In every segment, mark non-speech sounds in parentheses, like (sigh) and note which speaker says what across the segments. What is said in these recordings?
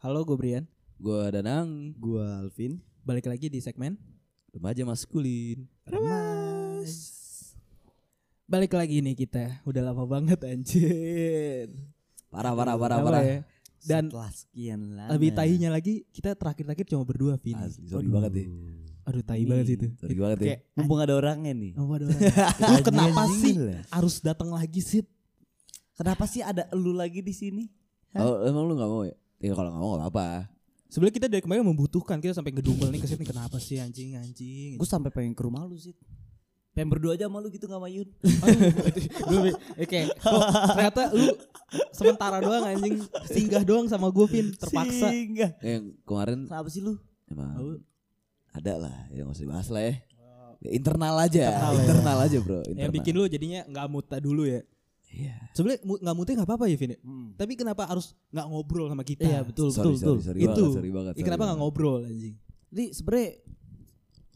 Speaker 1: Halo, gue Brian.
Speaker 2: Gua Danang,
Speaker 3: Gua Alvin,
Speaker 1: Balik lagi di segmen
Speaker 2: remaja maskulin.
Speaker 1: Remas. Balik lagi nih kita. Udah lama banget anjir.
Speaker 2: Parah parah parah
Speaker 1: Lama
Speaker 2: parah.
Speaker 1: ya. Dan
Speaker 3: setelah sekian lama.
Speaker 1: lebih tahinya lagi kita terakhir-terakhir cuma berdua Vin.
Speaker 2: Asli, sorry
Speaker 1: Aduh,
Speaker 2: banget ya.
Speaker 1: Aduh, tai banget sih itu.
Speaker 2: Sorry banget ya.
Speaker 3: Kayak mumpung ada orangnya nih.
Speaker 1: Oh, ada
Speaker 2: (laughs)
Speaker 1: orang. Lu kenapa
Speaker 3: Anjing
Speaker 1: sih
Speaker 3: lah.
Speaker 1: harus datang lagi sih?
Speaker 3: Kenapa sih ada elu lagi di sini?
Speaker 2: Oh, emang lu gak mau ya? Ya kalau gak mau gak apa-apa.
Speaker 1: Sebenarnya kita dari kemarin membutuhkan kita sampai ngedumel nih ke sini kenapa sih anjing anjing.
Speaker 3: Gue sampai pengen ke rumah lu sih. Pengen berdua aja sama lu gitu gak sama Yun.
Speaker 1: (laughs) Oke, Oh, ternyata lu sementara doang anjing singgah doang sama gue Vin terpaksa.
Speaker 3: Singgah.
Speaker 2: Eh, Yang kemarin
Speaker 3: Kenapa sih lu?
Speaker 2: emang
Speaker 1: Oh.
Speaker 2: ada lah, ya gak usah dibahas lah ya. Ya, internal aja, internal,
Speaker 1: Internal ya.
Speaker 2: aja bro. Internal.
Speaker 1: Yang bikin lu jadinya nggak muta dulu ya.
Speaker 2: Iya.
Speaker 1: Sebenarnya mu- nggak muta nggak apa-apa ya Vin. ya?
Speaker 3: Hmm.
Speaker 1: Tapi kenapa harus nggak ngobrol sama kita?
Speaker 3: Iya betul
Speaker 2: Sorry,
Speaker 3: betul betul.
Speaker 2: sorry, sorry,
Speaker 1: Itu.
Speaker 2: banget, sorry banget.
Speaker 1: Ih, kenapa nggak
Speaker 2: ngomong?
Speaker 1: ngobrol anjing?
Speaker 3: Jadi sebenernya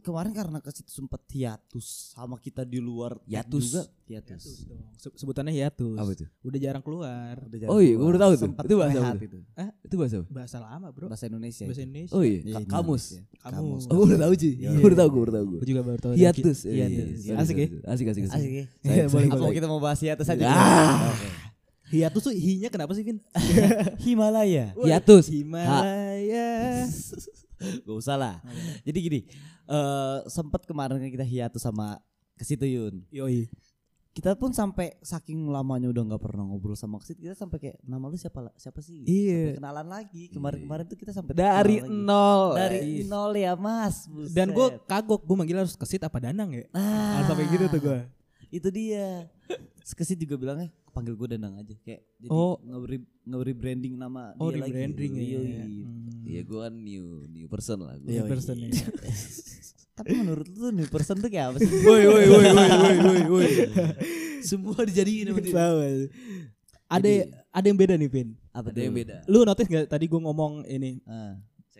Speaker 3: kemarin karena ke situ sempat hiatus sama kita di luar
Speaker 2: Hiatus.
Speaker 3: juga hiatus.
Speaker 1: Ya, Se- Sebutannya hiatus.
Speaker 2: Apa itu?
Speaker 1: Udah jarang keluar.
Speaker 3: Udah
Speaker 2: Oh iya, gue baru tahu tuh.
Speaker 3: Sempet
Speaker 2: Itu bahasa
Speaker 3: rehat
Speaker 2: apa
Speaker 3: itu.
Speaker 2: Itu bahasa apa?
Speaker 1: Bahasa lama bro.
Speaker 3: Bahasa Indonesia.
Speaker 1: Bahasa Indonesia.
Speaker 2: Oh iya, ka-
Speaker 3: Iya, Indonesia.
Speaker 2: kamus.
Speaker 1: Kamus.
Speaker 2: Oh, gue udah tahu sih.
Speaker 1: Iya,
Speaker 2: Gue udah tahu, gue udah tahu.
Speaker 1: Gue juga baru tahu.
Speaker 2: Hiatus. iya, iya,
Speaker 1: Hiatus.
Speaker 2: sorry,
Speaker 1: Asik ya.
Speaker 2: sorry, sorry. Asik, asik, asik.
Speaker 3: Asik ya.
Speaker 2: Saya-
Speaker 1: boleh,
Speaker 2: saya-
Speaker 3: Apa
Speaker 1: boleh.
Speaker 3: kita mau bahas hiatus aja?
Speaker 2: Ah.
Speaker 3: Oke.
Speaker 1: Hiatus tuh hinya kenapa sih Vin?
Speaker 3: Himalaya.
Speaker 2: Hiatus.
Speaker 1: Himalaya.
Speaker 3: Gak usah lah. Jadi gini, eh sempat kemarin kan kita hiatus sama ke situ Yun.
Speaker 1: Yoi.
Speaker 3: Kita pun sampai saking lamanya udah nggak pernah ngobrol sama Kesit, kita sampai kayak nama lu siapa la- siapa sih?
Speaker 1: Iya.
Speaker 3: Sampai kenalan lagi. Kemarin-kemarin tuh kita sampai
Speaker 2: Dari
Speaker 3: kenalan lagi.
Speaker 2: nol.
Speaker 3: dari
Speaker 2: Iya.
Speaker 3: nol ya, Mas. Buset.
Speaker 1: Dan gue kagok, gue manggil harus kesit apa danang ya?
Speaker 3: nah,
Speaker 1: Harus sampai gitu tuh gue.
Speaker 2: Ah.
Speaker 3: Itu dia. Kesit juga bilangnya panggil gue Danang aja kayak jadi
Speaker 1: Oh.
Speaker 3: nge-re- nge-rebranding nama
Speaker 1: Oh
Speaker 3: dia
Speaker 1: di
Speaker 3: lagi.
Speaker 1: branding ya.
Speaker 3: Yoi.
Speaker 1: Hmm.
Speaker 2: Iya gue kan new new person lah gue.
Speaker 1: New person
Speaker 2: (laughs)
Speaker 1: ya.
Speaker 3: Tapi menurut lu tuh new person tuh kayak apa
Speaker 1: (laughs)
Speaker 3: sih?
Speaker 2: Woi woi woi woi woi woi woi. Semua dijadiin sama dia.
Speaker 1: Sama. Ada ada yang beda nih Vin.
Speaker 3: Apa
Speaker 2: Ada yang beda.
Speaker 1: Lu notice gak tadi gue ngomong ini
Speaker 3: Ah,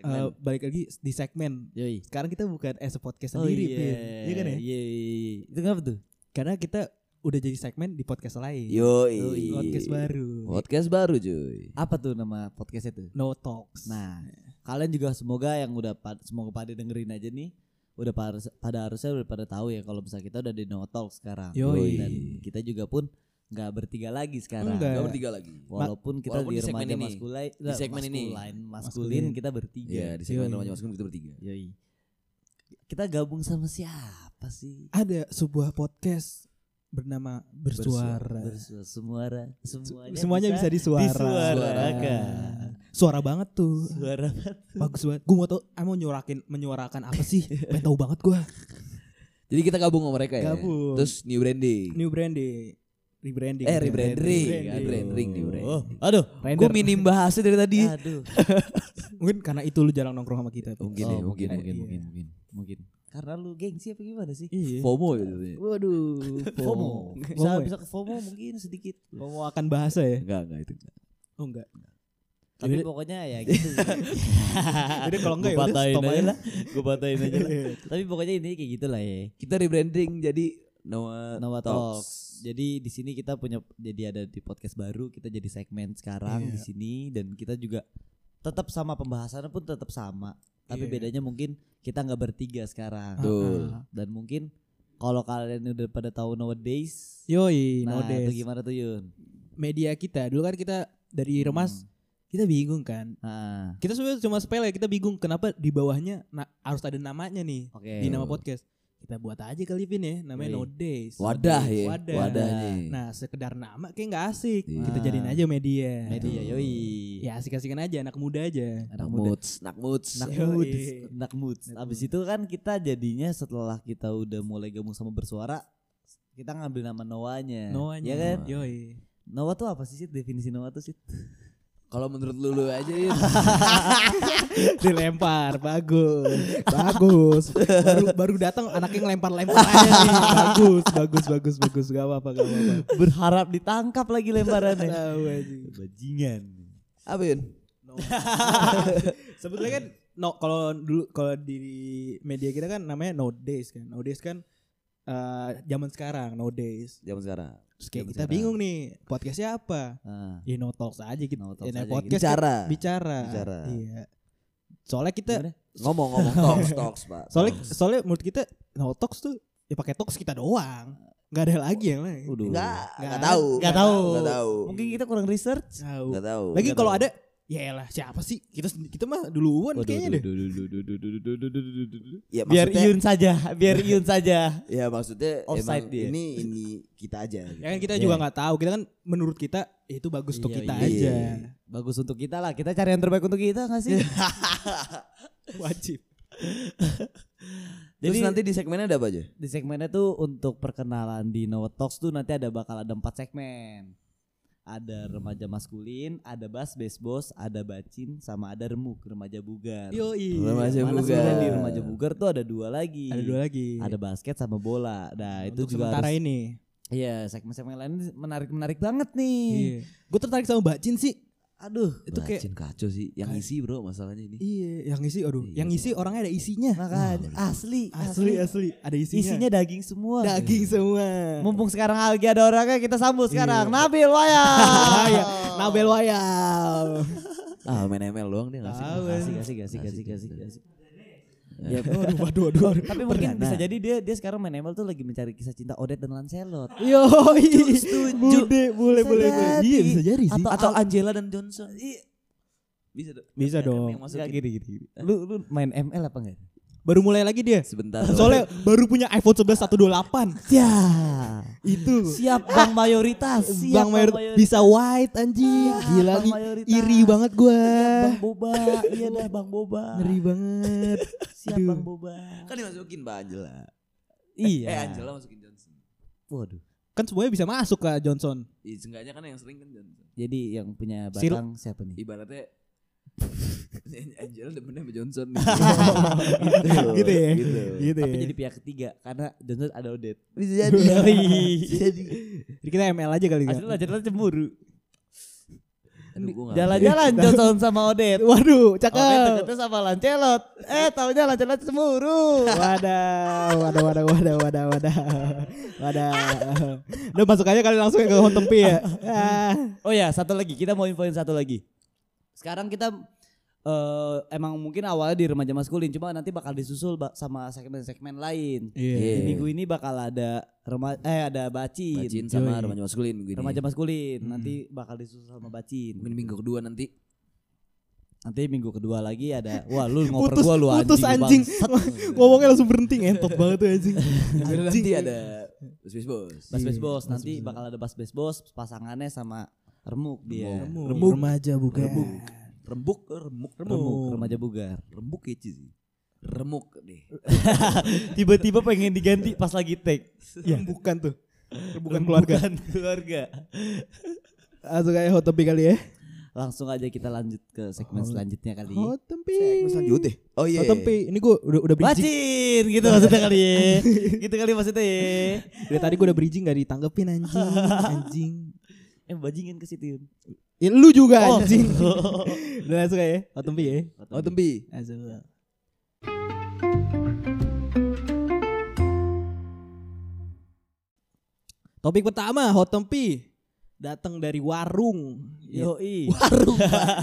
Speaker 1: eh, balik lagi di segmen.
Speaker 3: yoi.
Speaker 1: Sekarang kita bukan as a podcast
Speaker 3: Oh
Speaker 1: sendiri,
Speaker 3: iya.
Speaker 1: Vin. Iya kan ya?
Speaker 3: Iya, iya, iya. Itu kenapa tuh?
Speaker 1: Karena kita udah jadi segmen di podcast lain.
Speaker 2: Yoi.
Speaker 1: Podcast baru.
Speaker 2: Podcast baru cuy.
Speaker 3: Apa tuh nama podcastnya tuh?
Speaker 1: No Talks.
Speaker 3: Nah, kalian juga semoga yang udah pad- semoga pada dengerin aja nih udah pada, pada harusnya udah pada tahu ya kalau misalnya kita udah di no talk sekarang.
Speaker 1: Yoi.
Speaker 3: Dan kita juga pun nggak bertiga lagi sekarang.
Speaker 1: Enggak.
Speaker 2: Gak bertiga lagi.
Speaker 3: Walaupun kita
Speaker 2: Walaupun
Speaker 3: di
Speaker 2: di segmen
Speaker 3: remaja
Speaker 2: ini.
Speaker 3: maskulai,
Speaker 2: Di segmen ini.
Speaker 3: maskulin,
Speaker 1: Maskulin.
Speaker 3: maskulin kita bertiga.
Speaker 2: Iya di segmen
Speaker 1: Yoi.
Speaker 2: remaja maskulin kita bertiga.
Speaker 3: Yoi. Kita gabung sama siapa sih?
Speaker 1: Ada sebuah podcast bernama Bersuara.
Speaker 3: Bersuara, semuara, semuanya,
Speaker 1: Semuanya bisa, disuara.
Speaker 3: disuarakan.
Speaker 1: Suara banget tuh.
Speaker 3: Suara
Speaker 1: Bagus banget. Gue mau tau, ah, mau nyuarakin, menyuarakan apa
Speaker 3: (laughs)
Speaker 1: sih? Pengen tahu banget gue.
Speaker 2: Jadi kita gabung sama mereka ya.
Speaker 1: Gabung.
Speaker 2: Terus new branding.
Speaker 1: New branding. Rebranding.
Speaker 2: Eh rebranding,
Speaker 1: Rebranding.
Speaker 2: rebranding, new
Speaker 3: Oh,
Speaker 2: branding.
Speaker 3: aduh,
Speaker 2: Gue minim bahasnya dari tadi.
Speaker 3: aduh.
Speaker 1: (laughs) Mungkin karena itu lu jarang nongkrong sama kita. Pin.
Speaker 2: Mungkin
Speaker 3: Oh,
Speaker 2: ya, mungkin,
Speaker 1: mungkin,
Speaker 2: mungkin,
Speaker 1: iya.
Speaker 2: mungkin, mungkin.
Speaker 3: Mungkin karena lu gengsi apa gimana sih?
Speaker 1: Iya.
Speaker 2: FOMO ya jadinya.
Speaker 3: (laughs)
Speaker 1: Waduh,
Speaker 3: FOMO.
Speaker 1: FOMO
Speaker 3: Bisa
Speaker 1: ya?
Speaker 3: bisa ke FOMO mungkin sedikit.
Speaker 1: FOMO akan bahasa ya?
Speaker 2: Enggak, enggak itu. enggak.
Speaker 1: Oh enggak.
Speaker 3: Tapi
Speaker 1: Jadi-
Speaker 3: pokoknya ya gitu.
Speaker 1: (laughs) Jadi kalau enggak ya
Speaker 3: Gua
Speaker 1: udah
Speaker 3: patahin
Speaker 1: stop
Speaker 3: aja
Speaker 1: aja.
Speaker 3: lah. Gue patahin aja
Speaker 1: (laughs)
Speaker 3: lah. Tapi pokoknya intinya kayak gitulah ya.
Speaker 2: Kita rebranding jadi Noah,
Speaker 3: Nawa
Speaker 2: Nah, Talks.
Speaker 3: Talks. Jadi di sini kita punya jadi ada di podcast baru, kita jadi segmen sekarang
Speaker 1: Iya.
Speaker 3: di sini dan kita juga tetap sama pembahasannya pun tetap sama. Tapi
Speaker 1: Iya.
Speaker 3: bedanya mungkin kita nggak bertiga sekarang.
Speaker 2: Tuh.
Speaker 1: Ah, ah.
Speaker 3: Dan mungkin kalau kalian udah pada tahu nowadays,
Speaker 1: Yoi,
Speaker 3: nah
Speaker 1: Iya, nowadays.
Speaker 3: itu gimana tuh Yun?
Speaker 1: Media kita dulu kan kita dari remas kita bingung kan.
Speaker 3: Hmm. Ah,
Speaker 1: Kita sebenarnya cuma sepele, kita bingung kenapa di bawahnya na- harus ada namanya nih
Speaker 3: Oke.
Speaker 1: di nama podcast. Kita buat aja kali Vin ya, namanya
Speaker 3: Eh. Yoi.
Speaker 1: No Days.
Speaker 2: Wadah ya.
Speaker 1: Wadah.
Speaker 2: Wadahnya.
Speaker 3: Iya.
Speaker 1: Nah, sekedar nama kayak nggak asik.
Speaker 2: Iya.
Speaker 1: Kita jadiin aja media.
Speaker 3: Media Nah, Iya. yoi.
Speaker 1: Ya asik-asikan aja anak muda aja.
Speaker 3: Anak
Speaker 2: Nak
Speaker 3: muda.
Speaker 2: moods, nak moods.
Speaker 3: Nak
Speaker 1: Yoi.
Speaker 3: mood, nak mood.
Speaker 1: Nak
Speaker 3: Abis
Speaker 1: mood.
Speaker 3: itu kan kita jadinya setelah kita udah mulai gabung sama bersuara, kita ngambil nama Noanya.
Speaker 1: Noanya.
Speaker 3: Ya kan?
Speaker 1: Yoi. (laughs)
Speaker 3: Noah tuh apa sih Sid? Definisi Noah tuh Sid?
Speaker 2: Kalau menurut lu lu aja
Speaker 1: (laughs)
Speaker 2: Yun.
Speaker 1: dilempar bagus bagus baru baru datang anaknya ngelempar-lempar aja
Speaker 3: (laughs)
Speaker 1: nih bagus bagus bagus bagus gak apa-apa gak apa-apa
Speaker 3: (laughs) Berharap ditangkap lagi lemparannya.
Speaker 1: Tahu aja.
Speaker 3: Bajingan.
Speaker 2: Apa Yun?
Speaker 1: (laughs) sebetulnya kan no kalau dulu kalau di media kita kan namanya no days kan no days kan eh, zaman sekarang nowadays.
Speaker 4: Zaman sekarang.
Speaker 1: Terus kayak
Speaker 3: Zaman
Speaker 1: kita
Speaker 3: sekarang.
Speaker 1: bingung nih podcastnya apa?
Speaker 3: Ah,
Speaker 1: Ya no talks aja gitu.
Speaker 3: No Talks
Speaker 1: Ya, nah,
Speaker 3: aja gitu.
Speaker 1: podcast kan
Speaker 4: Bicara.
Speaker 1: bicara.
Speaker 4: Bicara.
Speaker 1: Iya. Soalnya kita
Speaker 3: Gimana?
Speaker 4: Ngomong ngomong talks talks pak.
Speaker 1: soalnya
Speaker 4: Talks.
Speaker 1: soalnya menurut kita no talks tuh ya pakai talks kita doang. Gak ada lagi yang lain.
Speaker 3: Waduh.
Speaker 4: Enggak,
Speaker 1: Nggak
Speaker 4: enggak tahu.
Speaker 1: Nggak tahu.
Speaker 4: Nggak tahu.
Speaker 3: Mungkin kita kurang research.
Speaker 1: Tahu.
Speaker 4: Enggak tahu.
Speaker 1: Lagi
Speaker 4: Nggak
Speaker 1: kalau
Speaker 4: tahu.
Speaker 1: ada ya elah siapa sih? Kita sendi- kita mah duluan kan kayaknya deh.
Speaker 3: waduh, waduh, waduh, waduh, waduh, waduh, waduh, waduh, waduh.
Speaker 4: ya
Speaker 3: Biar
Speaker 4: maksudnya-
Speaker 3: Iyun saja, biar Iyun saja.
Speaker 4: Ya maksudnya
Speaker 3: Offside
Speaker 4: emang
Speaker 3: dia.
Speaker 4: ini ini kita aja.
Speaker 1: (laughs)
Speaker 4: gitu.
Speaker 1: Ya kan kita
Speaker 3: Iya.
Speaker 1: juga nggak tahu. Kita kan menurut kita ya itu bagus untuk
Speaker 3: Iya,
Speaker 1: kita
Speaker 3: iya.
Speaker 1: aja.
Speaker 3: Bagus untuk kita lah. Kita cari yang terbaik untuk kita nggak sih?
Speaker 1: Wajib.
Speaker 4: Terus
Speaker 3: (laughs) Jadi-
Speaker 4: nanti di segmennya ada apa aja?
Speaker 3: di segmennya tuh untuk perkenalan di Noah Talks tuh nanti ada bakal ada empat segmen. Ada remaja maskulin, ada bas base boss, ada bacin, sama ada remuk remaja bugar.
Speaker 1: Yoi.
Speaker 4: Remaja
Speaker 1: Mana
Speaker 3: Mana
Speaker 1: sebenarnya
Speaker 4: bugar.
Speaker 3: sebenarnya di
Speaker 1: di rumah
Speaker 3: remaja bugar tuh ada dua lagi.
Speaker 1: Ada dua lagi.
Speaker 3: Ada basket sama bola.
Speaker 1: Iya.
Speaker 3: Nah itu
Speaker 1: Untuk
Speaker 3: juga
Speaker 1: sementara
Speaker 3: harus,
Speaker 1: ini.
Speaker 3: Iya segmen-segmen lain menarik-menarik banget nih.
Speaker 1: Gue Iya. tertarik sama Mbak Jin sih.
Speaker 3: Aduh
Speaker 1: Itu kayak
Speaker 4: Bacin kacau sih, yang
Speaker 1: Kayak-
Speaker 4: isi bro masalahnya ini.
Speaker 1: iya, yang isi aduh,
Speaker 4: Iya.
Speaker 1: yang isi orangnya ada isinya.
Speaker 3: makanya asli,
Speaker 1: Asli asli ada isinya.
Speaker 3: Isinya daging semua.
Speaker 1: daging Iya. semua.
Speaker 3: Mumpung sekarang lagi ada orangnya kita sambut sekarang. Nabil ya. Waya.
Speaker 1: Wayang, Nabel Wayang.
Speaker 4: Ah main ML doang dia nggak sih?
Speaker 1: Tahu.
Speaker 3: Kasih kasih kasih kasih kasih kasih. Ya,
Speaker 1: Waduh, waduh, waduh. waduh.
Speaker 3: tapi mungkin
Speaker 4: Perdana.
Speaker 3: bisa jadi dia dia sekarang main ML tuh lagi mencari kisah cinta Odet dan Lancelot.
Speaker 1: Yo,
Speaker 3: setuju.
Speaker 1: boleh, boleh,
Speaker 3: Bisa
Speaker 1: boleh.
Speaker 3: jadi.
Speaker 1: Iya, bisa jadi sih.
Speaker 3: Atau-
Speaker 4: Atau Angela dan Johnson. Bisa dong.
Speaker 1: Bisa
Speaker 4: Ada
Speaker 1: dong. gitu.
Speaker 4: yang masukin.
Speaker 3: Nggak, gini, gini, gini. Lu lu main ML apa enggak?
Speaker 1: Baru mulai lagi dia.
Speaker 4: Sebentar. dong.
Speaker 1: Soalnya baru punya iPhone 11 128.
Speaker 3: Ya.
Speaker 1: Itu.
Speaker 3: Siap Bang mayoritas. Siap Ah,
Speaker 1: Bang Mayor bisa white anjing. Gila
Speaker 3: Bang
Speaker 1: nih.
Speaker 3: Mayoritas.
Speaker 1: Iri banget gua.
Speaker 3: Bang Boba. Iya dah Bang Boba.
Speaker 1: Ngeri banget.
Speaker 3: Siap
Speaker 1: Aduh.
Speaker 3: Bang Boba.
Speaker 4: kan dimasukin Mbak Angela. Eh
Speaker 3: Iya.
Speaker 4: Angela masukin Johnson.
Speaker 3: Waduh.
Speaker 1: Kan semuanya bisa masuk ke Johnson.
Speaker 4: Ih, seenggaknya kan yang sering kan Johnson.
Speaker 3: Jadi yang punya
Speaker 1: Sil-
Speaker 3: batang siapa nih?
Speaker 4: Ibaratnya (laughs) Angela demennya sama
Speaker 2: (laughs)
Speaker 4: Johnson nih.
Speaker 1: Gitu ya.
Speaker 4: Gitu.
Speaker 1: Gitu
Speaker 3: Tapi
Speaker 1: ya.
Speaker 3: jadi pihak ketiga karena Johnson ada Odet.
Speaker 4: Bisa
Speaker 3: (laughs) Yoi.
Speaker 4: jadi.
Speaker 1: Jadi kita ML aja kali ya.
Speaker 3: Asli Lancelot cemburu.
Speaker 4: Aduh, gua nggak
Speaker 3: Jalan-jalan Johnson sama Odet.
Speaker 1: Waduh,
Speaker 3: Odet
Speaker 1: cakep.
Speaker 3: ternyata sama Lancelot. Eh, taunya Lancelot cemburu.
Speaker 1: Wadah, wadah, wadah, wadah, wadah, wadah, wadah. Udah masuk aja kali langsung ke home tempi ya. Ah.
Speaker 3: Oh ya, satu lagi kita mau infoin satu lagi. Sekarang kita eh, emang mungkin awalnya di remaja maskulin, cuma nanti bakal disusul ba- sama segmen-segmen lain.
Speaker 1: Iya.
Speaker 3: Di minggu ini bakal ada rema eh ada bacin,
Speaker 4: Bacin sama
Speaker 1: Yoi.
Speaker 4: remaja maskulin minggu ini.
Speaker 3: remaja maskulin. Nanti bakal disusul sama bacin.
Speaker 4: Mungkin minggu kedua
Speaker 2: (laughs)
Speaker 4: nanti.
Speaker 3: Nanti minggu kedua lagi ada. Wah, lu ngoper
Speaker 1: Putus,
Speaker 3: gua lu anjing.
Speaker 1: putus anjing. Ngomongnya langsung berhenti ngentot banget tuh anjing.
Speaker 4: Nanti ada Bos Bos Bos.
Speaker 3: Bas Bes
Speaker 1: Iya,
Speaker 3: Bos
Speaker 1: Bas
Speaker 3: nanti
Speaker 1: Bes Bos.
Speaker 3: bakal ada Bas Bes Bos pasangannya sama Iya. remuk dia.
Speaker 1: Remuk. Remaja bukan.
Speaker 4: Remuk. Rembuk, remuk,
Speaker 3: Remuk remaja bugar.
Speaker 4: Rembuk kece sih. Remuk deh.
Speaker 3: Tiba-tiba pengen diganti pas lagi take.
Speaker 1: Ya, bukan tuh. Bukan keluarga.
Speaker 3: Bukan keluarga.
Speaker 1: Langsung aja hot topic kali ya.
Speaker 3: Langsung aja kita lanjut ke
Speaker 1: Oh.
Speaker 3: segmen selanjutnya kali.
Speaker 1: Hot topic.
Speaker 4: deh. Oh iya.
Speaker 1: Hot topic. Ini gue udah udah bridging.
Speaker 3: Bacin gitu maksudnya kali ya. gitu kali maksudnya ya.
Speaker 1: Dari tadi gue udah bridging gak ditanggepin (laughs) anjing. Anjing.
Speaker 3: Eh bajingan ke situ.
Speaker 1: Ya, lu juga
Speaker 3: Oh.
Speaker 1: anjing.
Speaker 3: (laughs)
Speaker 1: udah langsung aja ya. Hot topic ya.
Speaker 4: Oh tempi.
Speaker 1: Langsung. Topik pertama hot tempi datang dari warung. (laughs) Ya,
Speaker 3: Yoi.
Speaker 4: Warung.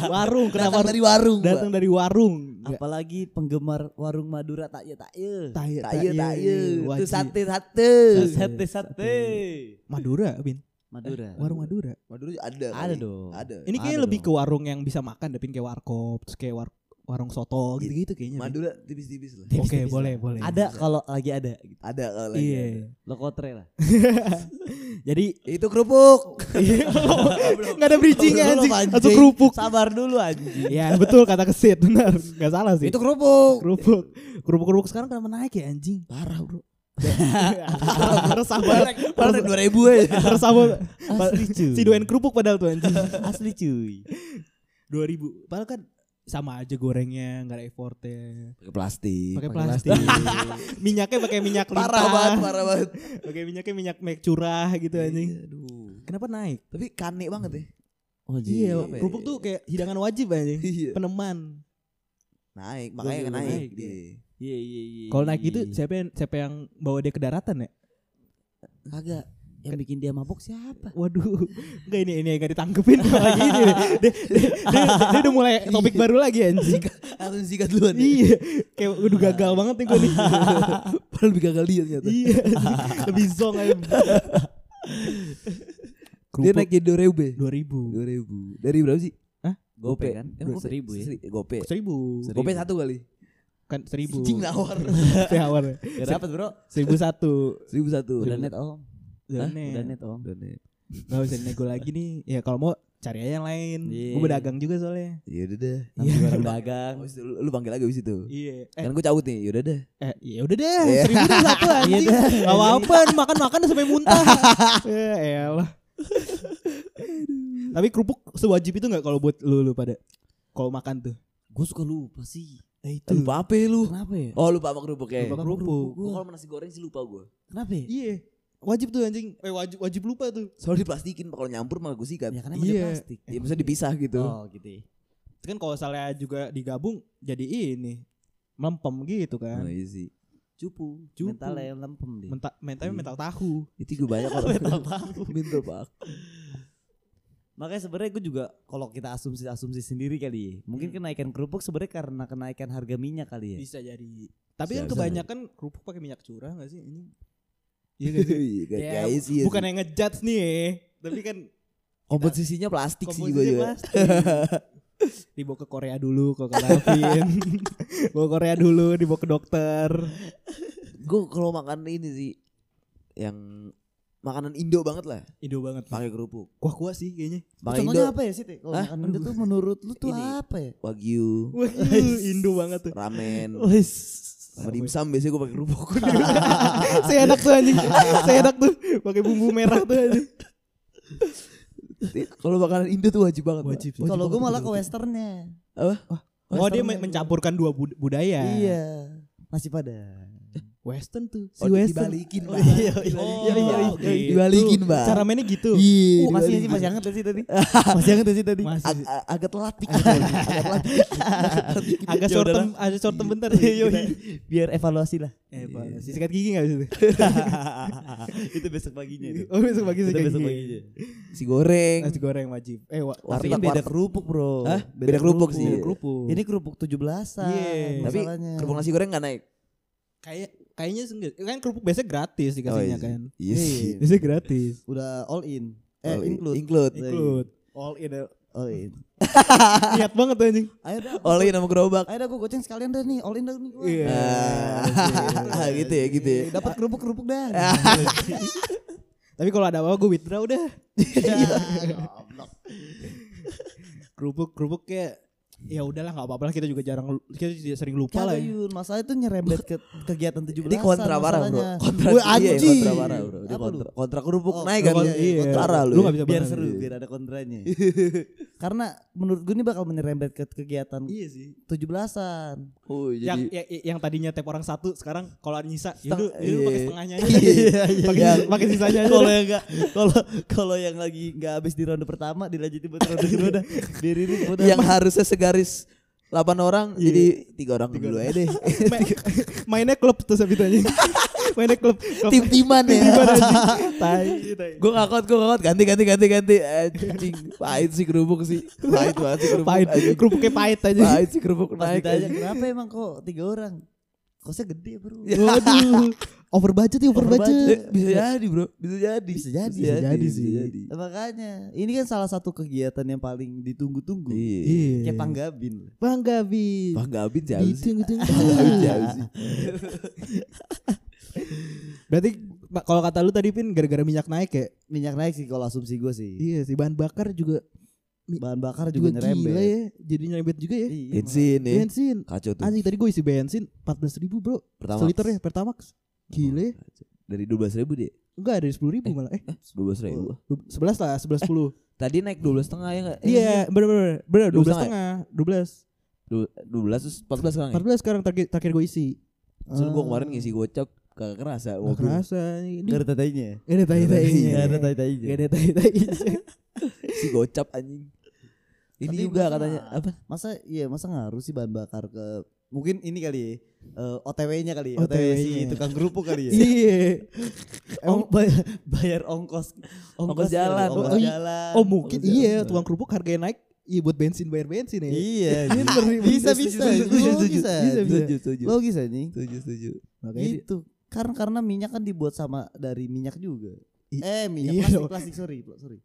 Speaker 1: warung
Speaker 4: Kenapa
Speaker 1: kenapa
Speaker 4: dari warung?
Speaker 1: datang dari warung?
Speaker 3: Apalagi penggemar warung Madura tak ya tak ya.
Speaker 1: Taye
Speaker 4: Tayu tayu. Itu
Speaker 1: iya, wajib.
Speaker 4: sate sate.
Speaker 3: Sate sate.
Speaker 1: Madura, Bin. Eh,
Speaker 3: Madura.
Speaker 1: Warung Madura.
Speaker 4: Madura ada.
Speaker 3: Ada
Speaker 4: kali.
Speaker 3: dong.
Speaker 4: Ada.
Speaker 1: Ini kayaknya
Speaker 3: Ada
Speaker 1: lebih
Speaker 3: dong.
Speaker 1: ke warung yang bisa makan, tapi kayak warkop, terus kayak war- warung soto
Speaker 2: Iya.
Speaker 1: gitu-gitu kayaknya. Bin.
Speaker 4: Iya. Madura tipis-tipis lah.
Speaker 1: Oke,
Speaker 3: tipis-tipis
Speaker 1: boleh, boleh.
Speaker 3: Ada kalau lagi ada gitu.
Speaker 4: Ada kalau lagi.
Speaker 1: Iya.
Speaker 4: ada.
Speaker 3: Lokotre (laughs) lah.
Speaker 1: Jadi
Speaker 4: Itu kerupuk.
Speaker 2: Iya.
Speaker 1: nggak ada bridgingnya
Speaker 3: Belum,
Speaker 1: anjing,
Speaker 3: anjing.
Speaker 1: atau kerupuk.
Speaker 3: Sabar dulu anjing.
Speaker 1: Iya betul kata kesit benar nggak salah sih.
Speaker 4: (laughs) Itu kerupuk.
Speaker 1: kerupuk kerupuk kerupuk sekarang kenapa naik ya (laughs) anjing
Speaker 4: Parah bro.
Speaker 1: resah banget
Speaker 4: Parah dua ribu aja.
Speaker 1: resah banget
Speaker 3: Asli cuy.
Speaker 1: si doain kerupuk padahal tuh anjing
Speaker 3: Asli cuy.
Speaker 1: dua ribu padahal kan sama aja gorengnya nggak ada effortnya
Speaker 4: Pakai plastik.
Speaker 1: pakai plastik minyaknya pakai minyak
Speaker 4: Parah banget,
Speaker 1: lintah
Speaker 4: parah
Speaker 2: (laughs)
Speaker 4: banget.
Speaker 1: pakai minyaknya minyak minyak curah gitu anjing
Speaker 4: Iya, Aduh.
Speaker 1: kenapa naik
Speaker 4: Tapi kane banget
Speaker 2: (laughs)
Speaker 4: ya.
Speaker 3: (laughs) Oh,
Speaker 1: iya
Speaker 4: Kenapa ya?
Speaker 1: kerupuk tuh kayak hidangan wajib anjing
Speaker 4: Iya.
Speaker 1: peneman
Speaker 4: Naik, makanya
Speaker 3: Gua juga
Speaker 4: naik.
Speaker 3: naik,
Speaker 4: dia.
Speaker 3: Iya iya iya.
Speaker 1: kalau naik
Speaker 3: iya.
Speaker 1: itu siapa yang siapa yang bawa dia ke daratan ya
Speaker 3: Kagak. Yang bikin dia mabok siapa?
Speaker 1: Waduh, enggak ini ini enggak ditangkepin malah gini. Dia, dia, dia, dia- dia udah mulai topik baru lagi anjing.
Speaker 2: Harus sikat duluan. ya. nih.
Speaker 1: iya, kayak udah gagal banget nih gue nih.
Speaker 2: (laughs) Padahal lebih gagal dia ternyata.
Speaker 1: iya, lebih zong aja.
Speaker 2: Dia naik jadi 2000.
Speaker 1: 2000.
Speaker 2: 2000. Dari berapa sih?
Speaker 3: Gope kan?
Speaker 2: Dua-
Speaker 3: Emang gope seribu ya?
Speaker 2: seri- Gope.
Speaker 1: 1000.
Speaker 2: Gope satu kali.
Speaker 1: Kan 1000.
Speaker 2: Cing nawar.
Speaker 1: Awal.
Speaker 3: Gak dapet bro.
Speaker 1: 1001.
Speaker 2: Seribu satu.
Speaker 3: Udah net om. Hah? Udah net om. Iya.
Speaker 2: Udah net.
Speaker 1: Gak bisa nego lagi nih. Ya kalau mau cari aja yang lain.
Speaker 3: Iya.
Speaker 1: Gue berdagang juga soalnya.
Speaker 2: Ya udah deh.
Speaker 3: Sama jualan dagang.
Speaker 2: Abis itu Lu, lu panggil lagi abis itu.
Speaker 1: Iya. Eh,
Speaker 2: Kan gue cabut nih. Yaudah deh.
Speaker 1: eh ya udah deh.
Speaker 2: Iya.
Speaker 1: Seribu deh satu anjing.
Speaker 3: Iya
Speaker 1: Gak apa-apa makan-makan sampai muntah. ya elah. Tapi kerupuk sewajib itu gak kalau buat lu, lu pada? Kalau makan tuh.
Speaker 3: Gue suka lupa sih.
Speaker 1: Eh
Speaker 2: Eh, Lupa apa ya lu?
Speaker 3: Kenapa ya?
Speaker 2: Oh lupa sama kerupuknya.
Speaker 1: Lupa
Speaker 3: kerupuk.
Speaker 2: Gua kalau sama nasi goreng sih lupa gue.
Speaker 3: Kenapa ya?
Speaker 1: Iya. Wajib tuh anjing. Eh wajib, wajib lupa tuh.
Speaker 2: Soalnya diplastikin kalau nyampur malah gue sikat.
Speaker 3: Ya
Speaker 2: Ya,
Speaker 3: karena emang dia
Speaker 1: Iya.
Speaker 3: plastik.
Speaker 2: maksudnya dipisah gitu.
Speaker 3: Oh gitu ya.
Speaker 1: Kan kalau misalnya juga digabung jadi ini. Melempem gitu
Speaker 2: Oh,
Speaker 1: kan.
Speaker 2: iya sih.
Speaker 3: Cupu.
Speaker 1: Cupu.
Speaker 3: Mentalnya lempem dia.
Speaker 1: Mental, mentalnya mental tahu.
Speaker 2: Itu gue
Speaker 1: (laughs)
Speaker 2: banyak kalau (laughs)
Speaker 3: Mental tahu.
Speaker 2: Mental pak.
Speaker 3: Makanya sebenarnya gue juga kalau kita asumsi-asumsi sendiri kali ya. Mungkin kenaikan kerupuk sebenarnya karena kenaikan harga minyak kali ya.
Speaker 1: Bisa jadi. Tapi
Speaker 2: Bisa,
Speaker 1: kan
Speaker 2: bisa.
Speaker 1: kebanyakan kerupuk pakai minyak curah gak sih ini? Iya gak sih?
Speaker 2: Iya,
Speaker 1: Ya,
Speaker 2: guys, iya
Speaker 1: bukan
Speaker 2: sih.
Speaker 1: yang ngejudge nih, tapi kan
Speaker 2: komposisinya plastik sih gue
Speaker 1: komposisi
Speaker 2: juga.
Speaker 1: pasti. dibawa ke Korea dulu ke Karafin. bawa ke Korea dulu, dibawa ke dokter.
Speaker 2: Gue kalau makan ini sih yang makanan Indo banget lah,
Speaker 1: Indo banget.
Speaker 2: pakai kerupuk.
Speaker 1: Kuah-kuah sih kayaknya.
Speaker 2: Pakai Indo,
Speaker 3: Contohnya apa ya sih? Ti? Kalau
Speaker 2: Hah?
Speaker 3: makan Indo tuh menurut lu tuh
Speaker 2: Ini.
Speaker 3: apa ya?
Speaker 2: wagyu,
Speaker 1: Wah, (laughs) Indo banget tuh.
Speaker 2: ramen,
Speaker 3: Wis.
Speaker 2: sama dimsum biasanya gue pakai
Speaker 1: (laughs)
Speaker 2: kerupuk.
Speaker 1: Saya enak tuh anjing. Saya enak tuh pakai bumbu merah tuh anjing.
Speaker 2: kalau makanan Indo tuh wajib banget. Pak.
Speaker 1: Wajib sih.
Speaker 3: Kalau gue
Speaker 1: banget
Speaker 3: malah
Speaker 1: tuh
Speaker 3: ke westernnya.
Speaker 1: Oh, dia
Speaker 3: Western
Speaker 1: men-
Speaker 3: ya.
Speaker 1: mencampurkan dua bud- budaya.
Speaker 3: Iya. Masih pada.
Speaker 1: Western tuh. Si
Speaker 2: Oh,
Speaker 1: Western.
Speaker 2: dibalikin,
Speaker 1: Oh,
Speaker 2: Pak.
Speaker 1: iya,
Speaker 2: Dibalikin,
Speaker 1: iya, iya,
Speaker 2: Pak.
Speaker 1: iya, iya.
Speaker 2: Dibalikin,
Speaker 1: Gitu.
Speaker 2: Pak.
Speaker 1: Cara mainnya gitu.
Speaker 2: Iya,
Speaker 3: Uh, masih masih
Speaker 2: dibalikin.
Speaker 3: masih hangat gak sih tadi? masih hangat gak sih tadi?
Speaker 1: Masih Ya
Speaker 2: Ag- ag- agak telat dikit, agak telat (laughs) dikit.
Speaker 1: agak
Speaker 3: Ya
Speaker 1: short
Speaker 3: udahlah.
Speaker 1: term, agak short term bentar.
Speaker 3: Iya,
Speaker 1: Iya,
Speaker 3: kita biar evaluasi lah.
Speaker 1: Eh, Pak, si sikat gigi enggak bisa tuh?
Speaker 3: itu besok paginya Iya, itu.
Speaker 1: Oh, besok pagi
Speaker 3: Itu
Speaker 1: sikat
Speaker 3: besok
Speaker 1: gigi.
Speaker 3: paginya.
Speaker 2: Si goreng.
Speaker 1: Nasi goreng wajib. Eh, wa-
Speaker 3: Tapi kan
Speaker 2: Warteg,
Speaker 3: beda
Speaker 2: warteg.
Speaker 3: kerupuk, Bro.
Speaker 2: Hah? Beda kerupuk sih.
Speaker 3: Iya.
Speaker 1: beda kerupuk.
Speaker 3: Ini kerupuk 17-an.
Speaker 1: Iya.
Speaker 2: Tapi
Speaker 3: masalahnya.
Speaker 2: kerupuk nasi goreng gak naik.
Speaker 1: kayak kayaknya sih enggak. Kan kerupuk biasanya gratis dikasihnya
Speaker 2: Oh, iya.
Speaker 1: kan.
Speaker 2: Iya sih.
Speaker 1: Biasanya gratis.
Speaker 3: udah all in. Eh,
Speaker 2: Oh,
Speaker 3: include.
Speaker 2: Include.
Speaker 1: Ikut. All in.
Speaker 3: All in.
Speaker 1: (laughs)
Speaker 3: Oh.
Speaker 1: Niat banget tuh, anjing.
Speaker 3: Ayo dah.
Speaker 2: All in sama Oh, gerobak.
Speaker 3: Ayo dah gue goceng sekalian dah nih, all in dah nih gua.
Speaker 1: Iya.
Speaker 2: Ah, (laughs) gitu ya, gitu ya.
Speaker 3: Iya, Dapat kerupuk-kerupuk dah.
Speaker 2: Ah.
Speaker 1: Tapi kalau ada apa-apa gue withdraw udah. Iya. (laughs)
Speaker 3: Goblok.
Speaker 1: Kerupuk kerupuk kayak ya udahlah nggak apa-apa lah kita juga jarang lu- kita juga sering lupa lah
Speaker 3: Kagak
Speaker 1: ya.
Speaker 3: Yun, masalahnya itu nyerempet ke kegiatan 17-an.
Speaker 2: Ini kontra parah bro.
Speaker 3: masalahnya.
Speaker 2: Kontra
Speaker 3: Wah,
Speaker 2: iya,
Speaker 3: anjing.
Speaker 2: kontra parah bro. Ini
Speaker 3: Apa lu?
Speaker 2: kontra, kontra kerupuk
Speaker 3: Oh,
Speaker 2: naik kan.
Speaker 1: Lu-
Speaker 2: Iya,
Speaker 1: iya.
Speaker 2: Kontra
Speaker 1: Lu
Speaker 2: lu. ya.
Speaker 1: nggak bisa
Speaker 3: biar
Speaker 1: banget.
Speaker 3: seru, biar ada
Speaker 2: (laughs)
Speaker 3: kontranya. Karena menurut gue ini bakal menyerempet ke kegiatan
Speaker 1: Iya sih.
Speaker 3: 17-an.
Speaker 2: Oh, jadi
Speaker 1: Yang, ya- ya- yang tadinya tep orang satu sekarang kalau ada nyisa ya
Speaker 2: Seteng-
Speaker 1: yaudah yaudah
Speaker 2: iya.
Speaker 1: pakai setengahnya aja.
Speaker 2: (laughs) Iya, iya,
Speaker 1: Pakai
Speaker 2: iya.
Speaker 1: pakai sisanya aja.
Speaker 3: Kalau
Speaker 1: deh.
Speaker 3: yang enggak (laughs)
Speaker 1: (laughs)
Speaker 3: kalau kalau yang lagi enggak habis di ronde pertama dilanjutin buat ronde kedua
Speaker 2: (laughs)
Speaker 3: dah. Biar ini udah
Speaker 2: yang harusnya segaris 8 orang jadi tiga orang dulu aja (laughs) deh.
Speaker 1: Ma- mainnya klub terus habis itu anjing. (laughs) mainnya klub. klub. (laughs) Gitu
Speaker 2: Tim timan ya.
Speaker 1: Tiba-tiba anjing. Tai, tai.
Speaker 2: Gue ngakot, gue ngakot, ganti, ganti, ganti, ganti. Anjing, pahit sih kerupuk sih. Pahit banget sih kerupuk.
Speaker 1: Pahit.
Speaker 2: anjing.
Speaker 1: Kerupuknya pahit aja.
Speaker 2: Pahit sih kerupuk
Speaker 3: pas
Speaker 2: naik.
Speaker 3: ditanya
Speaker 2: anjing.
Speaker 3: kenapa emang kok tiga orang? Kosnya gede, Bro.
Speaker 1: (laughs)
Speaker 2: Iya.
Speaker 1: Waduh. Over budget ya, over
Speaker 3: Over
Speaker 1: budget.
Speaker 3: budget.
Speaker 2: Eh, Bisa jadi bro, bisa jadi.
Speaker 3: Bisa jadi.
Speaker 1: Bisa jadi sih.
Speaker 3: Nah, Makanya ini kan salah satu kegiatan yang paling ditunggu-tunggu.
Speaker 2: Iya.
Speaker 1: Iya.
Speaker 3: Kayak panggabin.
Speaker 1: Bang Gabi.
Speaker 2: Bang Gabin jauh sih. (laughs)
Speaker 1: Ditung-tung.
Speaker 2: Bang Gabin jauh sih.
Speaker 1: Berarti Pak, kalau kata lu tadi Pin gara-gara minyak naik ya?
Speaker 3: Minyak naik sih kalau asumsi gue sih.
Speaker 1: Iya sih, bahan bakar juga
Speaker 3: Bahan bakar juga,
Speaker 1: juga, gila
Speaker 3: nyerempet.
Speaker 1: ya. Jadi nyerempet juga ya.
Speaker 3: Iya,
Speaker 2: Bensin nih,
Speaker 1: Bensin.
Speaker 2: kacau tuh.
Speaker 1: Anjing tadi gue isi bensin 14 ribu bro
Speaker 2: Pertama. Oh,
Speaker 1: Seliter ya Pertamax Gile
Speaker 2: Dari 12 ribu deh.
Speaker 1: Enggak dari 10 ribu malah Eh
Speaker 2: dua belas ribu.
Speaker 1: 11 lah 11
Speaker 3: (laughs)
Speaker 1: 10
Speaker 2: Tadi naik dua belas setengah ya nggak?
Speaker 1: Iya bener bener Bener 12
Speaker 2: 12
Speaker 1: setengah 12
Speaker 3: Iya.
Speaker 2: Dua belas terus empat belas sekarang.
Speaker 1: 14
Speaker 2: Ya?
Speaker 1: sekarang target terakhir gue isi
Speaker 2: Soalnya gue kemarin ngisi gocap kagak
Speaker 1: Gak
Speaker 2: kerasa. Mobil.
Speaker 1: kerasa Ini
Speaker 3: Gak ada tanya.
Speaker 1: Gak ada tai-tainya
Speaker 3: Gak ada
Speaker 1: Gak
Speaker 3: tanya.
Speaker 1: ada tai-tai
Speaker 2: Si gocap anjing. Ini
Speaker 3: Tapi
Speaker 2: juga
Speaker 3: masa- iya,
Speaker 2: katanya apa?
Speaker 3: Masa iya masa ngaruh sih bahan bakar ke mungkin ini kali ya, eh, OTW-nya kali ya, OTW,
Speaker 1: OTW-nya.
Speaker 3: si tukang kerupuk kali ya. (laughs)
Speaker 1: Iya.
Speaker 3: Om,
Speaker 1: Emang
Speaker 3: bayar, bayar ongkos
Speaker 2: Ongkos jalan.
Speaker 3: ongkos
Speaker 1: Oh, iya.
Speaker 3: jalan.
Speaker 1: oh mungkin
Speaker 3: Ongkos
Speaker 1: iya
Speaker 3: jalan.
Speaker 1: tukang kerupuk harganya naik iya buat bensin bayar bensin ya. (laughs)
Speaker 3: Iya.
Speaker 1: Bener, bener.
Speaker 3: bisa bisa.
Speaker 1: Setuju, setuju,
Speaker 3: Logis
Speaker 1: setuju,
Speaker 3: aja.
Speaker 1: setuju,
Speaker 2: setuju.
Speaker 3: Logis aja.
Speaker 2: Setuju, setuju.
Speaker 1: Makanya di-
Speaker 3: Gitu. Karena karena minyak kan dibuat sama dari minyak juga.
Speaker 1: I-
Speaker 3: eh minyak
Speaker 1: iya
Speaker 3: plastik,
Speaker 1: dong.
Speaker 3: plastik sorry pl- sorry.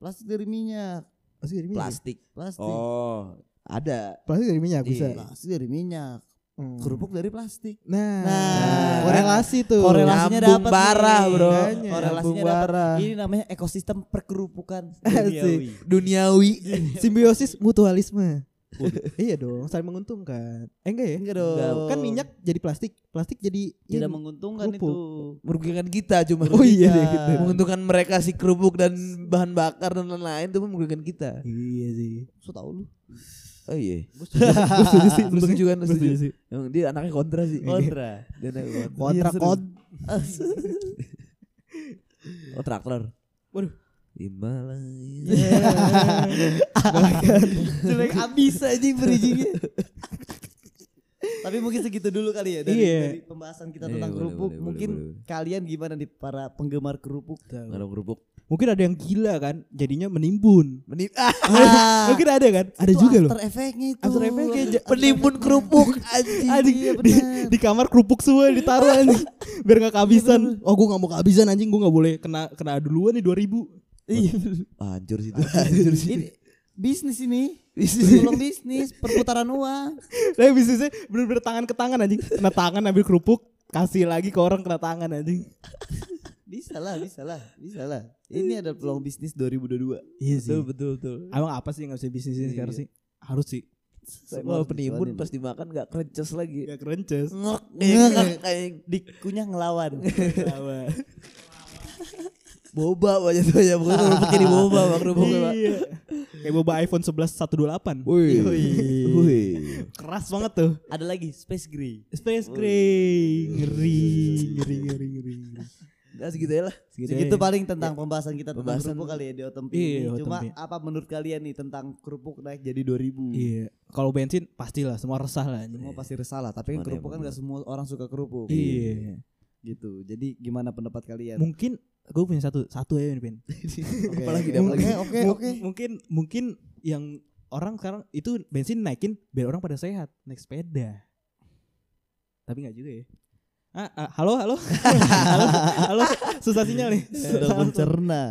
Speaker 3: Plastik dari minyak.
Speaker 1: pasti dari minyak.
Speaker 2: Iya, Plastik.
Speaker 3: Plastik.
Speaker 2: Oh, ada.
Speaker 1: Pasti dari minyak bisa.
Speaker 2: Iya.
Speaker 3: Plastik dari minyak.
Speaker 1: Hmm.
Speaker 3: Kerupuk dari plastik.
Speaker 1: Nah,
Speaker 3: Nah.
Speaker 1: korelasi tuh.
Speaker 2: Korelasi.
Speaker 3: Korelasinya
Speaker 2: Nyambung
Speaker 3: dapat.
Speaker 2: parah, bro.
Speaker 1: Makanya,
Speaker 3: Korelasinya
Speaker 1: nyambung
Speaker 3: dapat.
Speaker 1: parah.
Speaker 3: Ini namanya ekosistem perkerupukan.
Speaker 1: Asik.
Speaker 3: duniawi.
Speaker 2: Duniawi.
Speaker 1: Simbiosis mutualisme. iya dong, saling menguntungkan. Eh enggak ya?
Speaker 3: Enggak
Speaker 2: Enggak.
Speaker 3: dong.
Speaker 1: Kan minyak jadi plastik, plastik jadi ini.
Speaker 3: tidak menguntungkan
Speaker 1: kerupuk.
Speaker 3: itu.
Speaker 2: merugikan kita cuma.
Speaker 1: Oh iya,
Speaker 3: Merugikan.
Speaker 1: gitu.
Speaker 2: Menguntungkan mereka si kerupuk dan bahan bakar dan lain-lain itu merugikan kita.
Speaker 1: Iya sih.
Speaker 3: So tau lu.
Speaker 2: Oh iya.
Speaker 1: Gue setuju sih,
Speaker 2: Lu setuju kan? Lu
Speaker 1: Gue setuju
Speaker 2: setuju. Iya.
Speaker 1: sih.
Speaker 2: Emang dia anaknya kontra sih.
Speaker 3: Kontra.
Speaker 2: Dia anaknya kontra. Iya,
Speaker 1: Kontra
Speaker 3: serius.
Speaker 1: kod.
Speaker 2: Oh, traktor.
Speaker 1: Waduh.
Speaker 2: (laughs) Himalaya.
Speaker 3: (laughs) Jelek abis aja berijingnya. Tapi mungkin segitu dulu kali ya dari,
Speaker 1: Iya.
Speaker 3: dari pembahasan kita
Speaker 2: Iya,
Speaker 3: tentang
Speaker 2: boleh,
Speaker 3: kerupuk.
Speaker 2: boleh,
Speaker 3: mungkin
Speaker 2: boleh,
Speaker 3: kalian gimana nih para penggemar kerupuk?
Speaker 2: Kalau kerupuk.
Speaker 1: (laughs) Mungkin ada yang gila kan, jadinya menimbun.
Speaker 2: Menit. Ah,
Speaker 1: (laughs) Mungkin ada kan? Ada
Speaker 3: Itu
Speaker 1: juga loh.
Speaker 3: After effect-nya itu.
Speaker 1: After effect-nya
Speaker 3: (laughs)
Speaker 1: ja-
Speaker 2: penimbun kerupuk anjing.
Speaker 1: Anjing,
Speaker 3: iya,
Speaker 1: di, di kamar kerupuk semua ditaruh anjing biar nggak kehabisan. Oh gue nggak mau kehabisan anjing gue nggak boleh kena kena duluan nih 2000 Iya. (laughs)
Speaker 2: Ah, Hancur (laughs) sih itu. Hancur sih.
Speaker 3: Ini bisnis ini.
Speaker 2: Bisnis.
Speaker 3: Tolong bisnis, perputaran uang.
Speaker 1: Tapi bisnisnya bener-bener tangan ke tangan anjing. Kena tangan ambil kerupuk kasih lagi ke orang kena tangan anjing.
Speaker 3: Bisa lah, bisa lah, bisa lah. Ini adalah peluang bisnis 2022.
Speaker 1: Iya
Speaker 2: Betul, betul, betul.
Speaker 1: Emang apa sih yang nggak bisa bisnisin sekarang
Speaker 2: Iya.
Speaker 1: sih? Harus sih.
Speaker 2: Semua
Speaker 3: harus
Speaker 2: penimbun
Speaker 3: dicuanin.
Speaker 2: pas dimakan gak krences lagi.
Speaker 1: Gak kerences. (laughs)
Speaker 2: Ngok,
Speaker 3: Ngek.
Speaker 2: ngek, anjing.
Speaker 3: Dikunyah (laughs) ngelawan.
Speaker 2: Boba aja tuh ya, (laughs) pokoknya kerupuk jadi boba, Bang kerupuk. Pak.
Speaker 1: Iya. Kayak boba iPhone 11 128.
Speaker 2: Wih. Wih.
Speaker 1: Keras banget tuh.
Speaker 3: Ada lagi Space Gray.
Speaker 1: Space Gray. Ngeri, ngeri, ngeri, ngeri. ngeri.
Speaker 2: Nah, segitu ya lah.
Speaker 3: Segitu paling tentang pembahasan kita tentang
Speaker 2: Pembahasan-
Speaker 3: kerupuk kali ya di Otempi.
Speaker 1: Iya,
Speaker 3: ini. Cuma
Speaker 1: Otempi.
Speaker 3: apa menurut kalian nih tentang kerupuk naik jadi 2000?
Speaker 1: Iya. Kalau bensin pastilah semua resah lah. anjing.
Speaker 3: Semua pasti salah, tapi kan
Speaker 2: Mana
Speaker 3: kerupuk kan
Speaker 2: bener.
Speaker 3: gak semua orang suka kerupuk.
Speaker 1: Iya.
Speaker 3: Gitu. Jadi gimana pendapat kalian?
Speaker 1: Mungkin gue punya satu satu ya ini, Pin.
Speaker 3: Oke.
Speaker 2: Apalagi,
Speaker 3: Oke,
Speaker 2: apalagi.
Speaker 3: Oke,
Speaker 1: Mu-
Speaker 3: oke.
Speaker 1: Mungkin mungkin yang orang sekarang itu bensin naikin biar orang pada sehat naik sepeda. Tapi nggak juga ya. Ah, ah, halo, halo. (laughs) halo, halo. Susah sinyal nih.
Speaker 3: Sudah mencerna.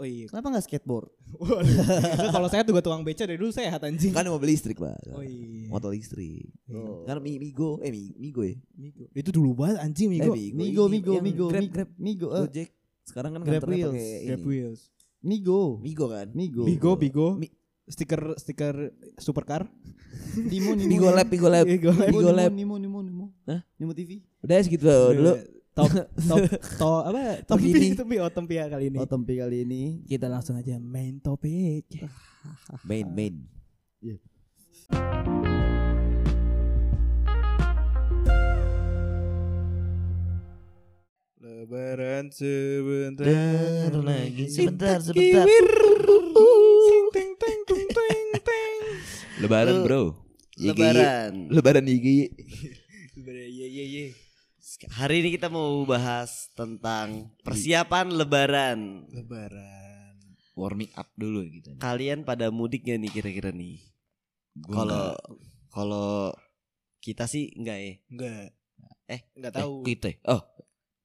Speaker 1: Oh iya.
Speaker 3: Kenapa gak skateboard?
Speaker 1: Waduh. Nah, Kalau saya tuh gua tukang beca dari dulu sehat anjing.
Speaker 2: (laughs) Kan mobil listrik, Pak.
Speaker 1: Oh iya.
Speaker 2: Motor listrik.
Speaker 3: Oh.
Speaker 2: Kan Mi- Migo, eh Mi- Migo ya.
Speaker 1: Migo. Itu dulu banget anjing Migo.
Speaker 2: Eh,
Speaker 3: Migo,
Speaker 2: ini
Speaker 3: Migo,
Speaker 2: yang
Speaker 3: Migo,
Speaker 2: Grab,
Speaker 3: Migo,
Speaker 2: Grab,
Speaker 3: Migo, eh,
Speaker 2: Gojek. Sekarang kan
Speaker 3: Grab
Speaker 2: kantornya
Speaker 3: Wheels.
Speaker 2: pakai
Speaker 1: Grab
Speaker 2: ini.
Speaker 1: Wheels.
Speaker 3: Migo,
Speaker 2: Migo kan?
Speaker 3: Migo,
Speaker 1: Bigo, Bigo.
Speaker 2: Mi-
Speaker 1: Stiker stiker supercar.
Speaker 3: (laughs) Nimo, Nimo,
Speaker 2: Migo Lab, Migo
Speaker 1: (laughs)
Speaker 2: Lab.
Speaker 1: Bigo.
Speaker 2: Bigo
Speaker 3: Nimo,
Speaker 2: Lab.
Speaker 3: Nimo, Nimo, Nimo,
Speaker 2: Hah?
Speaker 3: Nimo TV,
Speaker 2: Udah segitu dulu.
Speaker 1: Top top
Speaker 2: (laughs)
Speaker 1: top apa? Tempi
Speaker 2: Begini.
Speaker 1: tempi oh tempi ya kali ini.
Speaker 3: Otempi kali ini.
Speaker 1: Kita langsung aja main topik.
Speaker 2: Main, main.
Speaker 1: Lebaran sebentar lagi.
Speaker 2: Sebentar, sebentar. Lebaran, Bro.
Speaker 5: Lebaran.
Speaker 2: Lebaran Yigi.
Speaker 5: Hari ini kita mau bahas tentang persiapan Lebaran.
Speaker 1: Lebaran.
Speaker 2: Warming up dulu gitu.
Speaker 5: Kalian pada mudik gak nih kira-kira nih? Kalau kalau kita sih enggak ya.
Speaker 1: Enggak.
Speaker 5: Eh,
Speaker 1: enggak
Speaker 2: tahu. Kita. Oh.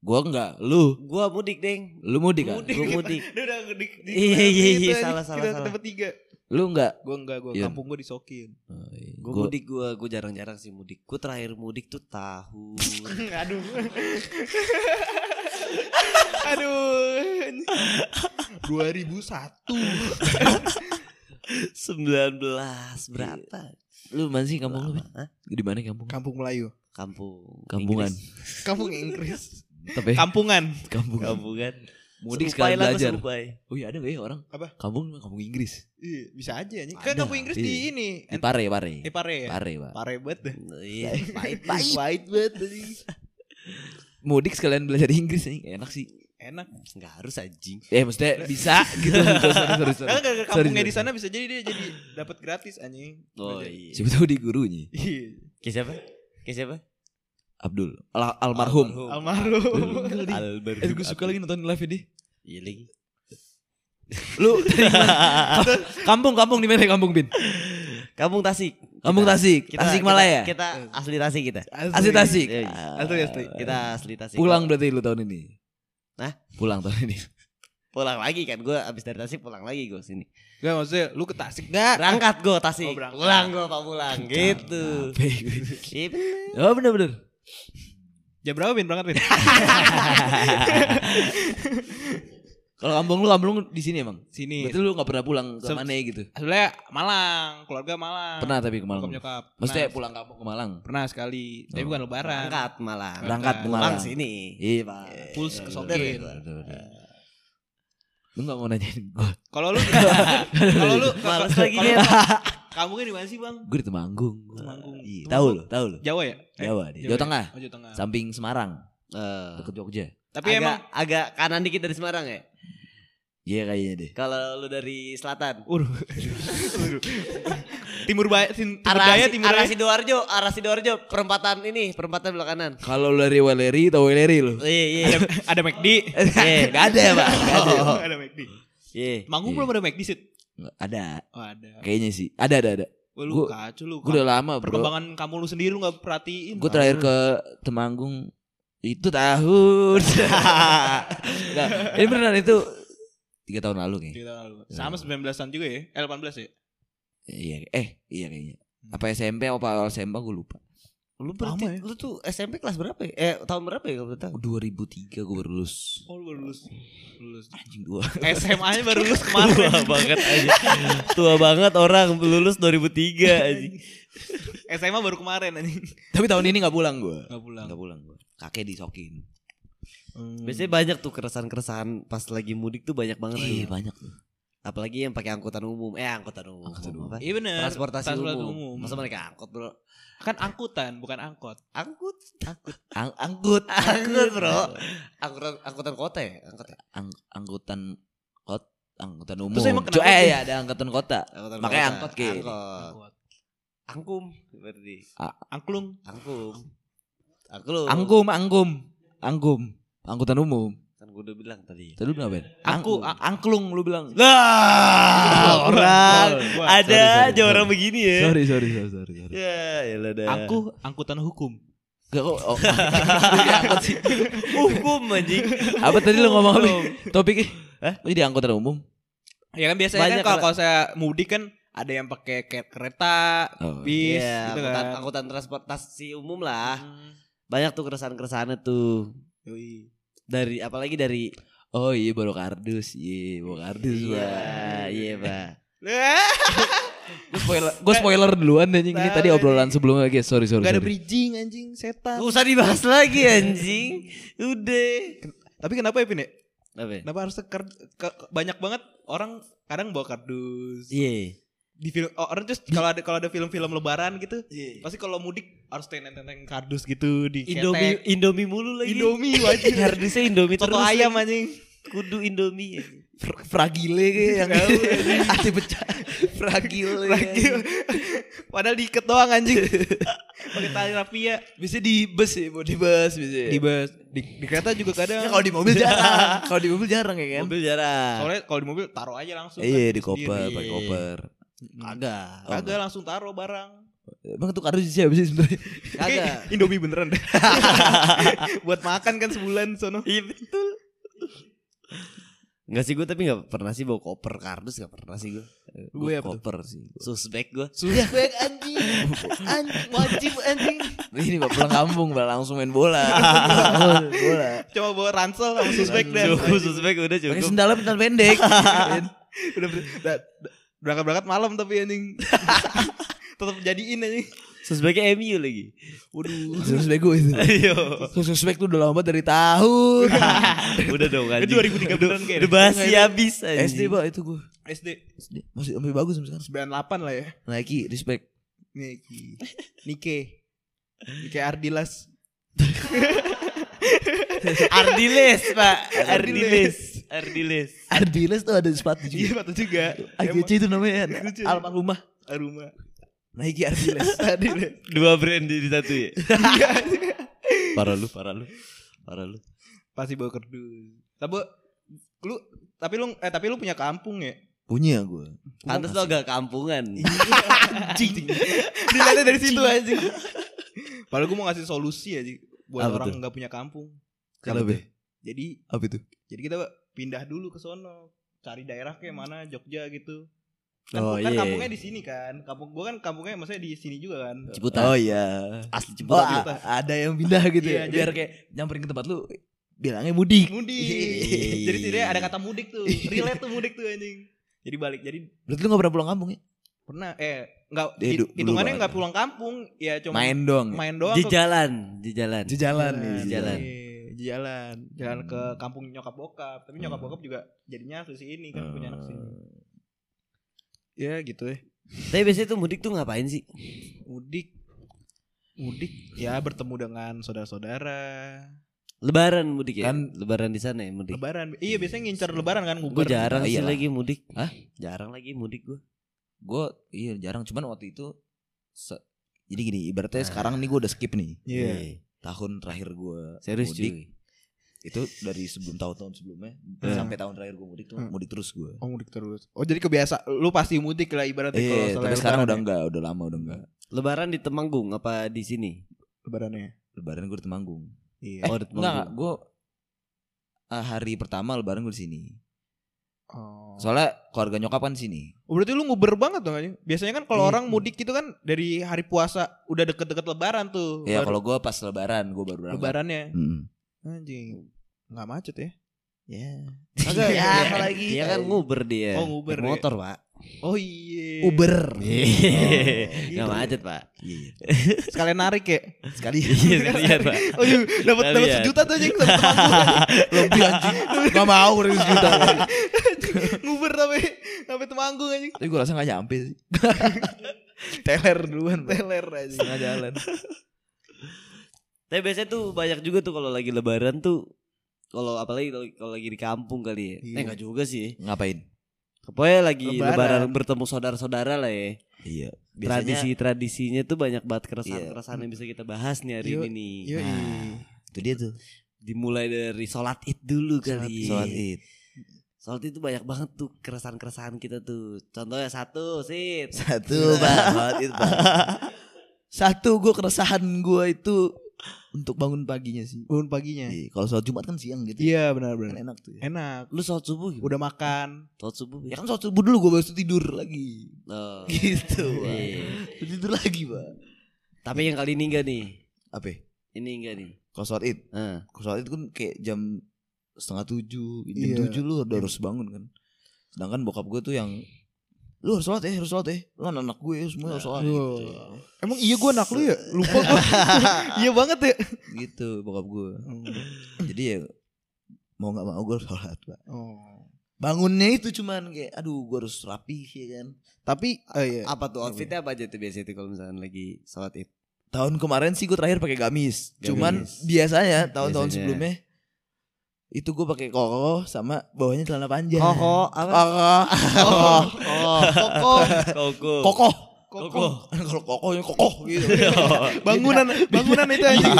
Speaker 2: Gua enggak, lu.
Speaker 5: Gua mudik, Deng.
Speaker 2: Lu mudik kan?
Speaker 5: Gua (laughs) mudik.
Speaker 1: Dia (laughs) udah di, di
Speaker 5: Iya, iya,
Speaker 1: gitu
Speaker 5: iya,
Speaker 1: aja.
Speaker 5: salah, salah,
Speaker 1: Kita
Speaker 5: salah.
Speaker 1: Tempat tiga.
Speaker 2: Lu enggak?
Speaker 1: Gue enggak, gue
Speaker 2: Iya.
Speaker 1: kampung gue disokin.
Speaker 5: Gua, mudik gua gua jarang-jarang sih mudik. Gua terakhir mudik tuh
Speaker 2: (laughs)
Speaker 5: tahun
Speaker 1: (laughs) Aduh. (laughs) Aduh. 2001.
Speaker 5: 19
Speaker 2: Iya.
Speaker 5: berapa?
Speaker 2: Lu mana sih kampung lu?
Speaker 5: Lama.
Speaker 2: Bin? Di mana kampung?
Speaker 1: Kampung Melayu.
Speaker 5: Kampung.
Speaker 2: Kampungan.
Speaker 5: Inggris.
Speaker 1: Kampung Inggris.
Speaker 2: Tapi
Speaker 1: Kampungan.
Speaker 2: kampung.
Speaker 5: Kampungan.
Speaker 2: Mudik sekali
Speaker 5: Serupai lah gua
Speaker 2: belajar.
Speaker 5: serupai.
Speaker 2: Oh iya ada gak ya orang?
Speaker 1: Apa?
Speaker 2: Kampung kampung Inggris.
Speaker 1: Iya, bisa aja anjing.
Speaker 2: Ada,
Speaker 1: Kan kampung Inggris di
Speaker 2: iya.
Speaker 1: ini.
Speaker 2: Di Pare, Pare.
Speaker 1: Eh, pare ya.
Speaker 2: Pare, Pak.
Speaker 1: Pare banget dah.
Speaker 2: (laughs)
Speaker 5: Iya, pahit, pahit, pahit banget. anjing.
Speaker 2: Mudik sekalian belajar Inggris nih, enak sih.
Speaker 1: Enak.
Speaker 5: Nggak harus anjing.
Speaker 2: Eh maksudnya bisa (laughs) gitu. sorry, sorry, sorry.
Speaker 1: Karena gara-gara
Speaker 2: Sorry,
Speaker 1: kampungnya di
Speaker 2: sorry.
Speaker 1: sana bisa jadi dia jadi dapat gratis anjing.
Speaker 5: Oh
Speaker 1: Belajar.
Speaker 5: iya.
Speaker 2: Siapa tahu di gurunya.
Speaker 1: Iya.
Speaker 5: Kayak siapa? Kayak siapa?
Speaker 4: Abdul Al- almarhum
Speaker 2: Almarhum.
Speaker 5: Almarhum.
Speaker 2: Eh, gue suka lagi nonton live ya, di.
Speaker 5: Iya lagi.
Speaker 2: (laughs) Lu dari mana? kampung kampung di mana kampung bin?
Speaker 5: Kampung Tasik.
Speaker 2: Kampung Tasik,
Speaker 5: Kita-
Speaker 2: Tasik Malaya. Eh.
Speaker 5: Kita, kita asli Tasik kita.
Speaker 2: Asli Tasik. Iya,
Speaker 5: Yoi.
Speaker 2: Asli asli.
Speaker 5: Kita asli Tasik.
Speaker 2: Pulang berarti lu tahun ini.
Speaker 5: Hah?
Speaker 2: Pulang tahun ini.
Speaker 5: pulang lagi kan gue abis dari Tasik pulang lagi gue sini.
Speaker 2: Gak maksudnya lu ke Tasik gak?
Speaker 5: Berangkat gue Tasik.
Speaker 2: Oh, berangkat.
Speaker 5: pulang gue pak pulang gitu. Iya, bener.
Speaker 2: ya, Oh bener-bener.
Speaker 1: Jam berapa Bin berangkat Bin?
Speaker 2: Kalau kampung lu kampung lu di sini emang.
Speaker 1: Sini.
Speaker 2: Berarti lu gak pernah pulang ke
Speaker 1: Sem-
Speaker 2: mana gitu.
Speaker 1: Sebenarnya Malang, keluarga Malang.
Speaker 2: Pernah tapi ke Malang.
Speaker 1: Nyokap nyokap.
Speaker 2: Maksudnya
Speaker 1: Pernah.
Speaker 2: pulang kampung ke Malang.
Speaker 1: Pernah sekali, tapi
Speaker 2: Oh.
Speaker 1: bukan lebaran.
Speaker 5: Berangkat malam.
Speaker 2: Berangkat ke
Speaker 5: Pulang
Speaker 2: Malang.
Speaker 5: sini.
Speaker 2: Iya, Pak.
Speaker 1: Puls ke gitu. Eh. Sokin.
Speaker 2: Iya, Lu gak mau nanyain gue.
Speaker 1: Kalau lu Kalau lu
Speaker 5: Males
Speaker 1: kalau-
Speaker 5: lagi
Speaker 1: kalau-
Speaker 5: dia.
Speaker 1: Kamu kan di mana sih, Bang?
Speaker 2: Gue di Temanggung.
Speaker 1: Temanggung.
Speaker 2: Iya,
Speaker 1: Temanggung.
Speaker 2: tahu lu, tahu lu.
Speaker 1: Jawa ya? Ah. Eh,
Speaker 2: Jawa deh. Jawa Tengah.
Speaker 1: Oh, Jawa Tengah.
Speaker 2: Samping Semarang,
Speaker 5: Eh,
Speaker 2: deket Jogja.
Speaker 1: Tapi
Speaker 5: agak,
Speaker 1: emang
Speaker 5: agak kanan dikit dari Semarang ya.
Speaker 2: Iya kayaknya deh.
Speaker 5: Kalau lu dari selatan.
Speaker 1: (laughs) Waduh. Waduh. timur Baya, tim, timur
Speaker 5: Arah,
Speaker 1: Jaya,
Speaker 5: Si-
Speaker 1: timur
Speaker 5: arah
Speaker 1: Raya.
Speaker 5: Sidoarjo, arah Sidoarjo, perempatan ini, perempatan belok kanan.
Speaker 2: Kalau lu dari Weleri tau Weleri lu.
Speaker 5: Iya, iya.
Speaker 1: Ada, ada McD.
Speaker 5: (laughs) Iya,
Speaker 2: Gak ada ya (laughs) pak? Gak ada.
Speaker 1: Oh, (laughs) ada McD.
Speaker 5: iya.
Speaker 1: Manggung
Speaker 2: Iya.
Speaker 1: belum ada McD sih.
Speaker 2: Nggak ada.
Speaker 1: Oh, ada.
Speaker 2: Kayaknya sih. Ada ada ada.
Speaker 1: Wah, lu
Speaker 2: Gua-
Speaker 1: kacau lu.
Speaker 2: Gue udah lama bro.
Speaker 1: Perkembangan kamu lu sendiri lu gak perhatiin.
Speaker 2: Gue terakhir ke Temanggung itu tahun. (laughs) Nggak, ini beneran itu tiga tahun lalu kayaknya.
Speaker 1: Gila lu.
Speaker 5: Iya.
Speaker 1: Sama 19-an juga ya. Eh 18 ya?
Speaker 2: Iya. Eh iya kayaknya. Apa SMP apa awal SMA gue lupa.
Speaker 5: Lu berarti
Speaker 1: Lama ya.
Speaker 5: lu tuh SMP kelas berapa ya? Eh tahun berapa ya kalau boleh tahu?
Speaker 2: 2003 gue baru lulus.
Speaker 1: Oh, lu baru lulus. (laughs) Lulus.
Speaker 2: Anjing dua.
Speaker 1: SMA-nya baru
Speaker 5: (laughs)
Speaker 1: lulus kemarin.
Speaker 5: banget aja. (laughs) Tua banget orang lulus 2003 aja.
Speaker 1: SMA baru kemarin anjing.
Speaker 2: (laughs) Tapi tahun ini nggak pulang gue.
Speaker 1: Enggak pulang.
Speaker 2: Nggak pulang gue. Kakek disokin.
Speaker 1: Hmm.
Speaker 5: Biasanya banyak tuh keresahan-keresahan pas lagi mudik tuh banyak banget tuh.
Speaker 2: Iya banyak tuh.
Speaker 5: Apalagi yang pakai angkutan umum. Eh angkutan umum.
Speaker 2: Angkutan
Speaker 5: Apa?
Speaker 2: umum.
Speaker 1: Iya bener.
Speaker 5: Transportasi,
Speaker 1: Transportasi
Speaker 5: umum.
Speaker 1: umum.
Speaker 5: Masa mereka angkut, Bro?
Speaker 1: Kan angkutan, bukan angkot.
Speaker 5: Angkut. Angkut.
Speaker 2: Ang- angkut.
Speaker 5: Angkut, Bro. Angkutan angkutan kota ya? Angkut ya?
Speaker 2: Ang- angkutan kot angkutan umum.
Speaker 1: Terus emang
Speaker 2: Cu-
Speaker 1: kenapa
Speaker 2: eh
Speaker 1: dia-
Speaker 2: ya ada angkutan kota.
Speaker 5: Angkutan
Speaker 2: Makanya
Speaker 5: kota.
Speaker 2: angkot, Ki.
Speaker 5: Angkot.
Speaker 1: Angkot.
Speaker 5: Angkum berarti.
Speaker 1: Angklung.
Speaker 5: Angkum. Angkum.
Speaker 2: Angkum, angkum, angkum. Angkutan umum.
Speaker 5: Kan gue udah bilang tadi.
Speaker 2: Tadi lu bilang apa? ya?
Speaker 1: Aku-
Speaker 2: Ang- angklung lu bilang.
Speaker 5: Lah, orang
Speaker 1: Gua-
Speaker 2: Sorry,
Speaker 5: ada
Speaker 2: sorry,
Speaker 5: aja orang
Speaker 2: sorry.
Speaker 5: begini ya.
Speaker 2: Sorry, sorry, sorry, sorry. sorry.
Speaker 5: Ya, ya dah.
Speaker 1: Aku angkutan hukum.
Speaker 2: Gak kok. (laughs) oh.
Speaker 5: hukum anjing.
Speaker 2: apa tadi lu ngomong apa? Topiknya? Hah? Jadi angkutan umum.
Speaker 1: Ya kan biasanya
Speaker 5: Banyak
Speaker 1: kan kalau
Speaker 5: lah.
Speaker 1: kalau saya mudik kan ada yang pakai ke- kereta,
Speaker 2: Oh.
Speaker 1: bis
Speaker 5: Iya,
Speaker 1: gitu
Speaker 5: angkutan,
Speaker 1: kan.
Speaker 5: angkutan transportasi umum lah.
Speaker 1: Hmm.
Speaker 5: Banyak tuh keresahan-keresahannya tuh. Dari apalagi dari
Speaker 2: Oh iya baru kardus, iya baru kardus
Speaker 5: Iya, iya, Pak.
Speaker 2: Gue spoiler, gue spoiler duluan anjing ini tadi obrolan sebelumnya guys. Sorry, sorry.
Speaker 1: Gak ada
Speaker 2: sorry.
Speaker 1: bridging anjing setan.
Speaker 5: Gak usah dibahas lagi anjing. Udah.
Speaker 1: Tapi kenapa ya Pin ya?
Speaker 5: Apa? ya?
Speaker 1: Kenapa harus ke- ke- ke- banyak banget orang kadang bawa kardus.
Speaker 5: Iya.
Speaker 1: Di film oh, orang terus kalau ada kalau ada film-film lebaran gitu, pasti kalau mudik harus tenteng-tenteng kardus gitu di
Speaker 5: Indomie
Speaker 1: ketek.
Speaker 5: Indomie mulu lagi.
Speaker 1: Indomie wajib.
Speaker 5: Harusnya Indomie
Speaker 1: Soto
Speaker 5: terus.
Speaker 1: ayam anjing.
Speaker 5: Kudu Indomie. ya.
Speaker 2: Fra- fragile kayak yang hati pecah. (laughs) Fragile. ya.
Speaker 1: Fragile. Padahal diikat doang
Speaker 2: (laughs)
Speaker 1: anjing. Pakai tali rafia.
Speaker 2: Bisa di bus ya, Bu, di bus bisa.
Speaker 1: Di bus, di, di kereta juga kadang.
Speaker 2: Ya, kalau di mobil jarang. (laughs) kalau di mobil jarang ya kan.
Speaker 5: Mobil jarang.
Speaker 1: Soalnya kalau di mobil taruh aja langsung.
Speaker 2: Iya
Speaker 1: kan,
Speaker 2: di koper,
Speaker 1: sendiri.
Speaker 2: pakai koper. Oh,
Speaker 5: Kagak.
Speaker 1: Kagak langsung taruh barang.
Speaker 2: Emang tuh kardus siapa sih sebenarnya?
Speaker 5: Kagak.
Speaker 1: Eh, Indomie beneran deh. Buat makan kan sebulan sono.
Speaker 5: Iya betul. Enggak sih gue tapi gak pernah sih bawa koper kardus gak pernah sih gue.
Speaker 1: Gue apa tuh?
Speaker 2: koper sih. gua.
Speaker 5: Suspek gue.
Speaker 2: Suspek anjing. anjing wajib anjing. (laughs) Ini bapak pulang kampung malah langsung main bola. (laughs) bola.
Speaker 1: Cuma bawa ransel sama suspek dan
Speaker 5: Cukup suspek udah
Speaker 2: Pakai
Speaker 5: cukup.
Speaker 2: sendalnya bentar pendek.
Speaker 1: udah ber- da- da- berangkat-berangkat malam tapi anjing. Tetap jadiin anjing.
Speaker 5: Suspeknya MU lagi. (laughs)
Speaker 2: Waduh. Suspek gue itu.
Speaker 5: Ayo.
Speaker 2: Suspek tuh udah lama dari tahun.
Speaker 5: (laughs) udah dong
Speaker 1: Ke
Speaker 5: anjing.
Speaker 1: 2003 an
Speaker 5: Udah
Speaker 1: kayaknya.
Speaker 5: basi habis anjing.
Speaker 2: SD pak itu gue.
Speaker 1: SD
Speaker 2: SD. Masih lebih bagus sampai sekarang.
Speaker 1: 98 lah ya.
Speaker 2: Nike respect.
Speaker 1: Niki. Nike. Nike Ardilas.
Speaker 5: Ardiles pak Ardiles Ardiles
Speaker 2: Adidas tuh ada sepatu
Speaker 1: Iya
Speaker 2: juga.
Speaker 1: patut juga.
Speaker 2: AGC itu namanya
Speaker 1: Lucu.
Speaker 2: almarhumah.
Speaker 1: Rumah.
Speaker 5: Nike Ardiles. Ardiles. Dua brand di satu (laughs) ya. parah lu, parah lu. Parah lu.
Speaker 1: Pasti bawa kerdus. Tapi lu tapi lu eh tapi lu punya kampung ya?
Speaker 2: Punya gue.
Speaker 5: Pantes lo agak kampungan.
Speaker 1: Anjing. Dilihatnya dari situ anjing. Padahal gue mau ngasih solusi aja buat
Speaker 5: Apa
Speaker 1: orang
Speaker 5: tuh?
Speaker 1: nggak punya kampung.
Speaker 2: Kalau be,
Speaker 1: Jadi
Speaker 2: apa itu?
Speaker 1: jadi kita pindah dulu ke sono, cari daerah kayak mana Jogja gitu. Kan,
Speaker 5: Oh
Speaker 1: kan
Speaker 5: iya.
Speaker 1: kampungnya di sini kan. Kampung gua kan kampungnya maksudnya di sini juga kan.
Speaker 5: Ciputat.
Speaker 2: Oh iya.
Speaker 5: Asli
Speaker 2: Oh,
Speaker 5: Ciputat.
Speaker 2: a- ada yang pindah gitu
Speaker 1: Iya,
Speaker 2: ya.
Speaker 1: jadi-
Speaker 2: Biar kayak nyamperin ke tempat lu bilangnya mudik.
Speaker 1: Mudik. jadi tidak ada kata mudik tuh. Relate tuh mudik tuh anjing. Jadi balik. Jadi
Speaker 2: Berarti lu gak pernah pulang kampung ya?
Speaker 1: pernah eh nggak
Speaker 2: Dia
Speaker 1: hit-
Speaker 2: du- dulu
Speaker 1: hitungannya
Speaker 2: banget.
Speaker 1: nggak pulang kampung ya cuma
Speaker 2: Main dong.
Speaker 1: main doang
Speaker 5: Di
Speaker 1: ke-
Speaker 5: jalan, di jalan.
Speaker 2: Di jalan nih.
Speaker 1: Jalan,
Speaker 2: di
Speaker 5: jalan.
Speaker 1: iya, di jalan jalan ke kampung nyokap bokap tapi nyokap bokap juga jadinya asli sini kan punya anak
Speaker 2: Oh. Eh,
Speaker 1: sini ya gitu ya
Speaker 5: Tapi biasanya tuh mudik tuh ngapain sih?
Speaker 1: mudik mudik ya bertemu dengan saudara-saudara
Speaker 5: Lebaran mudik ya.
Speaker 2: Kan-
Speaker 5: lebaran di sana ya mudik.
Speaker 1: lebaran iya biasanya ngincer lebaran kan
Speaker 5: Gue
Speaker 1: ngubar
Speaker 5: jarang
Speaker 6: Ah,
Speaker 5: sih
Speaker 6: iyalah.
Speaker 5: lagi mudik.
Speaker 6: Hah?
Speaker 5: Jarang lagi mudik gue.
Speaker 6: Gue iya jarang cuman waktu itu se-
Speaker 2: Jadi gini, ibaratnya sekarang nih gue udah skip nih.
Speaker 1: Nah. Iya.
Speaker 2: Eh, Tahun terakhir gue
Speaker 5: Serius
Speaker 2: mudik
Speaker 5: cuy.
Speaker 2: itu dari sebelum tahun-tahun sebelumnya
Speaker 1: Hmm.
Speaker 2: sampai tahun terakhir gue mudik tuh
Speaker 1: Hmm.
Speaker 2: mudik terus gue.
Speaker 1: oh mudik terus oh jadi kebiasa lu pasti mudik lah ibaratnya kalau
Speaker 2: Iya,
Speaker 1: selain
Speaker 2: tapi sekarang
Speaker 1: lebaran
Speaker 2: udah
Speaker 1: ya?
Speaker 2: enggak, udah lama udah enggak.
Speaker 5: Lebaran di Temanggung apa di sini?
Speaker 1: ya, lebarannya
Speaker 2: Lebaran gue di Temanggung.
Speaker 1: iya
Speaker 2: Eh.
Speaker 5: oh, di
Speaker 2: Enggak, gue Ah, hari pertama lebaran gue di sini.
Speaker 1: oh.
Speaker 2: Soalnya keluarga nyokap kan di sini.
Speaker 1: Oh, berarti lu nguber banget dong anjing. Biasanya kan kalau
Speaker 2: Iya.
Speaker 1: orang mudik gitu kan dari hari puasa udah deket-deket lebaran tuh. Oh,
Speaker 2: Ya
Speaker 1: baru
Speaker 2: kalau gue pas lebaran gue baru berangkat.
Speaker 1: lebarannya.
Speaker 2: Mm-mm.
Speaker 1: Anjing. Enggak macet ya?
Speaker 2: Ya. (laughs)
Speaker 5: Agak,
Speaker 2: Iya,
Speaker 5: ya,
Speaker 2: apalagi.
Speaker 5: Dia kan nguber dia. Oh.
Speaker 1: Oh, nguber
Speaker 5: Naik
Speaker 1: ya.
Speaker 5: motor, Pak.
Speaker 1: Oh iya.
Speaker 2: Uber.
Speaker 5: (laughs)
Speaker 1: Oh.
Speaker 5: Hehehe. Gak macet, Pak.
Speaker 2: Iya.
Speaker 1: Sekalian narik
Speaker 2: (laughs)
Speaker 1: ya.
Speaker 2: Sekali.
Speaker 5: Iya, sekalian, Pak.
Speaker 1: (laughs) Oh iya, dapat
Speaker 5: Sekalian.
Speaker 1: dapat sejuta tuh anjing sama teman
Speaker 2: (laughs) Lebih anjing. Gak mau harus juta.
Speaker 1: gua. (laughs) nguber tapi sampai temanggung anjing.
Speaker 2: Tapi gue rasa gak nyampe sih. Teler duluan. Pak.
Speaker 1: Teler anjing.
Speaker 2: Setengah jalan.
Speaker 5: Tapi biasanya tuh banyak juga tuh kalau lagi lebaran tuh kalau apalagi kalau- kalau lagi di kampung kali ya.
Speaker 1: Iya.
Speaker 5: Eh enggak juga sih.
Speaker 2: Ngapain?
Speaker 5: Pokoknya lagi
Speaker 1: Lebaran.
Speaker 5: lebaran, bertemu saudara-saudara lah ya.
Speaker 2: Iya. Biasanya
Speaker 5: Tradisi-tradisinya tuh banyak banget
Speaker 2: Iya.
Speaker 5: keresahan-keresahan yang bisa kita bahas nih hari
Speaker 1: Yo-
Speaker 5: ini nih.
Speaker 1: Yoi.
Speaker 2: Nah, itu dia tuh.
Speaker 5: Dimulai dari sholat id dulu kali.
Speaker 2: Sholat id.
Speaker 5: Sholat id tuh banyak banget tuh keresahan-keresahan kita tuh. Contohnya satu, sit.
Speaker 2: Satu pak. Sholat id pak. (laughs) Satu gue keresahan gue itu untuk bangun paginya sih.
Speaker 1: Bangun paginya.
Speaker 2: Iya, Kalau sholat Jumat kan siang gitu.
Speaker 1: Iya, benar
Speaker 2: Kan
Speaker 1: benar.
Speaker 2: enak tuh ya.
Speaker 1: Enak.
Speaker 5: Lu sholat subuh gimana?
Speaker 1: Udah makan.
Speaker 5: Sholat subuh.
Speaker 2: Ya kan sholat subuh dulu gue baru tidur lagi.
Speaker 5: Oh.
Speaker 2: Gitu pak.
Speaker 5: Iya.
Speaker 2: Tidur lagi pak.
Speaker 5: Tapi yang kali ini enggak nih.
Speaker 2: Apa?
Speaker 5: Ini enggak nih.
Speaker 2: Kalau sholat id.
Speaker 5: Heeh.
Speaker 2: Kalau sholat itu kan kayak jam setengah tujuh, jam
Speaker 1: Iya.
Speaker 2: tujuh lu udah harus bangun kan. Sedangkan bokap gue tuh yang lu harus sholat ya, harus sholat ya. Lu anak gue ya, semua harus sholat gitu.
Speaker 1: Tuh. Emang iya gua anak lu ya? Lupa gua. (laughs) iya banget ya.
Speaker 2: Gitu bokap gue. Jadi ya mau nggak mau gue harus sholat pak.
Speaker 1: Oh.
Speaker 2: Bangunnya itu cuman kayak aduh gue harus rapi ya kan.
Speaker 1: Tapi eh, iya.
Speaker 5: Apa tuh outfitnya apa aja tuh biasanya tuh kalau misalnya lagi sholat id?
Speaker 2: Tahun kemarin sih gue terakhir pakai gamis.
Speaker 5: Gamis.
Speaker 2: Cuman biasanya tahun-tahun
Speaker 5: Biasanya.
Speaker 2: sebelumnya itu gue pakai koko sama bawahnya celana panjang.
Speaker 5: apa?
Speaker 2: Koko. Koko.
Speaker 1: Oh, Koko.
Speaker 5: (laughs) Koko.
Speaker 2: (laughs) Koko.
Speaker 1: Koko.
Speaker 2: Kalau kokohnya kokoh gitu.
Speaker 1: Bangunan bangunan itu anjing.
Speaker 2: (laughs)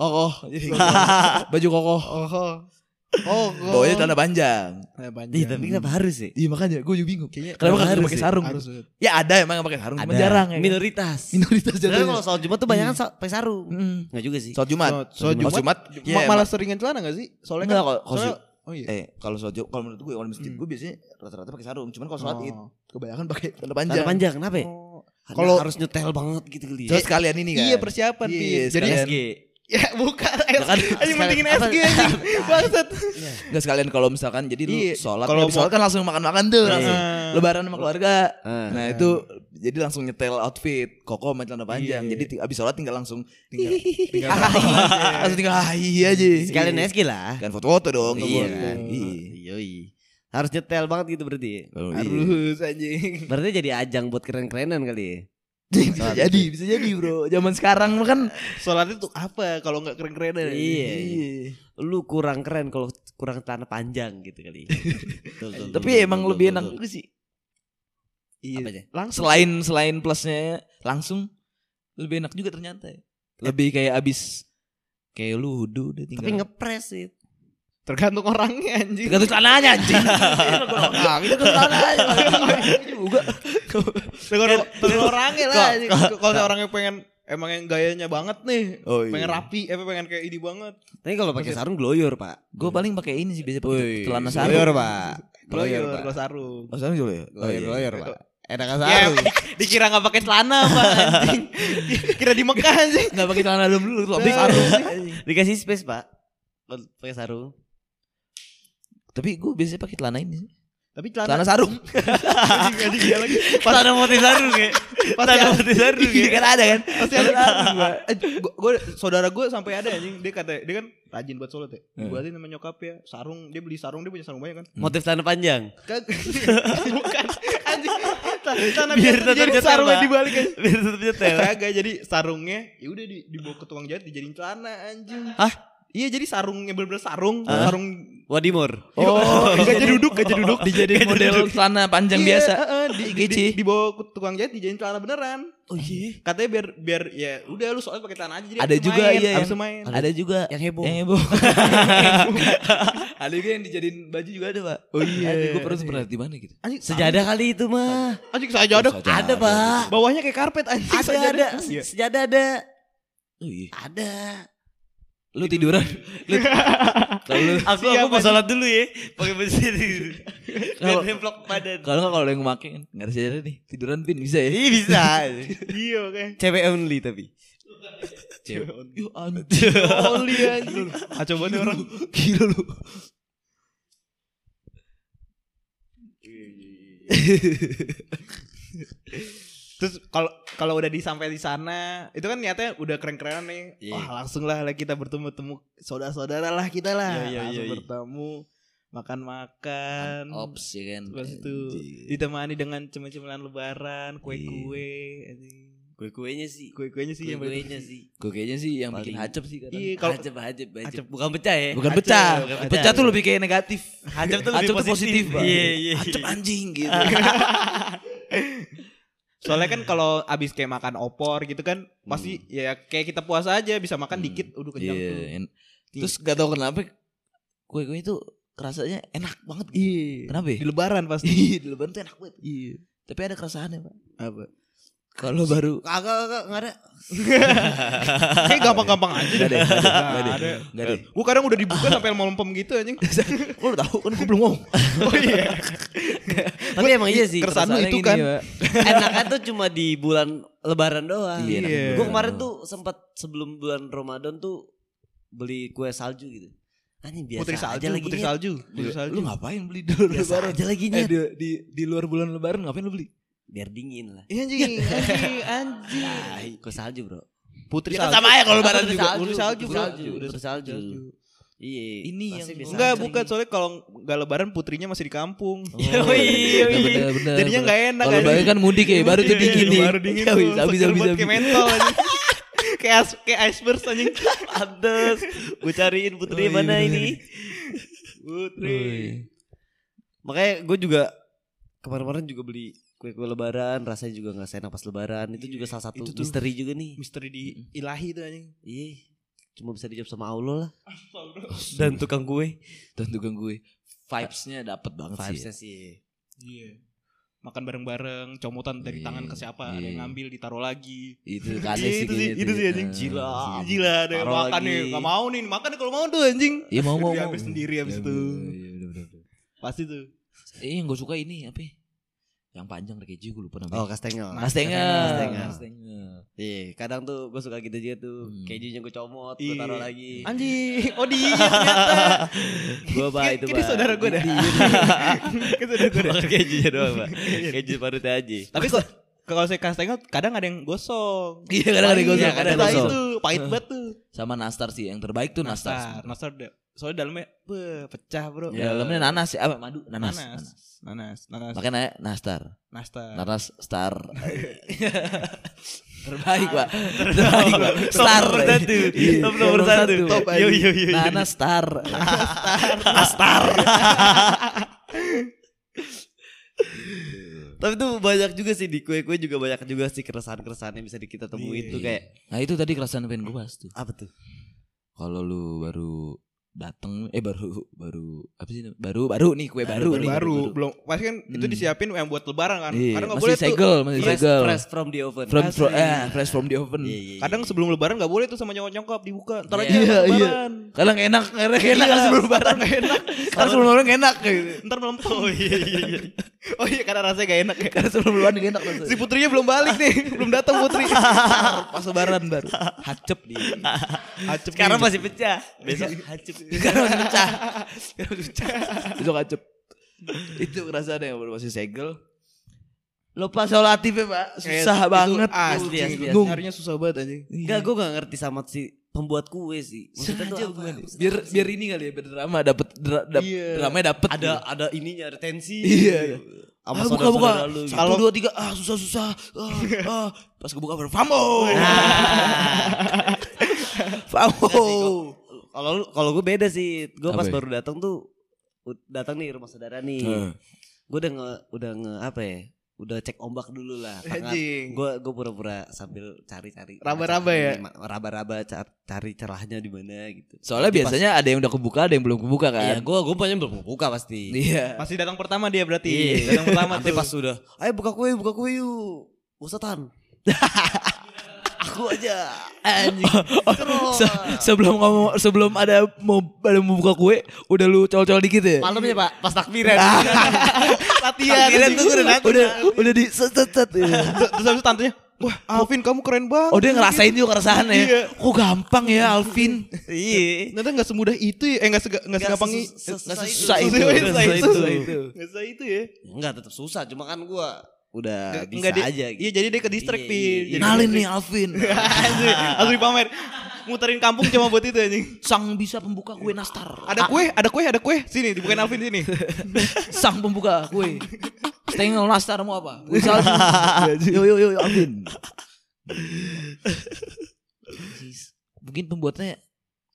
Speaker 2: kokoh jadi gitu. baju kokoh
Speaker 1: Oh. Oh.
Speaker 2: bawahnya celana panjang
Speaker 1: Eh, panjang.
Speaker 5: Ih, tapi kenapa harus sih?
Speaker 2: iya makanya gue juga bingung
Speaker 1: Kayaknya
Speaker 2: kenapa
Speaker 5: Harus
Speaker 2: kagak pakai
Speaker 5: sih,
Speaker 2: sarung
Speaker 1: harus
Speaker 2: ya ada emang yang pakai sarung cuma jarang ya kan?
Speaker 5: Minoritas.
Speaker 2: minoritas
Speaker 5: Karena
Speaker 2: jatuhnya
Speaker 5: kalau sholat Jumat tuh banyak kan pakai sarung.
Speaker 2: Mm.
Speaker 5: Enggak juga sih.
Speaker 2: sholat jumat
Speaker 1: Sholat- sholat
Speaker 2: Pas
Speaker 1: Jumat.
Speaker 2: jumat ya,
Speaker 1: Ma- malah seringan celana gak sih?
Speaker 2: emang.
Speaker 1: Soalnya
Speaker 2: enggak
Speaker 1: kan
Speaker 2: kalau kalau
Speaker 1: soalnya-
Speaker 2: sholat-
Speaker 1: Oh iya.
Speaker 2: eh kalau sholat Jumat- kalau menurut gue kalau di masjid
Speaker 1: Hmm.
Speaker 2: gue biasanya rata-rata pakai sarung cuman kalau sholat
Speaker 1: Oh.
Speaker 2: id kebanyakan pakai celana
Speaker 5: Celana
Speaker 2: panjang
Speaker 5: panjang kenapa ya?
Speaker 1: Oh.
Speaker 5: Kalau
Speaker 1: Kalau-
Speaker 5: harus nyetel banget gitu kali ya.
Speaker 2: terus kalian ini kan
Speaker 1: Iya persiapan
Speaker 2: Iya,
Speaker 1: Pi. Jadi
Speaker 2: sekalian.
Speaker 5: SG.
Speaker 1: ya bukan
Speaker 5: Ya kan,
Speaker 1: Anjing mendingin
Speaker 5: apa-
Speaker 1: SG anjing. (laughs) Bangsat.
Speaker 2: enggak sekalian kalau misalkan jadi lu
Speaker 1: Iya.
Speaker 2: sholat
Speaker 1: Kalau
Speaker 2: kalau
Speaker 1: mau-
Speaker 2: sholat kan langsung makan-makan tuh
Speaker 5: Iya.
Speaker 2: langsung
Speaker 1: Nah,
Speaker 2: lebaran sama keluarga
Speaker 5: Ah.
Speaker 2: Nah itu jadi langsung nyetel outfit koko sama celana panjang.
Speaker 1: Iya.
Speaker 2: Jadi ti- abis sholat tinggal langsung tinggal
Speaker 1: tinggal-
Speaker 2: langsung tinggal hai aja.
Speaker 5: Sekalian SG lah.
Speaker 2: Kan foto-foto dong.
Speaker 5: Iya
Speaker 2: foto-foto.
Speaker 5: kan.
Speaker 2: Iya.
Speaker 5: Yoi. Harus nyetel banget gitu berarti. ya?
Speaker 2: Oh, iya.
Speaker 1: Harus anjing.
Speaker 5: Berarti jadi ajang buat keren-kerenan kali ya.
Speaker 2: bisa jadi, bisa jadi bro. Zaman sekarang lu kan
Speaker 1: Sholat itu apa kalau nggak keren-kerenan?
Speaker 5: Iya. Lu kurang keren kalau kurang tanah panjang gitu kali. Tuh, tuh, tuh,
Speaker 2: (laughs) tapi
Speaker 5: tuh,
Speaker 2: emang
Speaker 5: tuh,
Speaker 2: lebih
Speaker 5: tuh,
Speaker 2: enak
Speaker 5: tuh.
Speaker 2: juga sih.
Speaker 1: Iya.
Speaker 2: Apanya?
Speaker 1: Langsung
Speaker 2: Selain selain plusnya langsung lebih enak juga ternyata. ya. Lebih kayak abis kayak lu hudu udah tinggal.
Speaker 5: Tapi ngepres sih.
Speaker 1: (laughs) tergantung orangnya anjing.
Speaker 2: Tergantung celananya anjing.
Speaker 1: Orang itu juga. Tergantung tergantung orangnya lah. anjing. Kalau orangnya pengen emang yang gayanya banget nih,
Speaker 5: Oh
Speaker 1: pengen
Speaker 2: iya.
Speaker 1: rapi, eh pengen kayak ini banget.
Speaker 5: Tapi kalau pakai sarung gloyor, Pak.
Speaker 2: Gue paling pakai ini sih biasa pakai celana
Speaker 5: Gloyor,
Speaker 2: sarung.
Speaker 5: (laughs) Pak. Gloyor,
Speaker 1: Gloyor,
Speaker 5: Pak.
Speaker 1: glow sarung.
Speaker 2: Oh, sarung juga ya?
Speaker 5: Gloyor, gloyor, Pak. Enak
Speaker 1: Ya,
Speaker 5: sarung.
Speaker 1: dikira nggak pakai celana pak anjing. Kira di Mekah anjing.
Speaker 2: Enggak pakai celana dalam dulu,
Speaker 5: Iya.
Speaker 2: lu pakai
Speaker 1: Di-
Speaker 5: (laughs)
Speaker 2: sarung.
Speaker 5: Dikasih space, Pak. Lo Pakai sarung.
Speaker 2: Tapi gue biasanya pakai celana ini. sih.
Speaker 1: Tapi
Speaker 2: Celana
Speaker 5: (laughs)
Speaker 2: sarung.
Speaker 1: anjing, anjing, dia lagi. Pas
Speaker 5: Tanah iya motif sarung ya.
Speaker 1: pasti ada,
Speaker 5: motif sarung ya. Kan ada kan?
Speaker 1: pasti ada sarung, Pak. Eh, gua- gua saudara gue sampai ada anjing dia kata dia kan rajin buat sholat ya.
Speaker 2: Hmm.
Speaker 1: Gue aja sama nyokap ya sarung dia beli sarung dia punya sarung banyak kan.
Speaker 5: Motif tanah panjang.
Speaker 1: Kan- Bukan anjing. Tan- Tanah
Speaker 5: Biar
Speaker 1: biasa jadi
Speaker 5: tetap
Speaker 1: sarungnya
Speaker 5: nyetel, Pak.
Speaker 1: dibalik anjing.
Speaker 5: Biar tetap nyetel.
Speaker 1: Kagak jadi sarungnya ya udah di, dibawa ke tukang jahit dijadiin celana anjing.
Speaker 5: Hah?
Speaker 1: Iya jadi sarungnya bener-bener sarung,
Speaker 5: Hah?
Speaker 1: sarung
Speaker 5: Wadimor.
Speaker 1: Oh, gajah duduk, gajah duduk
Speaker 2: Dijadiin model celana panjang
Speaker 1: Iya,
Speaker 2: biasa.
Speaker 1: heeh, di, di,
Speaker 2: IGC.
Speaker 1: di, dibawa ke tukang jahit dijahit celana beneran.
Speaker 2: Oh iya.
Speaker 1: Katanya biar biar ya udah lu soalnya pakai celana aja jadi
Speaker 2: Ada
Speaker 1: abis
Speaker 2: juga,
Speaker 1: main,
Speaker 2: iya,
Speaker 1: abis
Speaker 2: yang-
Speaker 1: main.
Speaker 2: Ada juga
Speaker 5: Yang heboh.
Speaker 2: yang heboh. ada juga yang dijadiin baju juga ada, Pak.
Speaker 1: Oh iya.
Speaker 2: Gue pernah pernah di mana gitu.
Speaker 1: Anjing
Speaker 5: Sejadah kali itu mah.
Speaker 1: Anjing sajadah.
Speaker 2: Sajadah.
Speaker 5: Ada, Pak.
Speaker 1: Bawahnya kayak karpet anjing
Speaker 5: Ada,
Speaker 1: sajadah.
Speaker 5: ada.
Speaker 1: Iya.
Speaker 5: Sejadah ada.
Speaker 2: Oh iya.
Speaker 5: Ada.
Speaker 2: Lu tiduran.
Speaker 5: (laughs)
Speaker 2: Lu kalau lu-
Speaker 5: Aku
Speaker 1: Siap,
Speaker 5: aku mau
Speaker 1: anjing.
Speaker 5: sholat dulu ya. Pakai baju gitu.
Speaker 2: Kalau-
Speaker 5: Dan nemplok badan.
Speaker 2: kalau nggak, kalau yang make kan enggak ada sejarah nih. Tiduran pin bisa ya.
Speaker 5: Iya bisa. (laughs)
Speaker 1: Iya oke.
Speaker 5: Cewek only tapi. (laughs)
Speaker 2: Cewek. Yo
Speaker 1: Oli anjing. Ah coba nih orang.
Speaker 2: Gila lu.
Speaker 1: Terus kalau kalau udah disampai di sana, itu kan niatnya udah keren-kerenan nih.
Speaker 5: Iya.
Speaker 1: Wah, langsung lah lah kita bertemu-temu saudara-saudara lah kita lah.
Speaker 5: Iya, iya,
Speaker 1: langsung
Speaker 5: iya, iya.
Speaker 1: bertemu, makan-makan.
Speaker 2: (laughs) Ops ya kan.
Speaker 1: Terus itu ditemani dengan cemil-cemilan lebaran, kue-kue, anjing.
Speaker 5: Kue-kuenya sih.
Speaker 1: Kue-kuenya sih yang paling-
Speaker 5: Iya. Kue-kuenya sih.
Speaker 2: Gue kayaknya sih yang bikin
Speaker 5: Paling-
Speaker 2: hacep sih kadang.
Speaker 1: Iya, kalau-
Speaker 5: hajab, hajab, hajab.
Speaker 1: Hajab.
Speaker 5: Bukan pecah ya.
Speaker 2: Bukan
Speaker 1: Hajep,
Speaker 2: pecah.
Speaker 5: bukan
Speaker 2: Pecah,
Speaker 5: pecah.
Speaker 2: tuh lebih kayak negatif.
Speaker 5: Hajab tuh lebih
Speaker 2: Hajep tuh
Speaker 5: positif.
Speaker 2: positif, Pak.
Speaker 5: Iya, iya. Ah.
Speaker 2: Hacep anjing gitu.
Speaker 1: Soalnya kan kalau abis kayak makan opor gitu kan, pasti ya kayak kita puasa aja bisa makan
Speaker 2: Hmm.
Speaker 1: dikit, udah kenyang
Speaker 2: Iya.
Speaker 1: tuh.
Speaker 2: en- Terus gak tau kenapa kue-kue itu kerasanya enak banget gitu.
Speaker 1: Iya.
Speaker 2: Kenapa ya?
Speaker 1: Di lebaran pasti.
Speaker 2: Iya, di lebaran tuh enak banget.
Speaker 1: Iya.
Speaker 2: Tapi ada keresahannya, Pak.
Speaker 1: Apa?
Speaker 2: Kalau baru
Speaker 5: Kagak, kagak, nggak ada.
Speaker 1: Kayak gampang-gampang
Speaker 2: (laughs)
Speaker 1: aja
Speaker 2: Gak
Speaker 1: deh.
Speaker 2: ada, gak ada, gak ada, gak ada.
Speaker 1: Gue kadang udah dibuka sampai melempem gitu anjing.
Speaker 2: Kok lu tahu kan gue belum ngomong.
Speaker 1: Oh iya.
Speaker 5: Tapi emang iya sih.
Speaker 1: Keresahan lu
Speaker 2: Keresahannya
Speaker 1: itu
Speaker 2: gini,
Speaker 1: kan.
Speaker 2: Pak.
Speaker 5: Enakan tuh cuma di bulan lebaran doang.
Speaker 2: Iya. enak
Speaker 1: Iya.
Speaker 2: banget.
Speaker 5: Gue kemarin tuh sempat sebelum bulan Ramadan tuh beli kue salju gitu. Anjing biasa
Speaker 1: Putri
Speaker 5: aja
Speaker 1: salju,
Speaker 5: lagi ya.
Speaker 1: putri
Speaker 5: nyet.
Speaker 1: salju, putri salju.
Speaker 2: Iya. Lu ngapain beli di luar
Speaker 5: Biasa
Speaker 2: lebaran?
Speaker 5: aja lagi
Speaker 2: Eh,
Speaker 5: nyet.
Speaker 2: di, di, di luar bulan lebaran ngapain lu beli?
Speaker 5: Biar dingin lah.
Speaker 1: Iya anjing, anjing, anjing.
Speaker 5: Tai, kue salju bro.
Speaker 1: Putri
Speaker 2: Ya kan
Speaker 1: salju.
Speaker 2: sama aja kalau lebaran
Speaker 1: Putri
Speaker 2: juga.
Speaker 1: salju,
Speaker 5: Putri
Speaker 1: Putri salju,
Speaker 5: salju, putri
Speaker 1: bro.
Speaker 5: salju,
Speaker 1: Udah
Speaker 5: putri salju. Iya.
Speaker 2: Ini
Speaker 5: pasti
Speaker 2: yang-
Speaker 5: biasa
Speaker 1: Enggak,
Speaker 5: aja
Speaker 1: bukan
Speaker 5: lagi.
Speaker 1: soalnya kalau nggak lebaran putrinya masih di kampung.
Speaker 5: Oh, iya,
Speaker 2: Nah,
Speaker 5: iya.
Speaker 2: bener, bener,
Speaker 1: (laughs) Jadinya
Speaker 2: bener.
Speaker 1: nggak enak.
Speaker 2: Kalau
Speaker 1: anjing.
Speaker 2: lebaran kan mudik ya, baru tuh
Speaker 1: Iya,
Speaker 2: dingin nih.
Speaker 1: Baru (laughs) dingin
Speaker 2: Ya,
Speaker 1: tuh.
Speaker 2: bisa, bisa,
Speaker 1: seger
Speaker 2: bisa,
Speaker 1: banget, Kayak
Speaker 2: bisa.
Speaker 1: mentol anjing. (laughs) Kayak as- kayak iceberg anjing.
Speaker 5: Pantes. Gue cariin putri
Speaker 2: Oh, iya,
Speaker 5: mana
Speaker 2: bener.
Speaker 5: ini.
Speaker 1: Putri.
Speaker 2: Oh, iya.
Speaker 5: Makanya gue juga kemarin-kemarin juga beli kue-kue lebaran. Rasanya juga gak enak pas lebaran. Iya, Itu juga salah satu
Speaker 1: Itu tuh.
Speaker 5: misteri juga nih.
Speaker 1: Misteri di ilahi tuh anjing.
Speaker 5: Iya. Cuma bisa dijawab sama Allah lah. Dan tukang kue.
Speaker 2: Dan tukang gue vibes-nya dapet banget sih.
Speaker 5: Vibesnya sih.
Speaker 1: Iya. Makan bareng-bareng, comotan dari
Speaker 2: Iya,
Speaker 1: tangan ke siapa, ada
Speaker 2: iya.
Speaker 1: yang ngambil ditaruh lagi.
Speaker 2: Itu
Speaker 1: Iya,
Speaker 2: kan
Speaker 1: itu sih, iya.
Speaker 2: sih kayaknya
Speaker 1: itu
Speaker 2: tuh.
Speaker 1: sih anjing
Speaker 2: Eh,
Speaker 1: gila.
Speaker 2: sih.
Speaker 1: Gila ada yang
Speaker 5: Taruh
Speaker 1: makan nih,
Speaker 5: lagi.
Speaker 1: enggak mau nih, makan deh kalau mau tuh anjing.
Speaker 2: Iya mau mau.
Speaker 1: Dia
Speaker 2: mau.
Speaker 1: habis sendiri habis
Speaker 2: Iya,
Speaker 1: itu.
Speaker 2: iya, iya, bener, bener.
Speaker 1: Pasti tuh.
Speaker 2: Eh yang gue suka ini apa? ya? Yang panjang keju gue lupa
Speaker 5: Oh
Speaker 2: namanya.
Speaker 5: kastengel.
Speaker 2: Kastengel.
Speaker 5: Kastengel.
Speaker 2: Kastengel.
Speaker 5: Iya, kadang tuh gue suka gitu juga tuh.
Speaker 2: Hmm.
Speaker 5: Kejunya gue comot, gue
Speaker 1: Iya.
Speaker 5: taruh (laughs) lagi.
Speaker 1: Anjing, oh (laughs) dia ternyata.
Speaker 5: Gue bah
Speaker 1: Kayak-
Speaker 5: itu bah.
Speaker 1: kayak saudara gue
Speaker 5: (laughs)
Speaker 1: dah. (laughs) Kayak saudara gue dah.
Speaker 5: Makan kejunya doang (laughs) pak. Keju parutnya (laughs) aja.
Speaker 1: Tapi kok kalau saya kastengel kadang ada yang gosong.
Speaker 2: Iya kadang ada yang gosong.
Speaker 1: Iya,
Speaker 2: Kadang ada
Speaker 1: pahit
Speaker 2: gosong.
Speaker 1: tuh, pahit banget tuh.
Speaker 2: Sama nastar sih yang terbaik tuh
Speaker 1: Nastar,
Speaker 2: nastar.
Speaker 1: nastar da- soalnya dalamnya beuh, pecah, Bro.
Speaker 2: Ya, dalamnya nanas ya, apa madu
Speaker 1: Nanas.
Speaker 2: nanas. nanas.
Speaker 1: Nanas, nanas,
Speaker 2: Makanya nastar.
Speaker 1: nastar.
Speaker 2: Nanas star. terbaik, Pak. (laughs) Terbaik, Pak. Star.
Speaker 5: Nomor (laughs) satu.
Speaker 2: Iya,
Speaker 5: Top nomor satu.
Speaker 2: Top, Nah,
Speaker 5: Yo yo yo. yo.
Speaker 2: Nanas
Speaker 5: (laughs)
Speaker 2: star.
Speaker 5: Nastar. (laughs) Tapi tuh banyak juga sih di kue-kue juga banyak juga sih keresahan-keresahan yang bisa di- kita temuin tuh kayak
Speaker 2: Nah itu tadi keresahan pengen gue bahas tuh.
Speaker 5: apa tuh?
Speaker 2: Kalau lu baru dateng, eh baru baru apa sih? namanya? Baru baru nih kue baru,
Speaker 1: baru,
Speaker 2: nih.
Speaker 1: belum pasti kan itu
Speaker 2: Hmm.
Speaker 1: disiapin yang buat lebaran kan
Speaker 2: Iya,
Speaker 1: karena nggak
Speaker 2: masih
Speaker 1: boleh tuh
Speaker 2: segel, masih
Speaker 5: Fresh,
Speaker 2: segel.
Speaker 5: fresh from the oven.
Speaker 2: From, from-
Speaker 5: Asli.
Speaker 2: eh, fresh from the oven.
Speaker 5: Iya, iya, iya.
Speaker 1: kadang sebelum lebaran nggak boleh tuh sama nyongkok-nyongkok dibuka ntar aja
Speaker 2: Iya, iya.
Speaker 1: lebaran
Speaker 2: Kadang enak, kadang enak kan sebelum lebaran.
Speaker 1: enak
Speaker 2: Karena sebelum lebaran nggak enak. gitu.
Speaker 1: ntar melempem oh iya iya iya oh iya karena rasanya gak enak ya
Speaker 2: Karena sebelum lebaran nggak enak. rasanya.
Speaker 1: si putrinya belum balik nih (laughs) belum datang putri
Speaker 2: (laughs) Pas lebaran baru. Hacep dia.
Speaker 1: Acep
Speaker 5: Sekarang
Speaker 1: nih.
Speaker 5: masih pecah. Besok hancur.
Speaker 2: (laughs) Sekarang masih pecah. Sekarang masih pecah. Besok acep. Itu kerasaan yang baru masih segel. Lupa soal aktifnya ya, pak.
Speaker 1: Kayak
Speaker 2: Susah
Speaker 1: itu
Speaker 2: banget. Iya,
Speaker 1: asli
Speaker 5: Asli,
Speaker 1: asli
Speaker 5: asli.
Speaker 1: nyarinya susah banget anjing
Speaker 5: Enggak, gue gak ngerti sama si pembuat kue sih. Maksudnya tuh
Speaker 2: Sengaja
Speaker 5: apa?
Speaker 2: bukan? Biar biar ini kali ya biar drama dapat dra, dap,
Speaker 1: Iya.
Speaker 2: dramanya dapat.
Speaker 5: ada ada ininya, ada tensi.
Speaker 2: Iya. ah,
Speaker 5: Sama
Speaker 2: buka buka.
Speaker 5: saudara-saudara lu. gitu.
Speaker 2: Satu dua tiga ah susah susah. Ah, ah. Pas kebuka baru famo. (laughs) famo.
Speaker 5: Enggak sih, kalau- Kalau lu- kalau gue beda sih. Gue
Speaker 2: Oh. Apa
Speaker 5: pas
Speaker 2: ya?
Speaker 5: baru datang tuh u- datang nih rumah saudara nih. Gue udah nge udah nge apa ya? Udah cek ombak dulu lah. Tangan.
Speaker 1: anjing
Speaker 5: Gue gue pura-pura sambil cari-cari.
Speaker 1: Raba-raba ya?
Speaker 5: Ma- Raba-raba car- cari celahnya di mana gitu.
Speaker 2: Soalnya
Speaker 5: Jadi pas-
Speaker 2: biasanya kan- ada yang udah kebuka, ada yang belum kebuka
Speaker 5: Iya,
Speaker 2: kan.
Speaker 5: gue gue punya belum buka pasti.
Speaker 2: Iya.
Speaker 1: masih datang pertama dia berarti
Speaker 5: Iya.
Speaker 1: datang pertama tuh
Speaker 5: Nanti pas sudah, ayo buka kue, buka kue yuk.
Speaker 1: (laughs)
Speaker 5: Ustatan. Aku aja. Anjing.
Speaker 2: (laughs) Se- sebelum ngomong sebelum ada mau ada mau buka kue, udah lu col-col dikit ya. (laughs) Ah.
Speaker 5: Malamnya pak, pas takbiran.
Speaker 1: latihan
Speaker 5: Akhirnya tuh gue (laughs) udah datang.
Speaker 2: Udah udah di set set set.
Speaker 5: Iya.
Speaker 1: terus habis itu tantenya wah Alvin kamu keren banget
Speaker 2: Oh dia ngerasain juga keresahan
Speaker 1: Iya.
Speaker 2: ya. Kok gampang ya Alvin.
Speaker 5: Iya.
Speaker 1: Ternyata gak semudah itu ya Eh gak, sega, gak segampang i-
Speaker 5: sesu- sesusah
Speaker 1: nggak
Speaker 5: itu.
Speaker 1: sesusah itu
Speaker 2: Sesusah
Speaker 1: Nggak
Speaker 2: itu.
Speaker 1: sesusah itu. Nggak sesusah itu ya
Speaker 5: Enggak tetap susah, cuma kan gue udah
Speaker 1: Nggak-
Speaker 5: bisa
Speaker 1: nggak di-
Speaker 5: aja gitu.
Speaker 1: Iya jadi dia ke distrik
Speaker 5: Iya,
Speaker 1: Pin.
Speaker 5: iya, iya.
Speaker 1: Jadi- (laughs)
Speaker 2: Nalin nih Alvin.
Speaker 4: Iya.
Speaker 1: Asli, asli pamer Muterin kampung cuma buat itu anjing
Speaker 2: Sang bisa pembuka kue nastar.
Speaker 1: Ada kue, ada kue, ada kue Sini, dibukain Alvin sini
Speaker 2: Sang pembuka kue. Stengel nastar mau apa? Kue
Speaker 4: Iya,
Speaker 2: salju. yo yo yo yo, Alvin. Mungkin pembuatnya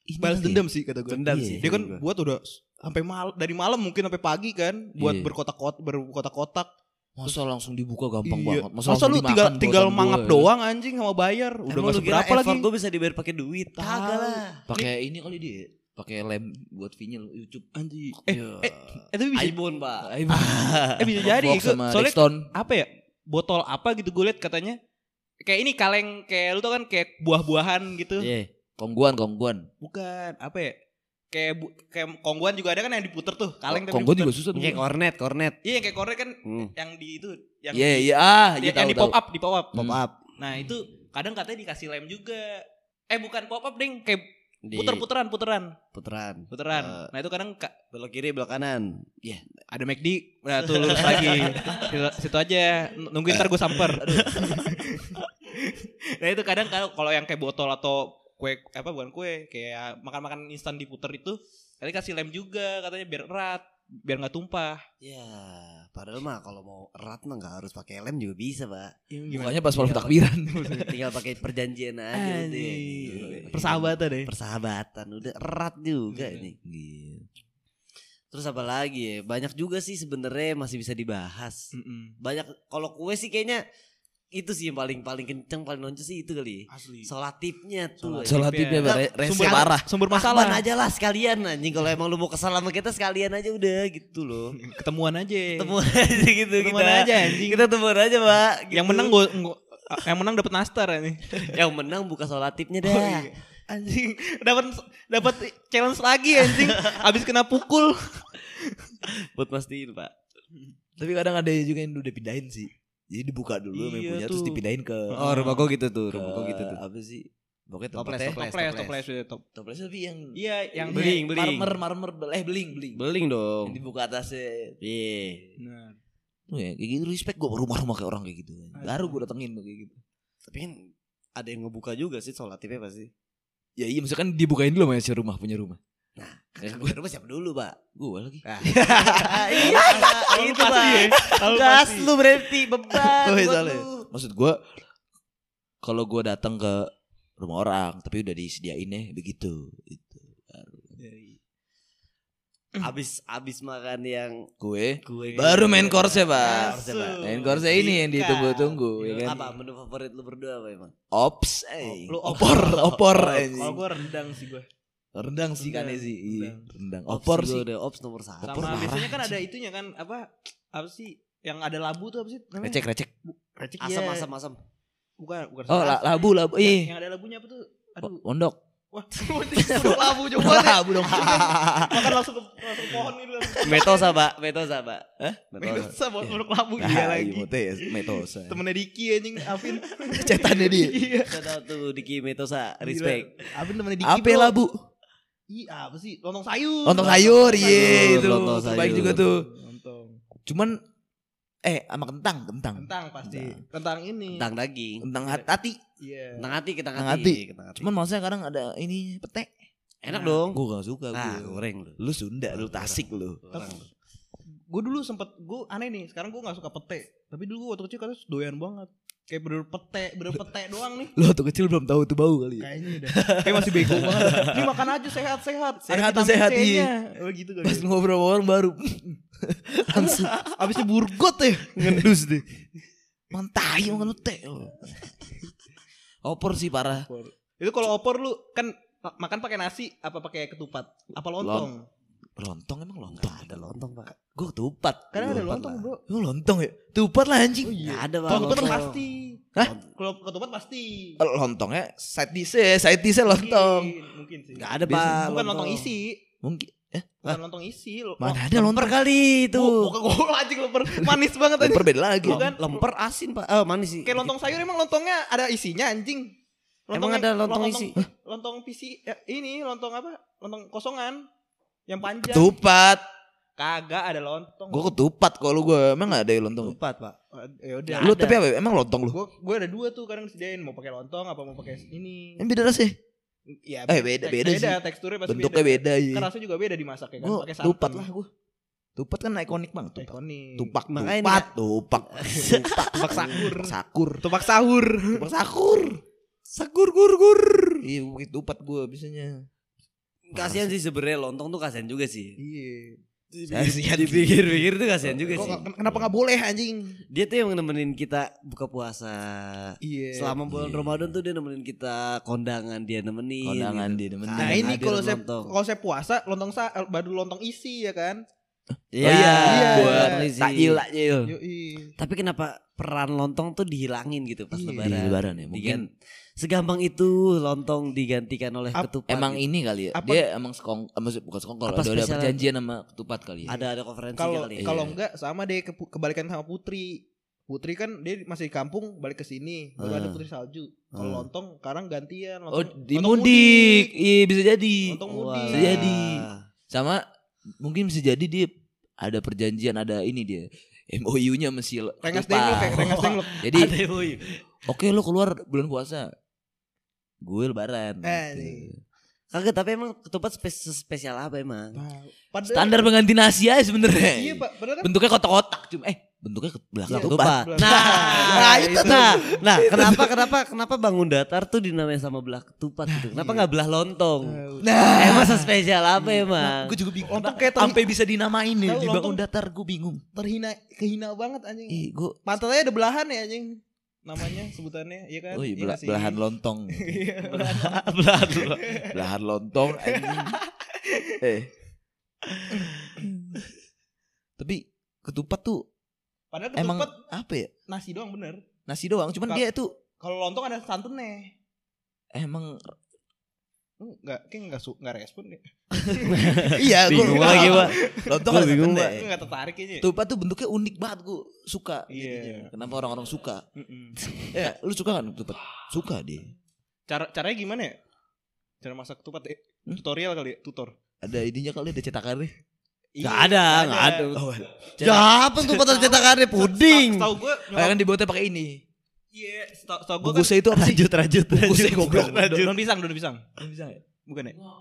Speaker 2: ini
Speaker 1: Balas
Speaker 2: kali ya.
Speaker 1: dendam sih kata gue
Speaker 5: Dendam
Speaker 2: Iya.
Speaker 5: sih.
Speaker 1: Dia kan buat udah s- sampai mal dari malam mungkin sampai pagi kan buat
Speaker 2: Iya.
Speaker 1: berkotak-kotak berkotak-kotak
Speaker 2: Masa langsung dibuka gampang
Speaker 1: Iya.
Speaker 2: banget.
Speaker 1: masa, lu
Speaker 2: langsung
Speaker 1: tinggal
Speaker 2: dimakan
Speaker 1: tinggal
Speaker 2: buatan
Speaker 1: mangap
Speaker 2: gue.
Speaker 1: doang anjing sama bayar udah nggak
Speaker 5: Emang lu kira
Speaker 1: seberapa lagi
Speaker 5: effort gue bisa dibayar pakai duit? Kagak lah.
Speaker 2: Pakai ini kali dia. Pakai lem buat vinyl YouTube anjing.
Speaker 1: Eh, eh, eh, tapi bisa,
Speaker 5: iPhone pak. Ah,
Speaker 1: eh, bisa jadi
Speaker 2: Fox sama
Speaker 1: soalnya
Speaker 2: Dexton.
Speaker 1: apa ya botol apa gitu gue liat katanya kayak ini kaleng kayak lu tau kan kayak buah-buahan gitu
Speaker 2: Iya. Kongguan, kongguan.
Speaker 1: bukan apa ya kayak bu, kayak kongguan juga ada kan yang diputer tuh kaleng tapi
Speaker 2: kongguan juga
Speaker 1: diputer.
Speaker 2: susah tuh.
Speaker 5: Kayak kornet, kornet.
Speaker 1: iya kayak korek kan
Speaker 5: Hmm.
Speaker 1: yang di itu yang
Speaker 2: Iya,
Speaker 1: di,
Speaker 2: iya, ah, iya
Speaker 1: yang
Speaker 2: tahu,
Speaker 1: di pop
Speaker 2: tahu.
Speaker 1: up di pop up
Speaker 2: Hmm.
Speaker 5: Pop up.
Speaker 1: nah itu kadang katanya dikasih lem juga eh bukan pop up ding kayak
Speaker 5: Di
Speaker 1: puter puteran puteran
Speaker 5: puteran.
Speaker 1: puteran
Speaker 5: Eh.
Speaker 1: nah itu kadang ka-
Speaker 5: Belok kiri, belok kanan.
Speaker 1: ada McD nah tuh lurus
Speaker 2: (laughs)
Speaker 1: lagi situ, situ aja n- nungguin ntar gue samper nah itu kadang kalau kalau yang kayak botol atau kue apa bukan kue kayak makan-makan instan diputer itu kali kasih lem juga katanya biar erat biar nggak tumpah
Speaker 5: Ya, padahal mah kalau mau erat mah nggak harus pakai lem juga bisa, Pak. Iya,
Speaker 2: Bukannya pas
Speaker 4: Iya.
Speaker 2: malam takbiran.
Speaker 5: Tinggal pakai perjanjian aja udah.
Speaker 1: Anjing. persahabatan deh
Speaker 5: Persahabatan udah erat juga
Speaker 1: Iya.
Speaker 5: ini. Terus apa lagi ya? Banyak juga sih sebenarnya masih bisa
Speaker 1: Hmm.
Speaker 5: dibahas. Banyak kalau kue sih kayaknya itu sih yang paling paling kenceng paling nonjol sih itu kali.
Speaker 1: asli
Speaker 5: Solatipnya tuh.
Speaker 1: Solatip.
Speaker 2: Sholat tipnya
Speaker 5: Nggak,
Speaker 2: re- rese
Speaker 5: sumber-
Speaker 2: parah.
Speaker 1: sumber
Speaker 5: Masalah
Speaker 1: masalah
Speaker 5: aja lah sekalian anjing kalau emang lu mau kesal sama kita sekalian aja udah gitu
Speaker 1: (laughs)
Speaker 5: loh.
Speaker 1: ketemuan aja
Speaker 5: Temuan aja gitu
Speaker 1: Ketemuan
Speaker 5: kita.
Speaker 1: aja anjing
Speaker 5: Kita temuan aja, Pak.
Speaker 1: yang
Speaker 5: Gitu.
Speaker 1: menang gue yang menang dapat nastar ya ini
Speaker 5: yang menang buka solatipnya
Speaker 1: Oh,
Speaker 5: dah.
Speaker 1: iya. anjing dapat dapat challenge lagi anjing abis kena pukul
Speaker 5: Buat pastiin, Pak.
Speaker 2: Tapi kadang ada juga yang udah pindahin sih. Jadi dibuka dulu yang
Speaker 1: Iya
Speaker 2: punya terus
Speaker 1: tuh.
Speaker 2: dipindahin ke
Speaker 5: Oh, rumah gua gitu tuh, rumah gua
Speaker 2: ke-
Speaker 5: gitu tuh.
Speaker 2: Apa sih? Pokoknya
Speaker 5: Toples,
Speaker 2: tempatnya
Speaker 5: toples.
Speaker 1: toples toples udah top
Speaker 2: toples tapi yang
Speaker 1: iya yang
Speaker 2: Iya,
Speaker 5: Beling, beling.
Speaker 2: Marmer, marmer, bel- eh beling, beling.
Speaker 5: Beling
Speaker 2: Yang
Speaker 5: dong.
Speaker 2: dibuka atasnya.
Speaker 5: Iya.
Speaker 1: Bener.
Speaker 2: Tuh ya, kayak gitu respect gue rumah-rumah kayak orang kayak gitu. Baru gue datengin tuh kayak gitu.
Speaker 5: Tapi kan ada yang ngebuka juga sih solatipnya pasti.
Speaker 2: Ya iya misalkan dibukain dulu sama si rumah punya rumah.
Speaker 5: Nah, Yang buka rumah siapa dulu, Pak? Nah.
Speaker 2: Gue lagi.
Speaker 5: Iya, Pak. itu, Pak. Gas lu berarti
Speaker 2: Oh, iya,
Speaker 5: beban. buat
Speaker 2: soalnya.
Speaker 5: lu.
Speaker 2: Maksud gue kalau gue datang ke rumah ya, orang tapi udah disediainnya begitu. Itu.
Speaker 5: Abis abis makan yang
Speaker 2: Kue.
Speaker 5: kue.
Speaker 2: Baru main korse, Pak.
Speaker 5: Korse, Pak.
Speaker 2: Main korse ini yang
Speaker 1: Bukan.
Speaker 2: ditunggu-tunggu, ya kan?
Speaker 5: Apa menu favorit lu berdua apa emang?
Speaker 2: Ops, eh.
Speaker 1: Lu
Speaker 5: (laughs)
Speaker 2: opor, opor,
Speaker 1: Kalau
Speaker 2: anjing.
Speaker 1: gue rendang sih gue.
Speaker 2: Rendang sih kan
Speaker 1: Rendang,
Speaker 2: sih, iya, rendang.
Speaker 5: Ops
Speaker 2: Opor
Speaker 5: gua
Speaker 2: sih.
Speaker 5: Udah ops nomor satu.
Speaker 2: Opor
Speaker 1: Sama
Speaker 2: marah.
Speaker 1: biasanya kan ada itunya kan apa apa sih yang ada labu tuh apa sih namanya?
Speaker 2: Recek, recek.
Speaker 1: Recek,
Speaker 5: Asam
Speaker 1: iya.
Speaker 5: asam asam.
Speaker 1: Bukan bukan.
Speaker 2: Oh, la- labu, labu.
Speaker 1: Yang,
Speaker 2: Ih,
Speaker 5: Iya,
Speaker 1: yang ada labunya apa tuh? Aduh.
Speaker 2: pondok.
Speaker 1: Wah, (laughs) udah labu
Speaker 2: (laughs)
Speaker 1: coba deh.
Speaker 2: Labu dong.
Speaker 1: Makan langsung ke langsung ke pohon gitu. langsung.
Speaker 5: Metosa, Pak. Metosa, Pak.
Speaker 1: Minum
Speaker 5: Metosa.
Speaker 1: sabun menurut
Speaker 5: Oh,
Speaker 1: labu
Speaker 2: Ya,
Speaker 1: iya lagi.
Speaker 2: Motes, metosa.
Speaker 1: Temennya Diki anjing Afin.
Speaker 2: Cetannya dia.
Speaker 1: Iya.
Speaker 5: Kita tahu tuh Diki Metosa,
Speaker 1: Gila.
Speaker 5: respect.
Speaker 1: Afin temennya Diki.
Speaker 2: Apa
Speaker 1: bro.
Speaker 2: labu?
Speaker 1: Ih, apa sih? Lontong sayur.
Speaker 2: Lontong sayur, iya
Speaker 5: sayur,
Speaker 2: itu.
Speaker 5: lontong
Speaker 2: Baik
Speaker 5: sayur.
Speaker 2: juga tuh.
Speaker 1: Lontong.
Speaker 2: Cuman eh sama kentang, kentang.
Speaker 1: Kentang pasti. Kentang ini.
Speaker 5: Tentang daging.
Speaker 2: Kentang hat- hati.
Speaker 1: Iya.
Speaker 5: Tentang hati, kita
Speaker 2: Tentang
Speaker 5: hati.
Speaker 2: hati.
Speaker 5: ketang hati.
Speaker 2: Cuman maksudnya kadang ada ini pete.
Speaker 5: enak dong.
Speaker 2: Gue gak suka
Speaker 5: Ah,
Speaker 2: gue.
Speaker 5: goreng lu.
Speaker 2: Lu Sunda, lu Tasik lu.
Speaker 5: Orang.
Speaker 1: gue dulu sempet gue aneh nih sekarang gue nggak suka pete tapi dulu gue waktu kecil katanya doyan banget kayak bener pete bener pete doang nih
Speaker 2: Lu waktu kecil belum tahu tuh bau kali. ya.
Speaker 1: kayaknya udah kayak masih bego banget ini makan aja sehat sehat
Speaker 2: Sehat tuh sehat, iya.
Speaker 1: oh gitu kali
Speaker 2: Pas ngobrol sama orang baru (laughs) langsung
Speaker 1: abisnya burgot ya
Speaker 2: ngendus deh. Mantai makan lu teh. Opor sih parah.
Speaker 1: itu kalau opor lu kan ma- makan pakai nasi apa pakai ketupat apa lontong
Speaker 2: Lontong emang lontong. Ada
Speaker 5: Lontong, Pak.
Speaker 2: Gue ketupat.
Speaker 1: kadang ada
Speaker 2: Ketupat
Speaker 1: lontong
Speaker 2: lah.
Speaker 1: bro
Speaker 2: Lu lontong ya? Tupat lah anjing.
Speaker 5: Nggak ada, Pak.
Speaker 1: kalau ketupat
Speaker 5: lontong.
Speaker 1: pasti
Speaker 2: Hah?
Speaker 1: kalau ketupat pasti
Speaker 2: Nah, lontongnya side dish side dish lontong
Speaker 1: Mungkin, mungkin sih
Speaker 5: Nggak ada,
Speaker 2: Biasa.
Speaker 5: Pak.
Speaker 1: bukan lontong isi
Speaker 2: mungkin
Speaker 1: bukan lontong isi lo-
Speaker 2: mana ada lontong
Speaker 5: kali itu.
Speaker 1: Oh, bukan gue anjing leper
Speaker 2: (laughs)
Speaker 1: manis banget anjing
Speaker 2: Loper beda lagi
Speaker 1: Bukan.
Speaker 5: Lemper asin, Pak. Eh, manis sih.
Speaker 1: kan. Kayak lontong sayur emang lontongnya ada isinya anjing.
Speaker 5: Emang ada lontong isi?
Speaker 1: Lontong PC ya, ini lontong apa? Lontong kosongan yang panjang.
Speaker 2: ketupat
Speaker 1: Kagak ada lontong.
Speaker 2: gue ketupat kalau gue emang gak ada ya lontong
Speaker 5: Empat, Pak.
Speaker 1: Eh, Ya udah.
Speaker 2: lu tapi apa emang lontong lu
Speaker 1: Gua gua ada dua tuh kadang disediain mau pakai lontong apa mau pakai ini.
Speaker 2: yang beda rasanya
Speaker 1: Ya,
Speaker 2: Eh, beda- beda
Speaker 1: beda teksturnya pasti
Speaker 2: bentuknya beda Oh,
Speaker 1: beda.
Speaker 2: ya
Speaker 1: Kan rasanya juga beda dimasaknya kan
Speaker 2: gue
Speaker 1: pakai Eh, santan.
Speaker 2: tupat lah gue tupat kan ikonik banget tupat
Speaker 1: Ikonik.
Speaker 2: tupak
Speaker 5: Makanya
Speaker 2: tupat
Speaker 1: (laughs)
Speaker 2: tupak tupak
Speaker 1: Tupak sakur.
Speaker 2: sakur
Speaker 1: Tupak sahur.
Speaker 2: tupak sakur sakur gur gur iya gue pakai tupat gue biasanya
Speaker 5: Kasihan sih sebenarnya lontong tuh kasihan juga sih.
Speaker 1: (laughs) Iya.
Speaker 2: Kasihan.
Speaker 5: Dipikir-pikir tuh kasihan
Speaker 2: Iya
Speaker 5: juga
Speaker 1: Kok
Speaker 5: sih.
Speaker 1: nggak- kenapa nggak boleh anjing?
Speaker 5: Dia tuh yang nemenin kita buka puasa.
Speaker 1: Iya.
Speaker 5: Selama bulan
Speaker 2: Iya.
Speaker 5: Ramadan tuh dia nemenin kita kondangan, dia nemenin.
Speaker 2: kondangan
Speaker 5: gitu.
Speaker 2: dia demen
Speaker 5: Nah,
Speaker 1: Nah
Speaker 5: Yang
Speaker 1: ini
Speaker 5: hadir
Speaker 1: kalau saya
Speaker 5: lontong.
Speaker 1: kalau saya puasa lontong sa eh, baru lontong isi ya kan.
Speaker 5: Iya,
Speaker 1: iya.
Speaker 5: buat ngisi.
Speaker 2: takjil takjil
Speaker 1: Yoi.
Speaker 5: Tapi kenapa peran lontong tuh dihilangin gitu pas
Speaker 1: Iya.
Speaker 2: di
Speaker 5: lebaran?
Speaker 2: lebaran ya mungkin
Speaker 5: Digan- Segampang itu lontong digantikan oleh
Speaker 1: Ap-
Speaker 5: ketupat.
Speaker 2: Emang
Speaker 5: gitu.
Speaker 2: ini kali ya.
Speaker 1: Apa-
Speaker 2: Dia emang sekong eh, maksud bukan sekongkol,
Speaker 5: Apa
Speaker 2: ada, ada
Speaker 5: spesial-
Speaker 2: perjanjian sama ketupat kali ya.
Speaker 5: ada ada konferensi
Speaker 1: Kalau
Speaker 5: kali. ya?
Speaker 1: kalau
Speaker 2: Iya.
Speaker 1: enggak sama deh ke- kebalikan sama Putri. Putri kan dia masih di kampung balik ke sini baru
Speaker 5: Ah.
Speaker 1: ada Putri Salju. Kalau
Speaker 5: Ah.
Speaker 1: lontong sekarang gantian
Speaker 2: Oh,
Speaker 1: lontong.
Speaker 2: di
Speaker 1: lontong
Speaker 2: mudik. Iya, bisa jadi.
Speaker 1: Lontong mudik.
Speaker 5: Walah.
Speaker 2: Jadi. Sama mungkin bisa jadi dia ada perjanjian, ada ini dia. MOU-nya masih
Speaker 1: Rengas dengklok kayak rengas dengklok.
Speaker 2: (laughs) Jadi,
Speaker 5: Ada boy.
Speaker 2: oke lo keluar bulan puasa. Gue lebaran.
Speaker 1: Eh,
Speaker 2: gitu.
Speaker 1: nih.
Speaker 5: Kagak tapi emang ketupat spes- spesial apa emang?
Speaker 1: Padahal-
Speaker 2: Standar pengganti nasi aja sebenarnya.
Speaker 1: Iya, Pak. Padahal kan
Speaker 2: Bentuknya kotak-kotak cuma eh bentuknya ke belakang
Speaker 1: Iya,
Speaker 2: ketupat.
Speaker 5: Ketupat.
Speaker 1: Belakang.
Speaker 5: Nah,
Speaker 1: Nah,
Speaker 5: nah, itu nah, nah kenapa kenapa kenapa bangun datar tuh dinamain sama belah ketupat gitu? Kenapa nggak belah lontong?
Speaker 2: Nah,
Speaker 5: Emang sespesial apa emang?
Speaker 2: gue juga bingung.
Speaker 1: Lontong kayak terhi-
Speaker 2: sampai bisa dinamain nih
Speaker 1: Tahu,
Speaker 2: di bangun
Speaker 1: lontong-
Speaker 2: datar gue bingung.
Speaker 1: terhina kehina banget anjing.
Speaker 2: Ih, gue
Speaker 1: Pantatnya ada belahan ya anjing. Namanya sebutannya iya kan?
Speaker 2: Oh iya,
Speaker 1: Iya
Speaker 2: bela-
Speaker 1: nggak sih?
Speaker 2: belahan lontong.
Speaker 1: (laughs) Iya.
Speaker 5: Belah dulu.
Speaker 2: belahan lontong
Speaker 1: (laughs)
Speaker 2: anjing. eh. Tapi ketupat tuh
Speaker 1: Padahal
Speaker 2: emang
Speaker 1: ketupat
Speaker 2: apa ya?
Speaker 1: nasi doang bener.
Speaker 2: Nasi doang, cuman
Speaker 1: Kak-
Speaker 2: dia tuh
Speaker 1: Kalau lontong ada santannya.
Speaker 5: (laughs)
Speaker 2: emang
Speaker 1: Enggak, kayak enggak su enggak respon deh.
Speaker 2: iya gua-
Speaker 5: Bingung lagi pak.
Speaker 2: Lontong
Speaker 5: Gua
Speaker 2: ada
Speaker 5: bingung,
Speaker 2: santannya.
Speaker 1: Gue enggak tertarik kayaknya.
Speaker 2: Ketupat tuh bentuknya unik banget gue suka.
Speaker 1: Iya.
Speaker 2: jadinya. Kenapa orang-orang suka?
Speaker 1: Mm-mm.
Speaker 2: Ya,
Speaker 5: Iya.
Speaker 2: lu suka kan ketupat? Suka deh.
Speaker 1: Cara caranya gimana ya? Cara masak ketupat eh,
Speaker 2: Hmm?
Speaker 1: tutorial kali ya, tutor.
Speaker 2: Ada idenya kali ada cetakannya.
Speaker 5: Gak ada, gak ada.
Speaker 2: Oh,
Speaker 5: Ya apa tuh kata cetakannya puding?
Speaker 1: Tahu gue
Speaker 2: Kayak kan dibuatnya pakai ini.
Speaker 1: Iya, tahu gue kan
Speaker 2: Bungkusnya itu apa sih?
Speaker 5: rajut,
Speaker 2: Bungkusnya ya, goblok.
Speaker 1: daun daun pisang, daun pisang.
Speaker 2: Bisa nggak?
Speaker 1: Bukan ya?
Speaker 2: Oh,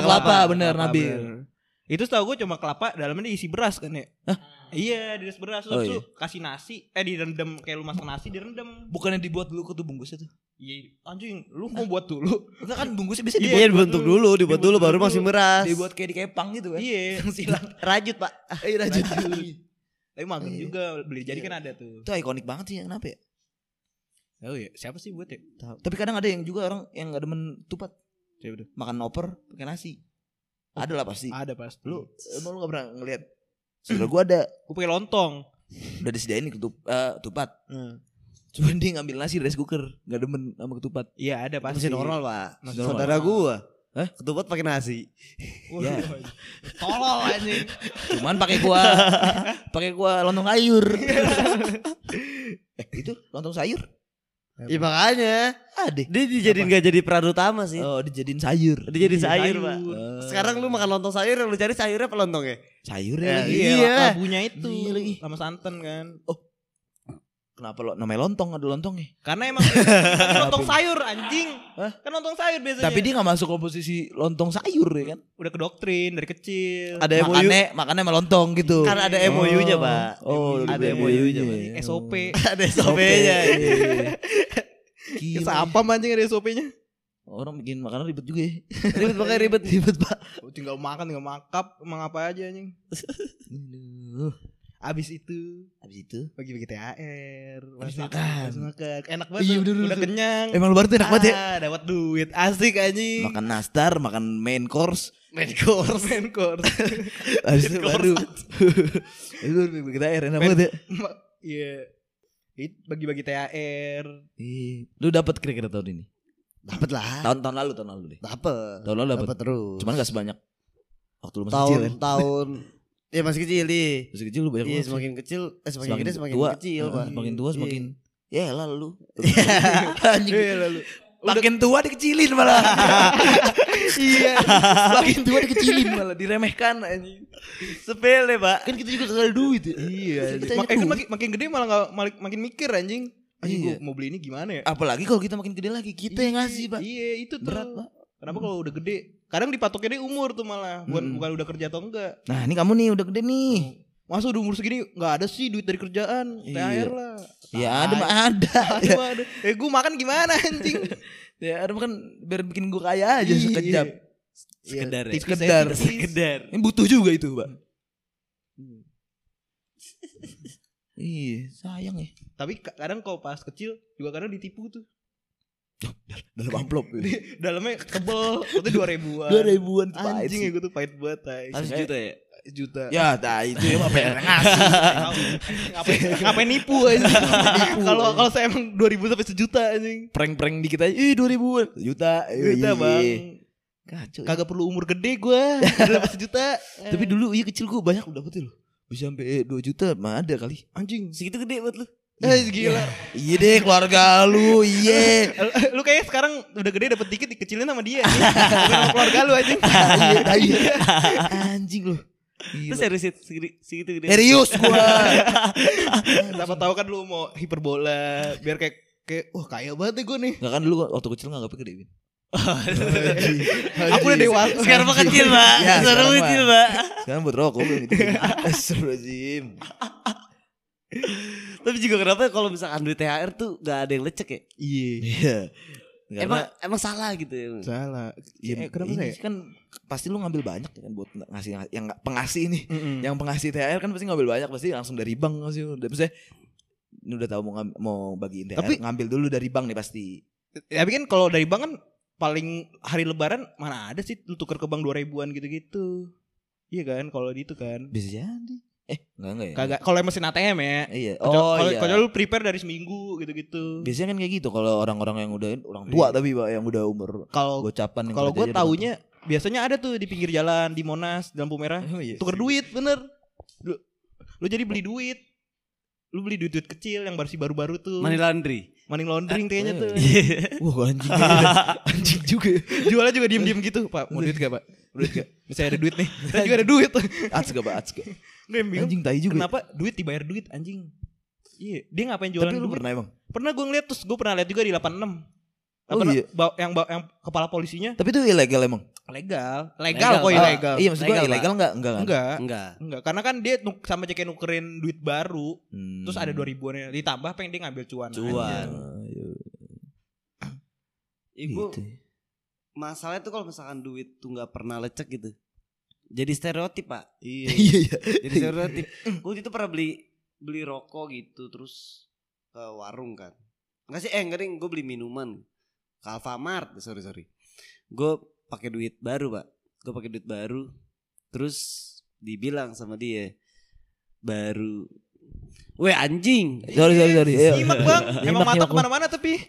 Speaker 2: kelapa, kelapa,
Speaker 5: kelapa.
Speaker 2: bener
Speaker 1: Kelapa,
Speaker 2: Nabil.
Speaker 1: bener. Itu setahu gue cuma kelapa dalamnya diisi beras kan ya. Iya, diisi beras terus
Speaker 2: Oh,
Speaker 1: lu kasih nasi, eh direndam kayak lu masak nasi direndam.
Speaker 2: Bukannya dibuat dulu kutu bungkusnya tuh.
Speaker 1: Iya, anjing, lu mau buat dulu.
Speaker 2: Enggak kan bungkusnya bisa
Speaker 1: Iya,
Speaker 2: dibuat.
Speaker 5: Iya dibentuk dulu, dibuat
Speaker 1: dibentuk
Speaker 5: dulu baru
Speaker 1: dulu.
Speaker 5: masih meras.
Speaker 2: Dibuat kayak di kepang gitu kan.
Speaker 1: Iya.
Speaker 2: Yang silang.
Speaker 5: Rajut pak.
Speaker 2: Eh rajut.
Speaker 1: Tapi mager
Speaker 2: Iya.
Speaker 1: juga beli jadi kan ada tuh.
Speaker 2: Itu ikonik banget sih kenapa ya?
Speaker 1: Oh iya, siapa sih buat ya?
Speaker 2: Tahu. Tapi kadang ada yang juga orang yang gak demen tupat.
Speaker 1: Siapa tuh?
Speaker 2: Makan oper pakai nasi. Ada lah pasti.
Speaker 1: Iya, Ada pasti.
Speaker 2: Lu
Speaker 1: Lu
Speaker 2: emang lu gak pernah ngeliat. Saudara gua ada
Speaker 1: gue pakai lontong.
Speaker 2: udah disediain nih ketup, eh, ketupat. Cuman dia ngambil nasi dari rice cooker, gak demen sama ketupat.
Speaker 1: Iya, ada pasti.
Speaker 5: Masih normal pak.
Speaker 1: Masih normal.
Speaker 5: Saudara gua. Hah? Ketupat pakai nasi.
Speaker 1: Waduh,
Speaker 2: Ya.
Speaker 1: Tolol anjing.
Speaker 2: Cuman pakai kuah pakai kuah lontong sayur. eh, itu lontong sayur?
Speaker 5: Iya makanya.
Speaker 2: Ada.
Speaker 5: Dia dijadiin gak jadi peran utama sih.
Speaker 2: Oh, dijadiin sayur.
Speaker 5: Dijadiin sayur pak.
Speaker 2: Eh,
Speaker 5: Sekarang lu makan lontong sayur yang lu cari sayurnya apa lontongnya?
Speaker 2: sayur
Speaker 5: Ya,
Speaker 2: ya. lagi.
Speaker 1: Iya,
Speaker 5: Iya.
Speaker 1: labunya (laughs) itu
Speaker 2: Iya lagi.
Speaker 1: sama santan kan.
Speaker 2: Kenapa lo namanya lontong ada lontongnya?
Speaker 1: Karena (laughs) emang kan lontong sayur anjing.
Speaker 2: Hah?
Speaker 1: Kan lontong sayur biasanya.
Speaker 2: Tapi dia nggak masuk komposisi lontong sayur ya kan?
Speaker 1: udah ke doktrin dari kecil.
Speaker 5: Ada MOU.
Speaker 2: Makannya makannya sama lontong gitu.
Speaker 5: Karena ada MOU-nya pak.
Speaker 2: Oh,
Speaker 5: Ada
Speaker 2: iya,
Speaker 1: ya.
Speaker 5: MOU-nya
Speaker 2: iya,
Speaker 5: pak.
Speaker 2: iya.
Speaker 1: (laughs) SOP.
Speaker 5: Ada SOP-nya.
Speaker 2: Gila.
Speaker 1: mancing ada SOP-nya?
Speaker 2: Orang bikin makanan ribet juga ya.
Speaker 5: Ribet pakai ribet ribet pak.
Speaker 1: Oh, Tinggal makan, tinggal makap, emang apa aja anjing.
Speaker 2: Aduh.
Speaker 1: Abis itu
Speaker 2: Habis itu
Speaker 1: bagi-bagi THR, masih-
Speaker 2: Habis makan.
Speaker 1: habis makan. Enak banget.
Speaker 2: Iya,
Speaker 1: tuh,
Speaker 2: bener,
Speaker 1: udah
Speaker 2: bener.
Speaker 1: kenyang.
Speaker 2: Emang lu baru tuh enak banget ya.
Speaker 1: Ah, dapat duit. Asik anjing.
Speaker 2: Makan nastar, makan main course,
Speaker 5: Main course.
Speaker 1: Main course.
Speaker 2: habis itu
Speaker 1: Main course.
Speaker 2: baru. Itu baru bikin air enak banget ya.
Speaker 1: Ma- Iya. It- Bagi-bagi THR.
Speaker 2: Ih, Lu dapat kira-kira tahun ini?
Speaker 5: Dapat lah.
Speaker 2: Tahun tahun lalu, tahun lalu deh.
Speaker 5: Dapat.
Speaker 2: Tahun lalu dapat.
Speaker 5: Dapat terus.
Speaker 2: Cuman gak sebanyak waktu lu masih kecil kan.
Speaker 5: tahun-tahun
Speaker 2: (laughs)
Speaker 5: ya masih kecil nih.
Speaker 2: Masih kecil lu banyak
Speaker 5: Iya
Speaker 2: banget.
Speaker 5: semakin kecil, eh semakin,
Speaker 2: Semakin
Speaker 5: gede semakin
Speaker 2: tua.
Speaker 5: kecil
Speaker 2: Nah,
Speaker 5: pak.
Speaker 2: semakin tua,
Speaker 5: Iya.
Speaker 2: semakin Ya lah lu.
Speaker 1: Iya lalu.
Speaker 2: Makin tua dikecilin malah.
Speaker 1: Iya.
Speaker 2: Makin tua dikecilin malah, diremehkan anjing.
Speaker 5: sepele pak.
Speaker 2: Kan kita juga soal duit. ya.
Speaker 1: Iya.
Speaker 2: Kita
Speaker 1: anjing. Mak- eh,
Speaker 2: hanya
Speaker 1: kan
Speaker 2: duit.
Speaker 1: makin, makin gede malah nggak malik- makin mikir anjing. Anjing
Speaker 2: Iya.
Speaker 1: gua mau beli ini gimana ya?
Speaker 2: (laughs) Apalagi kalau kita makin gede lagi, kita yang ngasih, Pak.
Speaker 1: Iya itu tuh.
Speaker 2: Berat, Pak.
Speaker 1: Kenapa kalau udah gede? Kadang dipatokinnya umur tuh malah. Bukan,
Speaker 2: Mm-mm.
Speaker 1: bukan udah kerja atau enggak.
Speaker 2: Nah, ini kamu nih udah gede nih.
Speaker 1: Masa udah umur segini nggak ada sih duit dari kerjaan.
Speaker 2: Iya.
Speaker 1: THR lah.
Speaker 2: Ya ada mah ada.
Speaker 1: Ada, mah ada. Eh gue makan gimana anjing?
Speaker 2: Ya ada mah kan biar bikin gua kaya aja
Speaker 4: Iya,
Speaker 2: sekejap.
Speaker 5: Sekedar
Speaker 2: ya? Sekedar.
Speaker 5: Sekedar.
Speaker 2: Ini butuh juga itu, Pak. Iya, sayang ya.
Speaker 1: Tapi ka- kadang kalau pas kecil juga kadang ditipu tuh.
Speaker 2: Dalam amplop.
Speaker 1: Dalamnya tebel, itu dua ribuan.
Speaker 2: Dua ribuan tuh, Pak.
Speaker 1: Anjing ya gue tuh pahit banget tai.
Speaker 5: Habis
Speaker 2: Sekedar.
Speaker 5: juta ya.
Speaker 1: juta.
Speaker 2: Ya, nah, itu ya apa yang ngasih.
Speaker 1: Tahu.
Speaker 2: (laughs)
Speaker 1: ngapain ngapain nipu anjing. Kalau kalau saya (laughs) emang 2000 sampai sejuta anjing.
Speaker 2: Prank-prank dikit aja. Ih, dua ribuan. Juta.
Speaker 1: Juta,
Speaker 2: iya, iya.
Speaker 1: gitu, Bang.
Speaker 2: Kacau. ya.
Speaker 1: Kagak perlu umur gede gua. Udah dapat sejuta.
Speaker 2: (laughs) Tapi dulu iya kecil gua banyak udah betul loh. Bisa sampai 2 juta mah ada kali.
Speaker 1: anjing.
Speaker 5: Segitu gede buat lu.
Speaker 1: Eh gila.
Speaker 2: Iya deh keluarga lu, iya.
Speaker 1: (laughs) Eh, Lu kayaknya sekarang udah gede dapet dikit dikecilin sama dia anjing. Bukan sama keluarga lu anjing.
Speaker 2: Iya, tai. Anjing lu.
Speaker 5: Itu
Speaker 2: Gila.
Speaker 5: serius segitu, segitu gede.
Speaker 2: Serius gua.
Speaker 1: (laughs) Siapa tahu kan lu mau hiperbola biar kayak kayak wah kaya banget gue nih.
Speaker 2: Enggak kan dulu waktu kecil nganggapnya gede, Win.
Speaker 1: (laughs) Aku udah dewasa.
Speaker 5: Sekarang mah kecil pak.
Speaker 2: Ya,
Speaker 5: Sekarang
Speaker 2: sekarang,
Speaker 5: mah
Speaker 2: Pak.
Speaker 5: kecil pak.
Speaker 2: Sekarang buat rokok lu
Speaker 1: (laughs)
Speaker 2: gitu. Astagfirullahaladzim.
Speaker 5: Tapi juga kenapa ya kalau misalkan duit THR tuh gak ada yang lecek ya?
Speaker 1: Iya.
Speaker 2: Iya.
Speaker 5: Emang
Speaker 2: Karena
Speaker 5: emang salah gitu ya.
Speaker 1: Salah.
Speaker 2: ya,
Speaker 1: Eh, kenapa saya?
Speaker 2: ini kan pasti lu ngambil banyak ya kan buat nggak ngasih ngasih- yang nggak pengasih nih.
Speaker 1: Mm-mm.
Speaker 2: Yang pengasih THR kan pasti ngambil banyak pasti langsung dari bank pasti. Udah misalnya ini udah tahu mau ngam- mau bagiin THR,
Speaker 1: Tapi-
Speaker 2: ngambil dulu dari bank nih pasti.
Speaker 1: Ya, tapi kan kalau dari bank kan paling hari lebaran mana ada sih lu tuker ke bank 2000 ribuan gitu-gitu. Iya kan kalau di itu kan.
Speaker 2: Bisa jadi. Eh, enggak enggak ya.
Speaker 1: Kagak kalau mesin ATM ya.
Speaker 2: Iya. Oh,
Speaker 1: Kalau- kalau
Speaker 2: iya.
Speaker 1: kalau lu prepare dari seminggu gitu-gitu.
Speaker 2: Biasanya kan kayak gitu kalau orang-orang yang udah orang tua
Speaker 1: Iya.
Speaker 2: tapi Pak, yang udah umur
Speaker 1: Kalau
Speaker 2: gocapan yang
Speaker 1: kalau
Speaker 2: kerja
Speaker 1: gue
Speaker 2: aja udah
Speaker 1: taunya biasanya ada tuh di pinggir jalan di Monas di lampu merah.
Speaker 2: datang. Oh, iya.
Speaker 1: tuker duit bener lu, lu jadi beli duit lu beli duit duit kecil yang baru baru-baru tuh
Speaker 5: Money
Speaker 1: money,
Speaker 5: laundry.
Speaker 1: laundering kayaknya tuh
Speaker 2: Eh,
Speaker 1: (laughs)
Speaker 2: Iya. Wah, anjing. anjing juga.
Speaker 1: jualnya juga diem diem gitu pak mau duit gak pak duit gak misalnya ada duit
Speaker 2: (laughs)
Speaker 1: nih saya juga ada duit
Speaker 2: Ats gak, Pak? Ats gak?
Speaker 1: Nggak, yang bingung
Speaker 2: Anjing tai juga.
Speaker 1: kenapa duit dibayar duit anjing iya dia ngapain jualan
Speaker 2: Tapi lu
Speaker 1: duit?
Speaker 2: pernah emang?
Speaker 1: pernah gue ngeliat terus gue pernah lihat juga di 86
Speaker 2: Oh,
Speaker 4: Apa,
Speaker 2: iya.
Speaker 4: ba- yang ba- yang kepala polisinya
Speaker 2: Tapi itu ilegal emang.
Speaker 4: legal.
Speaker 5: Legal,
Speaker 4: Legal kok
Speaker 5: Pak.
Speaker 4: ilegal.
Speaker 2: Iya maksud gua
Speaker 5: Legal,
Speaker 2: ilegal enggak? Enggak kan?
Speaker 4: Enggak.
Speaker 5: Enggak.
Speaker 4: Enggak, karena kan dia nuk- sama aja kayak nukerin duit baru,
Speaker 2: Hmm.
Speaker 4: terus ada
Speaker 2: (laughs)
Speaker 4: 2000-an ditambah pengen dia ngambil cuan.
Speaker 5: Cuan.
Speaker 4: aja.
Speaker 5: Ibu
Speaker 2: Gitu.
Speaker 5: masalahnya tuh kalau misalkan duit tuh nggak pernah lecek gitu. Jadi stereotip pak.
Speaker 2: (laughs) Iya iya.
Speaker 5: Jadi stereotip. Gue itu pernah beli beli rokok gitu terus ke warung kan. Enggak sih eh enggak ding gue beli minuman ke Alfamart sorry sorry. Gue pakai duit baru pak. Gue pakai duit baru. Terus dibilang sama dia baru. Weh anjing.
Speaker 2: Sorry sorry sorry. Iya. Ayo.
Speaker 4: Nyimak
Speaker 2: (laughs)
Speaker 4: bang, emang
Speaker 2: Nyimak,
Speaker 4: mata
Speaker 2: nyimak,
Speaker 4: kemana-mana tapi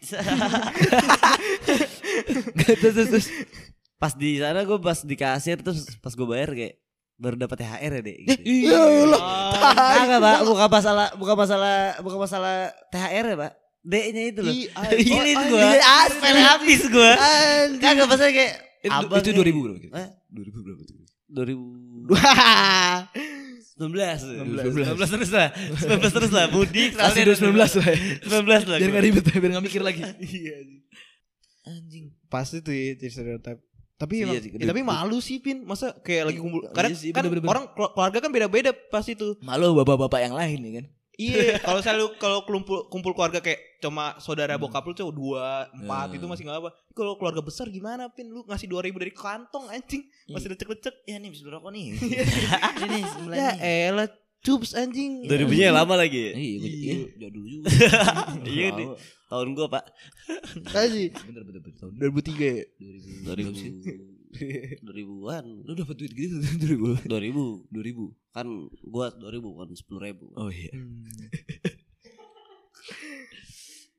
Speaker 2: terus terus terus.
Speaker 5: Pas di sana gue pas di kasir terus pas gue bayar kayak baru dapat THR ya deh. Gitu.
Speaker 2: Iya Allah.
Speaker 5: Ah, enggak, Pak. Bukan masalah bukan masalah bukan masalah THR ya, Pak. D-nya itu loh. (laughs)
Speaker 2: Ah, iya.
Speaker 5: Gilin gua. Pel habis gua. Kagak masalah kayak
Speaker 2: Itu,
Speaker 5: abang
Speaker 2: itu
Speaker 5: nih.
Speaker 2: 2000 berapa? kira?
Speaker 5: Hah?
Speaker 2: 2000 berapa tuh? (laughs)
Speaker 5: 2000 19 19 terus lah 19 terus lah mudik
Speaker 2: Kasih
Speaker 5: sekalian.
Speaker 2: 19 lah. ya.
Speaker 5: 19
Speaker 2: Biar
Speaker 5: lah gua.
Speaker 2: enggak ribet, biar enggak mikir lagi.
Speaker 4: anjing. Iya, Pasti tuh ya jadi stereotip. Tapi
Speaker 2: Iya
Speaker 4: emang,
Speaker 2: sih,
Speaker 4: ya,
Speaker 2: duit-
Speaker 4: tapi malu sih Pin, masa kayak lagi kumpul.
Speaker 2: Iya
Speaker 4: Karena
Speaker 2: sih,
Speaker 4: kan
Speaker 2: bener-bener.
Speaker 4: orang kelu- keluarga kan beda-beda pasti tuh.
Speaker 2: Malu bapak-bapak yang lain ya kan.
Speaker 4: Iya, kalau saya lu- kalau kumpul kumpul keluarga kayak cuma saudara bokap lu tuh dua,
Speaker 2: Hmm.
Speaker 4: empat itu masih nggak apa. Kalau keluarga besar gimana Pin? Lu ngasih 2000 dari kantong anjing, masih lecek-lecek.
Speaker 2: Ya nih bisa rokok nih.
Speaker 5: ini
Speaker 4: Ya elah, cups anjing.
Speaker 5: 2000 nya lama lagi
Speaker 2: Iya, gua- iya, jadul juga.
Speaker 5: Iya,
Speaker 2: Tahu.
Speaker 5: di- tahun gua Pak
Speaker 4: Kasih.
Speaker 2: Bentar, bentar, bentar.
Speaker 4: 2003 ya.
Speaker 2: 2000.
Speaker 5: 2000 2000-an
Speaker 2: Lu dapat duit gitu 2000.
Speaker 5: 2000
Speaker 2: 2000.
Speaker 5: kan gua 2000 kan Hmm. 10.000
Speaker 2: Oh iya.
Speaker 5: (laughs)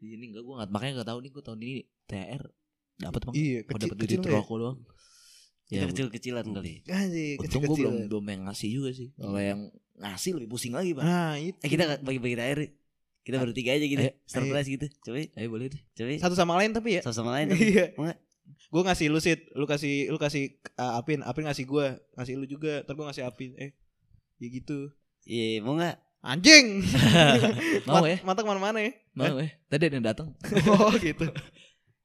Speaker 2: ini enggak gua enggak makanya enggak tahu nih gua tahun ini THR dapat bang.
Speaker 4: Iya,
Speaker 2: Gua dapat
Speaker 4: kecil-kecil
Speaker 2: duit
Speaker 4: ya.
Speaker 2: rokok doang. Ya,
Speaker 5: kecil-kecilan kali
Speaker 2: Iya.
Speaker 4: Anjing,
Speaker 2: untung gua belum
Speaker 4: kecil-kecilan.
Speaker 2: belum yang ngasih juga sih.
Speaker 5: Oh.
Speaker 2: Kalau yang ngasih lebih pusing lagi, Bang.
Speaker 4: Nah, itu.
Speaker 5: Eh kita nggak bagi-bagi THR yuk. Kita bertiga aja gitu
Speaker 2: Ayo,
Speaker 5: Surprise gitu Coba
Speaker 2: Ayo boleh deh.
Speaker 5: Coba
Speaker 4: Satu sama lain tapi ya.
Speaker 5: Sama-sama lain
Speaker 4: (laughs)
Speaker 5: tapi.
Speaker 4: (laughs) Iya.
Speaker 5: Enggak.
Speaker 4: Gue ngasih lu Sid, lu kasih lu kasih uh, Apin, Apin ngasih gue, ngasih lu juga, ntar gue ngasih Apin. Eh, ya gitu.
Speaker 5: Iya mau gak
Speaker 4: Anjing.
Speaker 2: Mau
Speaker 4: Mat- (laughs)
Speaker 2: ya?
Speaker 4: Mata kemana-mana
Speaker 2: (laughs)
Speaker 4: ya.
Speaker 2: Mau ya? Tadi ada yang datang.
Speaker 4: oh gitu.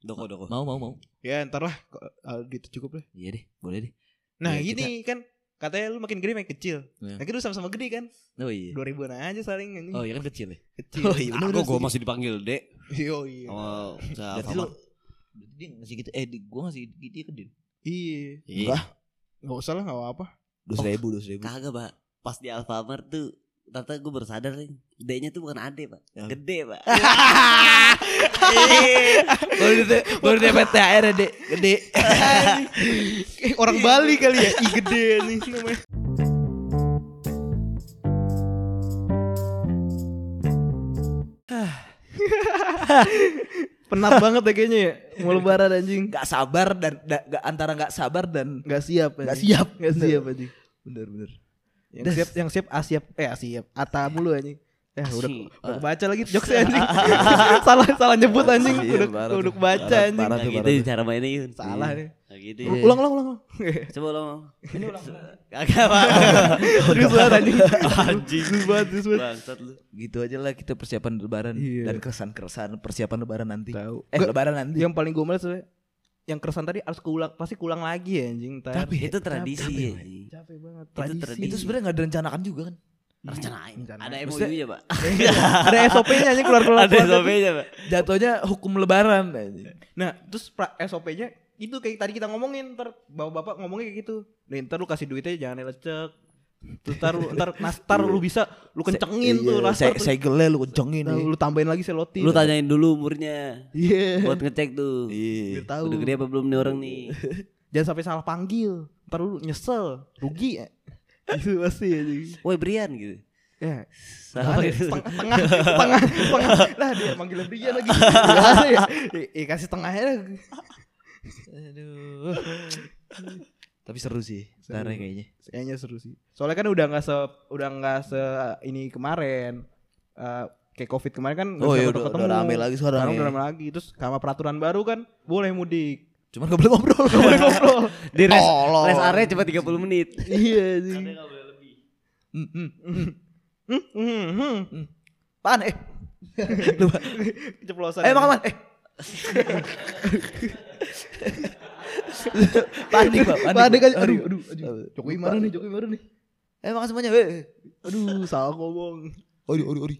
Speaker 5: Doko doko
Speaker 2: Mau, mau, mau.
Speaker 4: Ya ntar lah, kok, uh, duit cukup lah.
Speaker 2: Iya deh, boleh deh.
Speaker 4: Nah
Speaker 2: Ya,
Speaker 4: gini kan, katanya lu makin gede makin kecil.
Speaker 2: Ya.
Speaker 4: Nah kita udah sama-sama gede kan,
Speaker 2: Oh iya.
Speaker 4: dua ribuan aja saling anjing.
Speaker 2: Oh iya kan kecil ya.
Speaker 4: Kecil. Nah,
Speaker 2: Oh iya, bener-bener
Speaker 5: Aku gue masih dipanggil Dek
Speaker 4: Iya, iya.
Speaker 5: Oh
Speaker 2: Berarti lu berarti dia ngasih gitu eh di, gua ngasih di- dia ke dia.
Speaker 4: Iya.
Speaker 2: Enggak.
Speaker 4: Gak usah lah, gak apa-apa.
Speaker 2: 2000, 2000.
Speaker 5: Kagak pak Pas di Alfamart tuh Tata gue baru sadar nih D-nya tuh bukan ade pak
Speaker 2: Ya.
Speaker 5: Gede pak
Speaker 2: Baru dia baru dia THR deh. ya, Gede.
Speaker 4: Kayak orang Bali kali ya, i gede nih namanya. penat banget ya kayaknya ya mau lebaran anjing
Speaker 2: Gak sabar dan da- gak- antara gak sabar dan
Speaker 4: nggak siap
Speaker 2: gak
Speaker 4: anjing.
Speaker 2: siap.
Speaker 4: nggak siap anjing
Speaker 2: Bener bener.
Speaker 4: yang siap yang siap asiap eh asiap ata mulu anjing Eh, udah
Speaker 5: Asli.
Speaker 4: udah baca lagi jokes anjing. salah salah nyebut anjing.
Speaker 2: Iya,
Speaker 4: Udah
Speaker 2: parah tuh.
Speaker 4: udah baca
Speaker 2: Parah,
Speaker 4: anjing.
Speaker 2: parah.
Speaker 5: Nah
Speaker 2: tuh,
Speaker 5: gitu cara mainnya Yun
Speaker 4: Salah nih.
Speaker 5: Nah gitu
Speaker 2: Iya.
Speaker 4: Ulang ulang ulang. (laughs)
Speaker 5: Coba lo Ini ulang Kagak
Speaker 2: (laughs)
Speaker 5: pak
Speaker 4: Serius banget anjing.
Speaker 5: Anjing
Speaker 4: Serius banget, serius banget.
Speaker 5: Bangsat lu
Speaker 2: Gitu aja lah kita persiapan lebaran
Speaker 4: Iya.
Speaker 2: dan keresahan-keresahan persiapan lebaran nanti.
Speaker 4: Tahu.
Speaker 2: Eh lebaran nanti.
Speaker 4: yang paling gomel sebenarnya yang keresan tadi harus keulang pasti kulang lagi ya anjing ntar.
Speaker 2: Tapi
Speaker 5: Itu tradisi
Speaker 2: Capek,
Speaker 5: ya
Speaker 2: Pak.
Speaker 4: capek banget
Speaker 5: Itu
Speaker 4: tradisi.
Speaker 5: tradisi.
Speaker 2: itu sebenarnya gak direncanakan juga kan.
Speaker 5: Rencanain
Speaker 4: Rencanain.
Speaker 5: Ada
Speaker 2: Maksudnya-
Speaker 5: MOU nya pak
Speaker 4: (laughs) ada SOP-nya anjing
Speaker 2: (laughs)
Speaker 4: keluar-keluar.
Speaker 5: Ada
Speaker 4: keluar.
Speaker 5: SOP-nya pak
Speaker 2: Jatuhnya hukum lebaran. (laughs) anjing.
Speaker 4: Nah, terus pra- SOP-nya itu kayak tadi kita ngomongin ntar bapak-bapak ngomongnya kayak gitu. Nih, ntar lu kasih duitnya jangan lecek. Terus ntar lu ntar nastar lu bisa lu
Speaker 2: Se-
Speaker 4: kencengin tuh
Speaker 2: iya,
Speaker 4: nastar
Speaker 2: se-
Speaker 4: tuh.
Speaker 2: Segelnya lu kencengin.
Speaker 4: Nah,
Speaker 2: iya.
Speaker 4: lu tambahin lagi seloti.
Speaker 5: Lu tanyain dulu umurnya
Speaker 4: Iya.
Speaker 5: Buat ngecek tuh
Speaker 2: Iya.
Speaker 4: Biar tahu.
Speaker 5: Udah gede apa belum nih orang
Speaker 4: (laughs)
Speaker 5: nih
Speaker 4: Jangan sampai salah panggil. Ntar lu nyesel,
Speaker 2: (laughs)
Speaker 4: rugi. ya. Itu pasti anjing.
Speaker 5: Woi Brian gitu
Speaker 4: Ya,
Speaker 5: Salah
Speaker 4: Ada,
Speaker 5: gitu.
Speaker 4: setengah, tengah, tengah, tengah. Lah dia manggil dia lagi. Biasa ya. Eh, eh, kasih tengahnya lah.
Speaker 2: Aduh. Tapi seru sih.
Speaker 4: Seru.
Speaker 2: Ntar ya kayaknya.
Speaker 4: Kayaknya seru sih. Soalnya kan udah nggak se udah nggak se eh, ini kemarin. Eh, kayak covid kemarin kan nggak
Speaker 2: Oh
Speaker 4: bisa
Speaker 2: iya udah,
Speaker 4: ketemu-ketemu.
Speaker 2: udah rame lagi sekarang.
Speaker 4: Sekarang
Speaker 2: ya.
Speaker 4: udah rame lagi. Terus sama peraturan baru kan boleh mudik.
Speaker 2: Cuman gak boleh ngobrol. Gak boleh (laughs) ngobrol.
Speaker 5: Di rest,
Speaker 2: Tolol.
Speaker 5: rest area cuma 30 menit
Speaker 4: Iya sih.
Speaker 2: Hmm, hmm.
Speaker 4: Hmm, hmm, hmm. (laughs)
Speaker 2: Pan eh. Lupa.
Speaker 4: Keceplosan.
Speaker 2: Eh
Speaker 4: ya.
Speaker 2: makan man. Eh. Panik, Pak.
Speaker 4: Panik aja. Aduh,
Speaker 2: aduh.
Speaker 4: aduh, aduh. Jokowi marah nih, Jokowi marah nih.
Speaker 2: Eh, makan semuanya. weh.
Speaker 4: Aduh, salah ngomong.
Speaker 2: Ori, ori,
Speaker 4: (laughs)
Speaker 2: ori.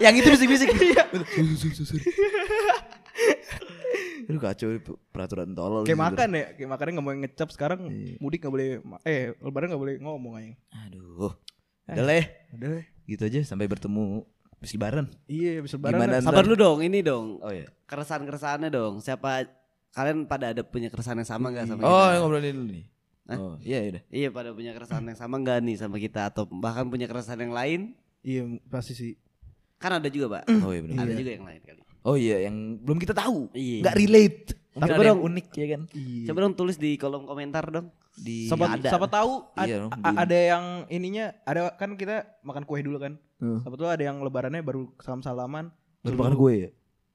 Speaker 2: yang itu bisik-bisik.
Speaker 4: Iya.
Speaker 2: Sorry, sorry, sorry. Aduh kacau ini peraturan tolol.
Speaker 4: Kayak
Speaker 2: ini,
Speaker 4: makan ya, kayak makannya nggak boleh ngecap sekarang.
Speaker 2: Iya.
Speaker 4: Mudik nggak boleh, ma- eh lebaran nggak boleh ngomong aja.
Speaker 2: bener. Aduh. Udah lah ya.
Speaker 4: Eh. Udah deh.
Speaker 2: Gitu aja sampai bertemu habis lebaran.
Speaker 4: Iya, bisa lebaran.
Speaker 2: Gimana?
Speaker 4: lah.
Speaker 2: Ntar-
Speaker 5: Sabar lu dong, ini dong.
Speaker 2: Oh iya.
Speaker 5: Keresahan-keresahannya dong. Siapa kalian pada ada punya keresahan yang sama enggak sama
Speaker 2: Oh,
Speaker 5: kita?
Speaker 2: ngobrolin dulu nih.
Speaker 4: Eh?
Speaker 5: Hah?
Speaker 2: Oh, iya iya. udah.
Speaker 5: Iya, pada punya keresahan yang sama enggak nih sama kita atau bahkan punya keresahan yang lain?
Speaker 4: Iya, pasti sih.
Speaker 5: Kan ada juga, Pak.
Speaker 4: Mm.
Speaker 2: Oh iya benar.
Speaker 5: Ada juga yang lain kali.
Speaker 2: Oh iya, yang belum kita tahu.
Speaker 5: Iya.
Speaker 2: Enggak relate. Mungkin
Speaker 5: Tapi
Speaker 2: ada yang
Speaker 5: dong-
Speaker 2: unik ya kan
Speaker 4: Iya.
Speaker 5: Coba dong tulis di kolom komentar dong.
Speaker 2: di
Speaker 4: Siapa,
Speaker 5: ada.
Speaker 4: siapa tahu ad-
Speaker 2: Iya dong,
Speaker 4: a-
Speaker 2: di-
Speaker 4: ada yang ininya ada kan kita makan kue dulu kan.
Speaker 2: Hmm.
Speaker 4: Siapa tahu ada yang lebarannya baru salam-salaman.
Speaker 2: baru
Speaker 4: Dulu-
Speaker 2: makan gue ya.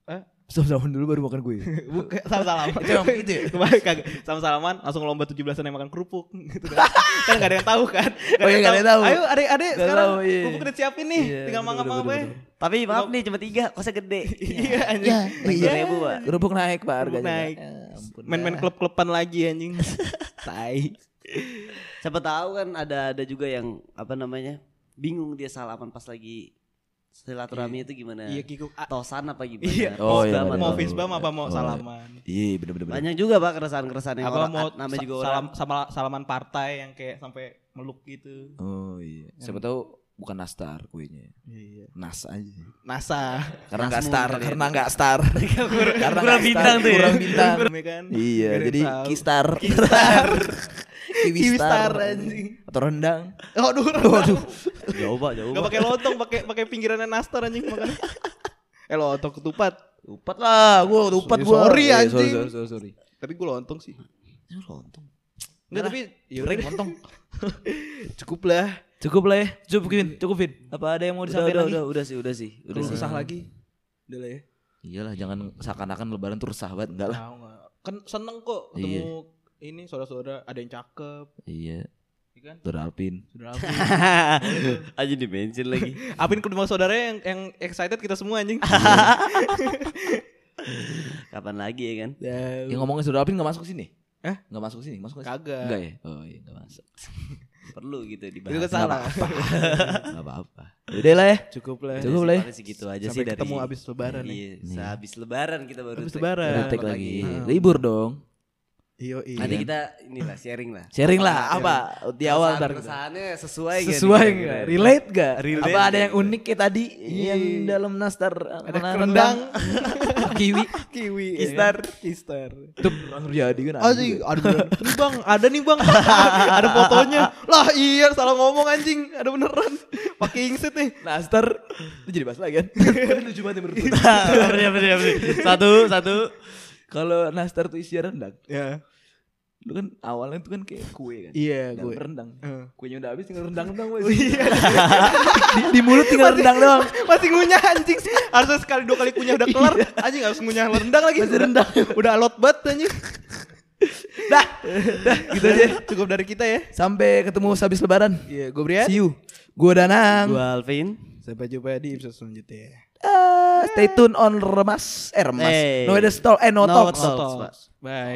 Speaker 4: Hah?
Speaker 2: Sama sama dulu baru makan ya? gue.
Speaker 4: Bukan (laughs) salam-salaman.
Speaker 2: Itu emang gitu ya?
Speaker 4: Kemarin kagak salam-salaman langsung lomba 17-an yang makan kerupuk gitu kan. kan gak ada yang tahu kan. Gak
Speaker 2: (laughs) Oh iya, nggak ada yang tahu.
Speaker 4: Ayo adik-adik
Speaker 2: Nggak
Speaker 4: sekarang
Speaker 2: tahu, iya.
Speaker 4: kerupuk udah siapin nih.
Speaker 2: Iya,
Speaker 4: Tinggal
Speaker 2: betul,
Speaker 4: mangap
Speaker 2: betul,
Speaker 4: mangap
Speaker 2: betul,
Speaker 4: aja.
Speaker 2: betul.
Speaker 5: Tapi maaf nih cuma tiga, kosnya gede.
Speaker 4: (laughs) Iya anjing.
Speaker 2: Iya,
Speaker 5: Naik
Speaker 2: iya.
Speaker 5: ribu, Pak.
Speaker 2: Kerupuk naik Pak
Speaker 4: Kerupuk
Speaker 2: harganya. Pak.
Speaker 4: naik.
Speaker 2: Ya ampun,
Speaker 4: Main-main
Speaker 2: dah.
Speaker 4: klub-kluban lagi
Speaker 2: (laughs)
Speaker 4: anjing. Tai.
Speaker 5: Siapa tahu kan ada ada juga yang apa namanya? Bingung dia salaman pas lagi silaturahmi itu gimana?
Speaker 4: Iya kikuk. A-
Speaker 5: Tosan apa gimana?
Speaker 4: Iya.
Speaker 2: Oh,
Speaker 4: mau-
Speaker 2: iya, benar,
Speaker 4: Mau
Speaker 2: benar,
Speaker 4: fisbam
Speaker 2: benar.
Speaker 4: apa mau
Speaker 2: Oh, iya.
Speaker 4: salaman?
Speaker 2: Iya, bener bener. bener.
Speaker 5: Banyak juga Pak keresahan-keresahan yang
Speaker 4: Apa
Speaker 5: orang
Speaker 4: mau
Speaker 5: namanya juga
Speaker 4: sa-
Speaker 5: orang.
Speaker 4: salam sama salaman partai yang kayak sampai meluk gitu.
Speaker 2: Oh iya. Siapa
Speaker 4: Yang-
Speaker 2: tahu bukan nastar kuenya.
Speaker 4: Iya.
Speaker 2: Nas aja.
Speaker 4: NASA. (laughs)
Speaker 2: Karena
Speaker 5: Nasmun
Speaker 2: nggak star,
Speaker 5: kali ya.
Speaker 2: (laughs) karena nggak star. karena
Speaker 5: kurang
Speaker 2: nggak
Speaker 5: bintang
Speaker 2: star,
Speaker 5: tuh ya.
Speaker 2: Kurang bintang.
Speaker 4: Rame
Speaker 2: (laughs)
Speaker 4: kan?
Speaker 2: iya,
Speaker 4: Gak ada yang
Speaker 2: jadi
Speaker 4: tahu.
Speaker 2: kistar. Kistar.
Speaker 4: Kiwi
Speaker 2: Kiwistar
Speaker 4: Star, anjing.
Speaker 2: Atau rendang.
Speaker 4: Aduh,
Speaker 2: Waduh.
Speaker 5: Jauh Pak, jauh.
Speaker 4: Gak pakai lontong, pakai pakai pinggirannya nastar anjing makan. (laughs) Eh lontong ketupat.
Speaker 2: Upat lah, gue upat
Speaker 4: Ya,
Speaker 2: gue.
Speaker 4: sorry,
Speaker 2: Iya,
Speaker 4: anjing.
Speaker 2: Sorry, sorry, sorry.
Speaker 4: Tapi gue lontong sih.
Speaker 2: Lontong.
Speaker 4: Enggak tapi ya
Speaker 2: Goreng lontong.
Speaker 4: (laughs) cukup lah.
Speaker 2: Cukup lah ya. Cukup Vin, cukup Vin. Apa ada yang mau
Speaker 5: Udah, udah,
Speaker 2: disampaikan
Speaker 5: udah,
Speaker 2: lagi?
Speaker 5: udah sih, udah sih. Udah sih.
Speaker 4: Susah lagi. Udah lah ya.
Speaker 2: Iyalah, jangan seakan-akan lebaran tuh resah banget, enggak lah.
Speaker 4: Tahu nggak? Kan seneng kok ketemu ini saudara-saudara ada yang cakep,
Speaker 2: Iya,
Speaker 4: ya kan?
Speaker 2: Saudara Alvin.
Speaker 4: Saudara Apin.
Speaker 5: (laughs)
Speaker 4: (laughs)
Speaker 5: Aja di mention lagi.
Speaker 4: Apin kedua saudaranya yang yang excited kita semua anjing.
Speaker 2: (laughs)
Speaker 5: Kapan lagi ya kan?
Speaker 2: Yang ngomongin saudara Alvin enggak masuk sini?
Speaker 4: Eh?
Speaker 2: Enggak masuk sini, masuk nggak sih?
Speaker 4: Kagak.
Speaker 2: Enggak ya? Oh iya, enggak masuk. (laughs)
Speaker 5: Perlu gitu
Speaker 4: Itu
Speaker 5: dibahas.
Speaker 4: kan salah. (laughs)
Speaker 2: Enggak apa-apa. Udah lah ya.
Speaker 4: Cukup lah.
Speaker 2: Cukup lah ya.
Speaker 5: Paling segitu aja sih
Speaker 4: Sampai
Speaker 5: dari
Speaker 4: ketemu abis lebaran ya.
Speaker 5: Iya, sehabis lebaran kita baru
Speaker 4: Abis
Speaker 5: take.
Speaker 4: lebaran.
Speaker 2: Kita
Speaker 5: Take
Speaker 2: take lagi.
Speaker 4: Nah.
Speaker 2: Libur dong.
Speaker 4: Iya, iya.
Speaker 5: Nanti kita inilah sharing lah.
Speaker 2: Sharing lah apa di awal ntar kita.
Speaker 5: Keresahannya sesuai gitu. nggak
Speaker 2: Sesuai
Speaker 5: nih
Speaker 2: nggak?
Speaker 5: kira-kira?
Speaker 2: Relate nggak?
Speaker 5: Relate
Speaker 2: Apa ada
Speaker 5: nggak
Speaker 2: yang unik kayak tadi yang dalam nastar
Speaker 4: Iya. ada
Speaker 2: mana,
Speaker 4: kerendang,
Speaker 2: (laughs) kiwi,
Speaker 4: kiwi, ya kan?
Speaker 2: Kistar.
Speaker 4: kistar. Oh, iya.
Speaker 2: itu pernah terjadi kan?
Speaker 4: Anjing, ada beneran. nih bang, ada nih bang, (laughs) ada fotonya. Lah iya, salah ngomong anjing, ada beneran. Pakai ingsit nih.
Speaker 2: Nastar itu jadi bahas lagi kan? Lucu banget ya menurut gue. (laughs)
Speaker 5: Bener, bener, bener. Satu, satu.
Speaker 2: Kalau nastar tuh isinya rendang,
Speaker 4: Ya,
Speaker 2: lu kan awalnya tuh kan kayak kue Iya. kan?
Speaker 4: iya
Speaker 2: Dalam
Speaker 4: gue.
Speaker 2: rendang.
Speaker 4: Eh.
Speaker 2: Kuenya udah habis tinggal rendang (laughs) doang wes. di, di mulut tinggal rendang doang.
Speaker 4: Masih ngunyah anjing. Harusnya sekali dua kali kunyah udah kelar. Anjing harus ngunyah (laughs) rendang lagi.
Speaker 2: Masih rendang.
Speaker 4: Udah alot banget anjing.
Speaker 2: Dah, dah gitu aja.
Speaker 4: Cukup dari kita ya.
Speaker 2: Sampai ketemu habis lebaran.
Speaker 4: Iya, gue Brian.
Speaker 2: See you. Gue Danang.
Speaker 5: Gua Alvin.
Speaker 4: Sampai jumpa di episode selanjutnya.
Speaker 2: Ah, stay tune on Remas. Eh Remas.
Speaker 5: Hey.
Speaker 2: No Edestol. Eh No,
Speaker 5: No
Speaker 2: Talks.
Speaker 5: Talks, Pak.
Speaker 4: Bye.